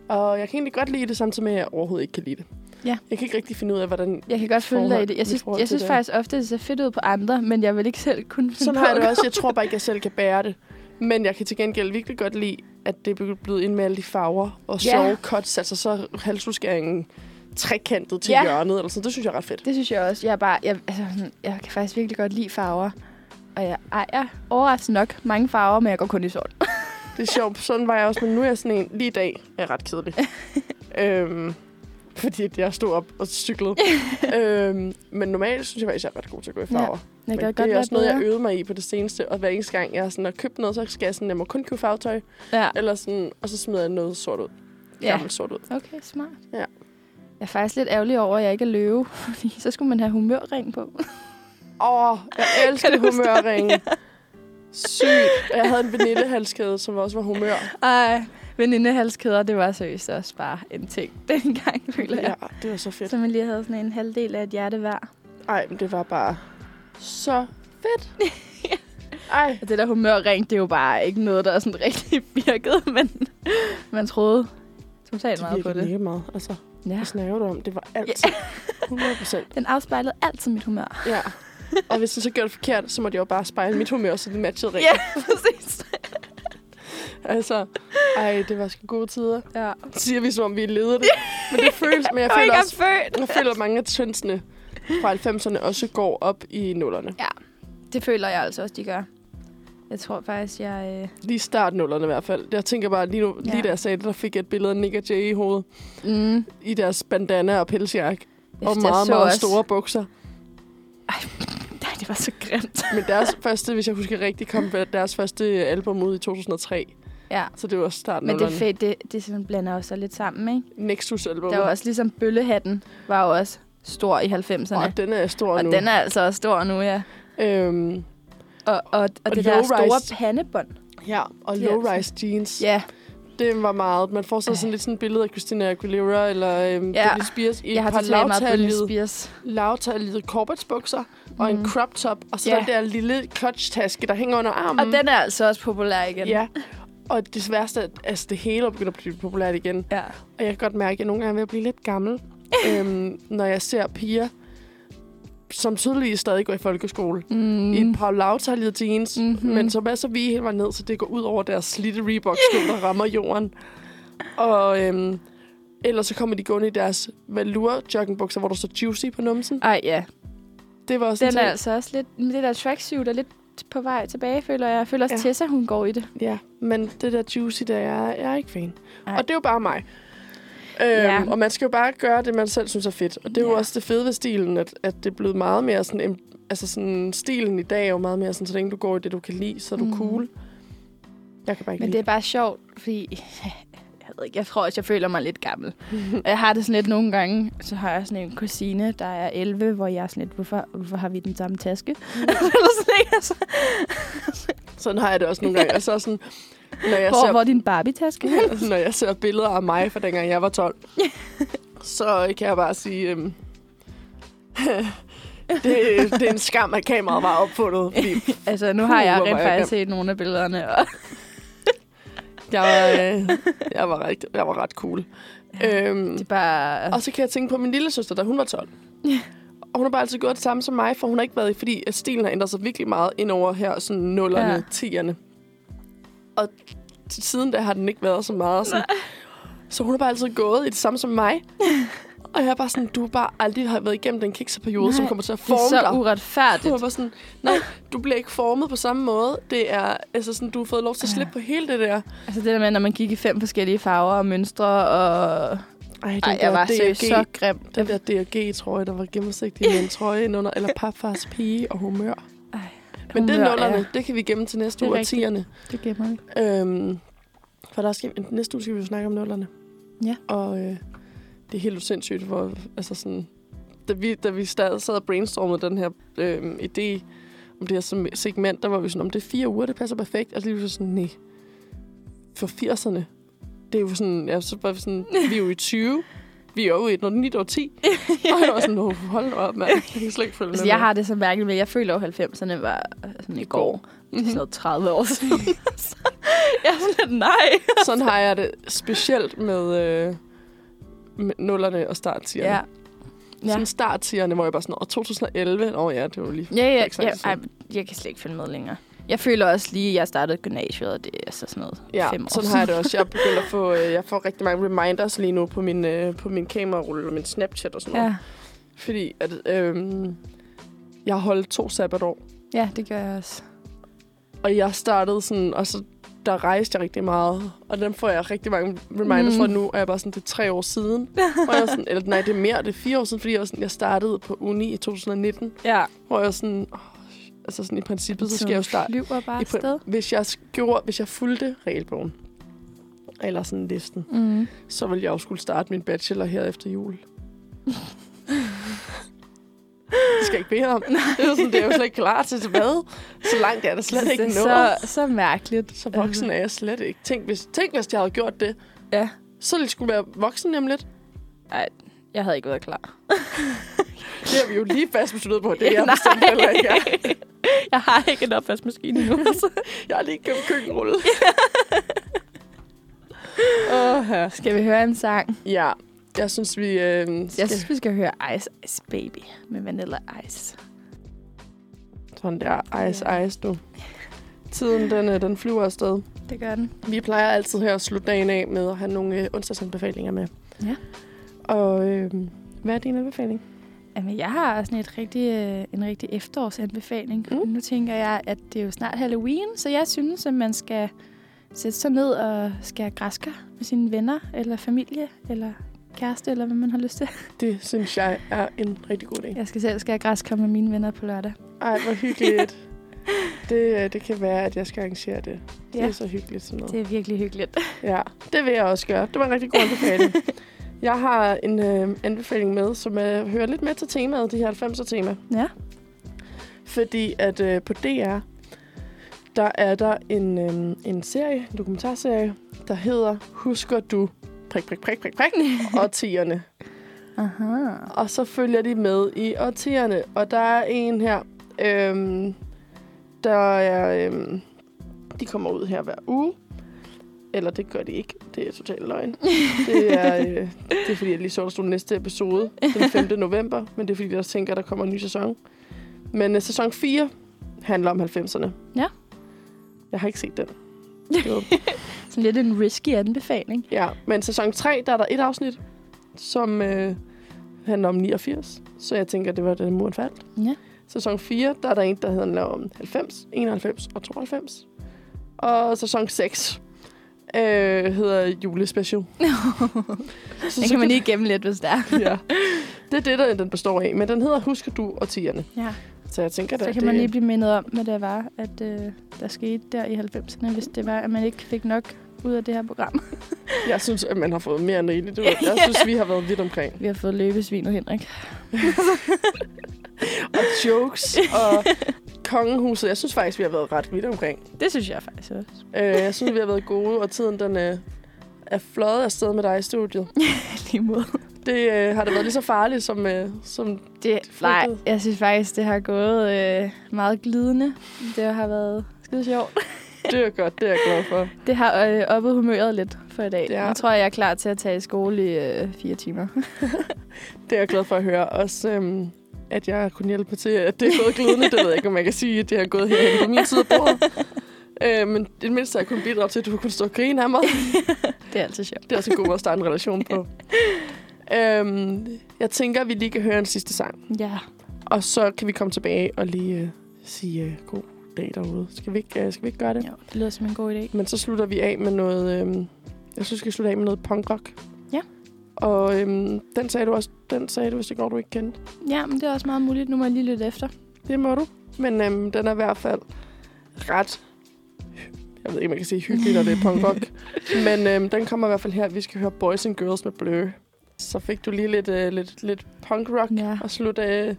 A: Og jeg kan egentlig godt lide det, samtidig med, at jeg overhovedet ikke kan lide det.
B: Ja.
A: Jeg kan ikke rigtig finde ud af, hvordan...
B: Jeg kan godt følge dig i
A: forhold-
B: det.
A: mit
B: Jeg synes,
A: forhold
B: jeg
A: til
B: synes
A: det.
B: faktisk ofte, det ser fedt ud på andre, men jeg vil ikke selv kunne finde
A: Sådan
B: på
A: har jeg det
B: det.
A: også. Jeg tror bare ikke, jeg selv kan bære det. Men jeg kan til gengæld virkelig godt lide, at det er blevet indmalet i farver. Og
B: Ja.
A: sjove cuts, altså så halsudskæringen trekantet til
B: Ja.
A: hjørnet. Eller sådan. Det synes jeg er ret fedt.
B: Det synes jeg også. Jeg, er bare, jeg, altså, sådan, jeg kan faktisk virkelig godt lide farver. Og jeg ejer overraskende nok mange farver, men jeg går kun i sort.
A: Det er sjovt. Sådan var jeg også, men nu er jeg sådan en. Lige i dag er jeg ret kedelig. øhm, fordi at jeg stod op og cyklede. øhm, men normalt synes jeg faktisk, jeg er ret god til at gå i
B: Ja,
A: farver.
B: Jeg
A: Men
B: kan
A: det
B: godt
A: er
B: være
A: også noget, jeg
B: bedre.
A: øvede mig i på det seneste. Og hver eneste gang, jeg sådan har købt noget, så skal jeg sådan, jeg må kun købe farvetøj.
B: Ja.
A: Eller sådan, og så smider jeg noget sort ud.
B: ja.
A: Gammelt sort ud.
B: Okay, smart.
A: Ja.
B: Jeg er faktisk lidt ærgerlig over, at jeg ikke er løve, fordi så skulle man have humørring på.
A: Åh, oh, jeg elsker
B: Kan du huske det?
A: humørringen. Sygt. Og Jeg havde en vanillehalskæde, som også var humør.
B: Ej, venindehalskæder, det var seriøst også bare en ting dengang, føler jeg.
A: Ja, det var så
B: Ja.
A: fedt.
B: Så man lige havde sådan en halvdel af et hjerte hver.
A: Ej, men det var bare så fedt. Ej,
B: Og det der humørring, det er jo bare ikke noget, der sådan rigtig virkede, men man troede totalt
A: det
B: meget på
A: virkede
B: det.
A: mega meget. Altså,
B: Ja.
A: Hvad snakker du om? Det var altid 100 procent.
B: Den afspejlede altid mit humør.
A: Ja. Og hvis jeg så gjorde det forkert, så måtte jeg jo bare spejle mit humør, så det matchede rigtigt.
B: Ja, præcis.
A: Yeah. Altså, ej, det var sgu gode tider.
B: Ja.
A: Siger vi, som om vi leder det. Men det føles, men jeg føler også,
B: født.
A: jeg føler at mange af trendsene fra 90'erne også går op i nullerne.
B: Det føler jeg altså også, de gør. Jeg tror faktisk, jeg... Øh...
A: Lige start nullerne i hvert fald. Jeg tænker bare, lige, nu, ja.
B: Ja.
A: lige da jeg sagde det, der fik jeg et billede af Nick og Jay i hovedet.
B: Mm.
A: I deres bandana og pelsjakke.
B: Jeg
A: Og
B: synes, jeg
A: meget,
B: så
A: meget
B: også-
A: store bukser.
B: Nej, det var så grimt.
A: Men deres første, hvis jeg husker rigtigt, kom deres første album ud i 2003.
B: Ja.
A: Så det var starten
B: Men det er
A: nullerne.
B: fedt, det, det simpelthen blander jo så lidt sammen, ikke?
A: Nexus album.
B: Der var også ligesom bøllehatten, var jo også stor i 90'erne.
A: Og den er stor
B: og
A: nu.
B: den er altså også stor nu, ja.
A: Øhm,
B: Og, og, og, og det der
A: low-rise.
B: store pandebånd.
A: ja, og
B: De er
A: low-rise jeans.
B: Ja,
A: Det var meget. Man får så sådan
B: Øh.
A: lidt sådan et billede af Christina Aguilera eller øhm,
B: Ja.
A: Britney Spears i
B: jeg
A: et
B: har
A: par Mm.
B: totalt meget Britney
A: lavtallede
B: Spears.
A: lavtallede corporatesbukser og en
B: Mm.
A: crop top. Og så
B: Ja.
A: den der lille clutch-taske, der hænger under
B: Og
A: armen.
B: den er altså også populær igen.
A: Ja, og det sværeste er, at altså, det hele er begyndt at blive populært igen.
B: ja.
A: Og jeg kan godt mærke, at jeg nogle gange er ved at blive lidt gammel, øhm, når jeg ser piger, som tydeligvis stadig går i folkeskole, mm. i et par lavtaljede jeans, mm-hmm.
B: Mhm.
A: men som er så vige hele vejen ned, så det går ud over deres slidte Reebok-sko, der rammer jorden. Og øhm, ellers så kommer de gående i deres velour joggingbukser, hvor der står Juicy på numsen.
B: Ej, ja.
A: Det var også
B: Den er
A: en ting.
B: altså også lidt... men Det der tracksuit er lidt på vej tilbage, føler jeg. Jeg føler også,
A: Ja.
B: ja. Tessa, hun går i det.
A: Ja, men det der Juicy, der jeg, jeg er ikke fan.
B: Ej.
A: Og det er jo bare mig. Øhm,
B: Ja.
A: Og man skal jo bare gøre det, man selv synes er fedt. Og det er jo
B: Ja.
A: også det fede ved stilen, at, at det er blevet meget mere sådan... em- Altså sådan, stilen i dag er jo meget mere sådan, så længe du går i det, du kan lide, så er du mm.
B: Mhm.
A: cool. Jeg kan bare ikke
B: Men det
A: lide
B: er bare sjovt, fordi... Jeg, ved ikke, jeg tror også, jeg føler mig lidt gammel. Og jeg har det sådan lidt nogle gange, så har jeg sådan en kusine, der er 11, hvor jeg er sådan lidt, hvorfor, hvorfor har vi den samme taske? Eller sådan, ikke? Altså,
A: Sådan har jeg det også nogle gange. Altså sådan, Når jeg,
B: Hvor,
A: ser,
B: hvor er din Barbie-taske?
A: når jeg ser billeder af mig fra dengang jeg var 12, så kan jeg bare sige, øhm, det, det er en skam, at kameraet var opfundet. Fordi
B: altså, nu
A: Puh,
B: har jeg
A: hvor var
B: rent
A: jeg
B: faktisk set nogle af billederne. Og
A: jeg var, øh, jeg var, rigtig, jeg var ret cool. Øhm,
B: det er bare...
A: Og så kan jeg tænke på min lille søster, da hun var 12.
B: Ja.
A: Og hun har bare altid gjort det samme som mig, for hun har ikke været i, fordi at stilen har ændret sig virkelig meget ind over her, sådan nullerne,
B: Ja.
A: ja. tierne. Og t- siden da har den ikke været så meget. Sådan. Så hun har bare altid gået i det samme som mig. og jeg er bare sådan, du har bare aldrig har været igennem den kikseperiode,
B: Nej,
A: som kommer til at
B: det er
A: forme
B: så
A: dig.
B: uretfærdigt.
A: Du var bare sådan, nej, du bliver ikke formet på samme måde. Det er, altså sådan, du har fået lov til at slippe på hele det der.
B: Altså det der med, når man gik i fem forskellige farver og mønstre, og...
A: Ej, den
B: Ej, jeg var seriøst
A: DRG.
B: så grim.
A: Den der DRG-trøje, der var gennemsigtig med en trøje indenunder, eller papfars pige og humør.
B: Ej,
A: Men det
B: humør,
A: nullerne,
B: ja.
A: det kan vi gemme til næste
B: Det er
A: uge og
B: rigtigt.
A: tierne.
B: Det gemmer vi.
A: Øhm, for der skal, næste uge skal vi jo snakke om nullerne.
B: Ja.
A: Og øh, det er helt sindssygt, hvor altså sådan, da vi, da vi stadig sad og brainstormede den her øh, idé om det her som- segment, der var vi sådan, om det er fire uger, det passer perfekt. Og så lige pludselig sådan, nej, for 80'erne, det er jo sådan, ja, så var vi sådan, vi er jo i 20, vi er jo i et, når det er 9 år 10. Og jeg var sådan, "Åh, hold nu op, mand. Jeg kan slet ikke følge med.
B: Altså, jeg har det så mærkeligt med, jeg føler jo, at 90'erne var øh, sådan i går. Det
A: Mhm.
B: er sådan noget 30 år siden. Så jeg er sådan lidt, nej.
A: Sådan har jeg det specielt med, øh, med nullerne og starttierne.
B: Ja.
A: Ja.
B: Ja.
A: Sådan starttierne, hvor jeg bare sådan, og 2011, åh ja, det var lige...
B: Ja, ja,
A: ikke så
B: ja
A: lang tid
B: ej, jeg kan slet ikke følge med længere. Jeg føler også lige, at jeg startede gymnasiet, og det er så sådan noget
A: Ja,
B: fem år
A: sådan har jeg det også. Jeg begynder at få, øh, jeg får rigtig mange reminders lige nu på min, øh, på min kamerarulle og min Snapchat og sådan noget.
B: Ja.
A: Ja. Fordi at, øh, jeg holdt to sabbatår,
B: ja, det gør jeg også.
A: og jeg startede sådan, og så der rejste jeg rigtig meget. Og dem får jeg rigtig mange reminders
B: Mm.
A: mm. fra nu, og jeg er bare sådan, det er tre år siden. Hvor jeg er sådan, eller nej, det er mere, det er fire år siden, fordi jeg, var sådan, jeg startede på uni i 2019.
B: Ja.
A: Hvor jeg sådan, åh, altså sådan i princippet, så skal jeg jo starte.
B: flyver bare
A: I,
B: afsted.
A: prin- hvis, jeg gjorde, hvis jeg fulgte regelbogen, eller sådan listen,
B: Mm.
A: så ville jeg jo skulle starte min bachelor her efter jul. det skal jeg ikke bede om. Det er, jo sådan, det er jeg jo slet ikke klar til hvad. Så langt er der slet ikke
B: det
A: noget.
B: er så, så mærkeligt. Altså,
A: Så voksen er jeg slet ikke. Tænk hvis, tænk, hvis jeg havde gjort det.
B: Ja.
A: Så ville jeg skulle være voksen nemlig lidt.
B: Jeg havde ikke været klar.
A: Det har vi jo lige fast besluttet på. Det er
B: Ja,
A: jeg
B: nej.
A: bestemt heller ikke. er.
B: Jeg har ikke en opvaskemaskine endnu.
A: Jeg har lige købt køkkenrulle. Åh, ja.
B: Skal vi høre en sang?
A: ja. Jeg synes, vi øh, skal
B: Jeg synes, vi skal høre Ice Ice Baby med Vanilla Ice.
A: sådan der ice, ice, du. Tiden, den, øh, den flyver afsted.
B: Det gør den.
A: Vi plejer altid her at slutte dagen af med at have nogle øh, onsdagsanbefalinger med.
B: Ja.
A: Og øh, hvad er din anbefaling?
B: Jamen, jeg har sådan et rigtig, øh, en rigtig efterårsanbefaling.
A: Mm.
B: Mm. Nu tænker jeg, at det er jo snart Halloween, så jeg synes, at man skal sætte sig ned og skære græskar med sine venner, eller familie, eller kæreste, eller hvad man har lyst til.
A: Det synes jeg er en rigtig god idé.
B: Jeg skal selv skære græskar med mine venner på lørdag.
A: Ej, hvor hyggeligt. det, øh, det kan være, at jeg skal arrangere det. Det
B: Ja.
A: er så hyggeligt sådan noget.
B: Det er virkelig hyggeligt.
A: Ja, det vil jeg også gøre. Det var en rigtig god anbefaling. jeg har en øh, anbefaling med, som øh, hører lidt med til temaet, det her 90'er tema.
B: Ja.
A: Fordi at øh, på DR, der er der en, øh, en serie, en dokumentarserie, der hedder Husker du prik, prik, prik, prik, prik, årtierne.
B: Aha.
A: Og så følger de med i årtierne. Og der er en her, øhm, der er... Øhm, de kommer ud her hver uge. Eller det gør de ikke. Det er totalt løgn. Det er, øh, det er fordi, jeg lige så, der stod næste episode den 5. november. Men det er fordi, jeg også tænker, at der kommer en ny sæson. Men øh, sæson 4 handler om 90'erne.
B: Ja.
A: Jeg har ikke set den. Det var
B: Sådan lidt en risky anbefaling.
A: Ja, men sæson 3, der er der et afsnit, som øh, handler om 89. Så jeg tænker, det var den muren faldt.
B: Ja.
A: Sæson 4, der er der en, der handler om 90, 91 og 92. Og sæson 6 øh, hedder julespecial. så,
B: Det kan man lige gemme lidt, hvis det er.
A: ja. Det er det, der den består af. Men den hedder Husker du og tierne.
B: Ja.
A: Så jeg tænker,
B: Så
A: at
B: kan
A: det,
B: man lige blive mindet om, hvad det var, at øh, der skete der i 90'erne, hvis det var, at man ikke fik nok ud af det her program.
A: jeg synes, at man har fået mere end rigeligt. ud. Jeg
B: Ja.
A: synes, vi har været vidt omkring.
B: Vi har fået løbesvinet, Henrik.
A: og jokes og kongehuset. Jeg synes faktisk, vi har været ret vidt omkring.
B: Det synes jeg faktisk også.
A: Øh, jeg synes, vi har været gode, og tiden den øh, er fløjet afsted med dig i studiet.
B: Lige måde.
A: Det øh, har da været lige så farligt, som, øh, som
B: Det, nej, jeg synes faktisk, det har gået øh, meget glidende. Det har været skide sjovt.
A: det er godt. Det er jeg glad for.
B: Det har øh, oppet humøret lidt for i dag.
A: Det er-
B: Jeg tror, jeg er klar til at tage i skole i øh, fire timer.
A: Det er jeg glad for at høre. Også øhm, at jeg kunne hjælpe til, at det er gået glidende. det ved jeg ikke, om man kan sige, at det har gået herhen på min side af bordet. Øh, men i det mindste har jeg kunnet bidrage til, at du kunne stå og grine af mig.
B: Det er altid sjovt.
A: Det er også en god måde at starte en relation på. øhm, jeg tænker, at vi lige kan høre en sidste sang.
B: Ja.
A: Og så kan vi komme tilbage og lige øh, sige øh, god dag derude. Skal vi, ikke, øh, skal vi ikke gøre det?
B: Jo, det lyder som en god idé.
A: Men så slutter vi af med noget... Øhm, jeg synes, vi skal slutte af med noget punkrock.
B: Ja.
A: Og øhm, den sagde du også, den sagde du, hvis det går, du ikke kendte.
B: Ja, men det er også meget muligt. Nu må jeg lige lytte efter.
A: Det må du. Men øhm, den er i hvert fald ret... Jeg ved ikke, om man kan sige hyggelig, når det er punkrock. Men øhm, den kommer i hvert fald her. Vi skal høre Boys and Girls med Blur. Så fik du lige lidt, øh, lidt, lidt punkrock
B: Ja.
A: og slutte, øh,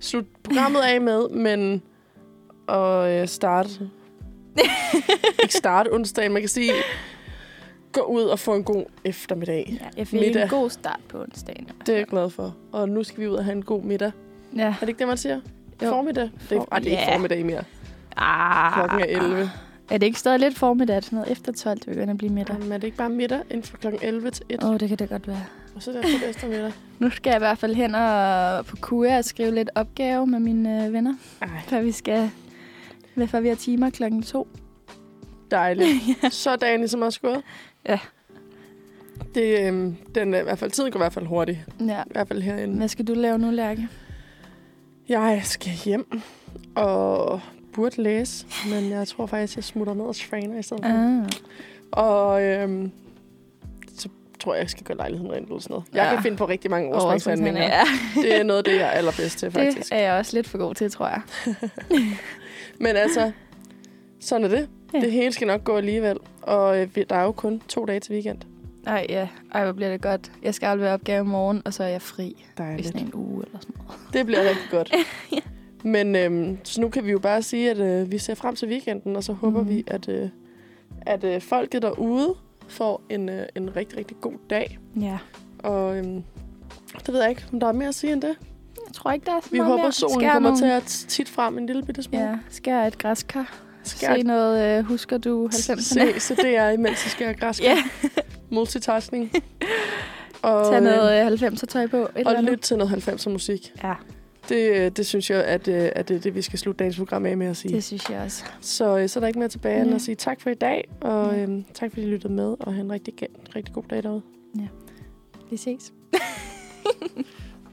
A: slutte programmet af med, men og øh, starte... ikke starte onsdagen, man kan sige... Gå ud og få en god eftermiddag.
B: Ja, jeg fik
A: Middag.
B: en god start på onsdagen.
A: Det er jeg glad for. Og nu skal vi ud og have en god middag.
B: Ja.
A: Er det ikke det, man siger?
B: Jo.
A: Formiddag? Det er,
B: For-
A: ej, det er ikke
B: Ja.
A: formiddag mere.
B: Ah,
A: Klokken er 11.
B: Er det ikke stadig lidt formiddag? Sådan noget efter 12, det begynder at blive middag.
A: Jamen, er det ikke bare middag inden fra kl. 11 til 1?
B: Åh, oh, det kan det godt være.
A: Og så er det efter eftermiddag.
B: Nu skal jeg i hvert fald hen og på KUA og skrive lidt opgave med mine øh, venner,
A: Ej,
B: for vi skal hvad for vi har timer klokken to.
A: dejligt. Så er dagen ligesom også gået.
B: Ja. Det,
A: Det, øhm, den er i hvert fald, tiden går i hvert fald hurtigt.
B: Ja.
A: I hvert fald herinde.
B: Hvad skal du lave nu, Lærke?
A: Jeg skal hjem og burde læse, men jeg tror faktisk, jeg smutter ned og træner i stedet. for.
B: Ah.
A: Og øhm, så tror jeg, jeg skal gøre lejligheden rent eller sådan noget. Jeg
B: Ja.
A: kan finde på rigtig mange
B: Overspringshandlinger.
A: overspringshandlinger.
B: Ja,
A: Det er noget af det, jeg er allerbedst til, faktisk.
B: det er jeg også lidt for god til, tror jeg.
A: Men altså, sådan er det.
B: Ja.
A: Ja. Det hele skal nok gå alligevel. Og øh, vi- der er jo kun to dage til weekend.
B: Ej, ja. Ej, hvor bliver det godt. Jeg skal aflevere opgave i morgen, og så er jeg fri i
A: Dejligt.
B: sådan en uge eller sådan noget.
A: Det bliver rigtig godt. Men øhm, så nu kan vi jo bare sige, at øh, vi ser frem til weekenden, og så håber
B: Mhm.
A: vi, at, øh, at øh, folket derude får en, øh, en rigtig, rigtig god dag.
B: Ja.
A: Og øhm, det ved jeg ikke, om der er mere at sige end det.
B: Jeg tror ikke, der er så
A: Vi
B: meget
A: håber,
B: mere.
A: solen
B: Skær
A: kommer
B: nogle-
A: til at titte frem en lille bitte smule.
B: Ja, skær et græskar.
A: Skær-
B: Se noget, øh, husker du 90'erne?
A: se, så det er imens, jeg skal græske.
B: Ja,
A: Multitasking. Og,
B: tag
A: øh,
B: noget øh, 90'er tøj på. Et eller
A: Og
B: andet.
A: lyt til noget 90'er musik.
B: Ja.
A: Det, øh, det synes jeg, at, øh, at det er det, vi skal slutte dagens program af med at sige.
B: Det
A: Det.
B: synes jeg også.
A: Så, øh, så er der ikke mere tilbage end
B: Ja.
A: at sige tak for i dag, og
B: Ja.
A: øhm, tak fordi I lyttede med, og have en rigtig, rigtig god dag derude.
B: Vi ses.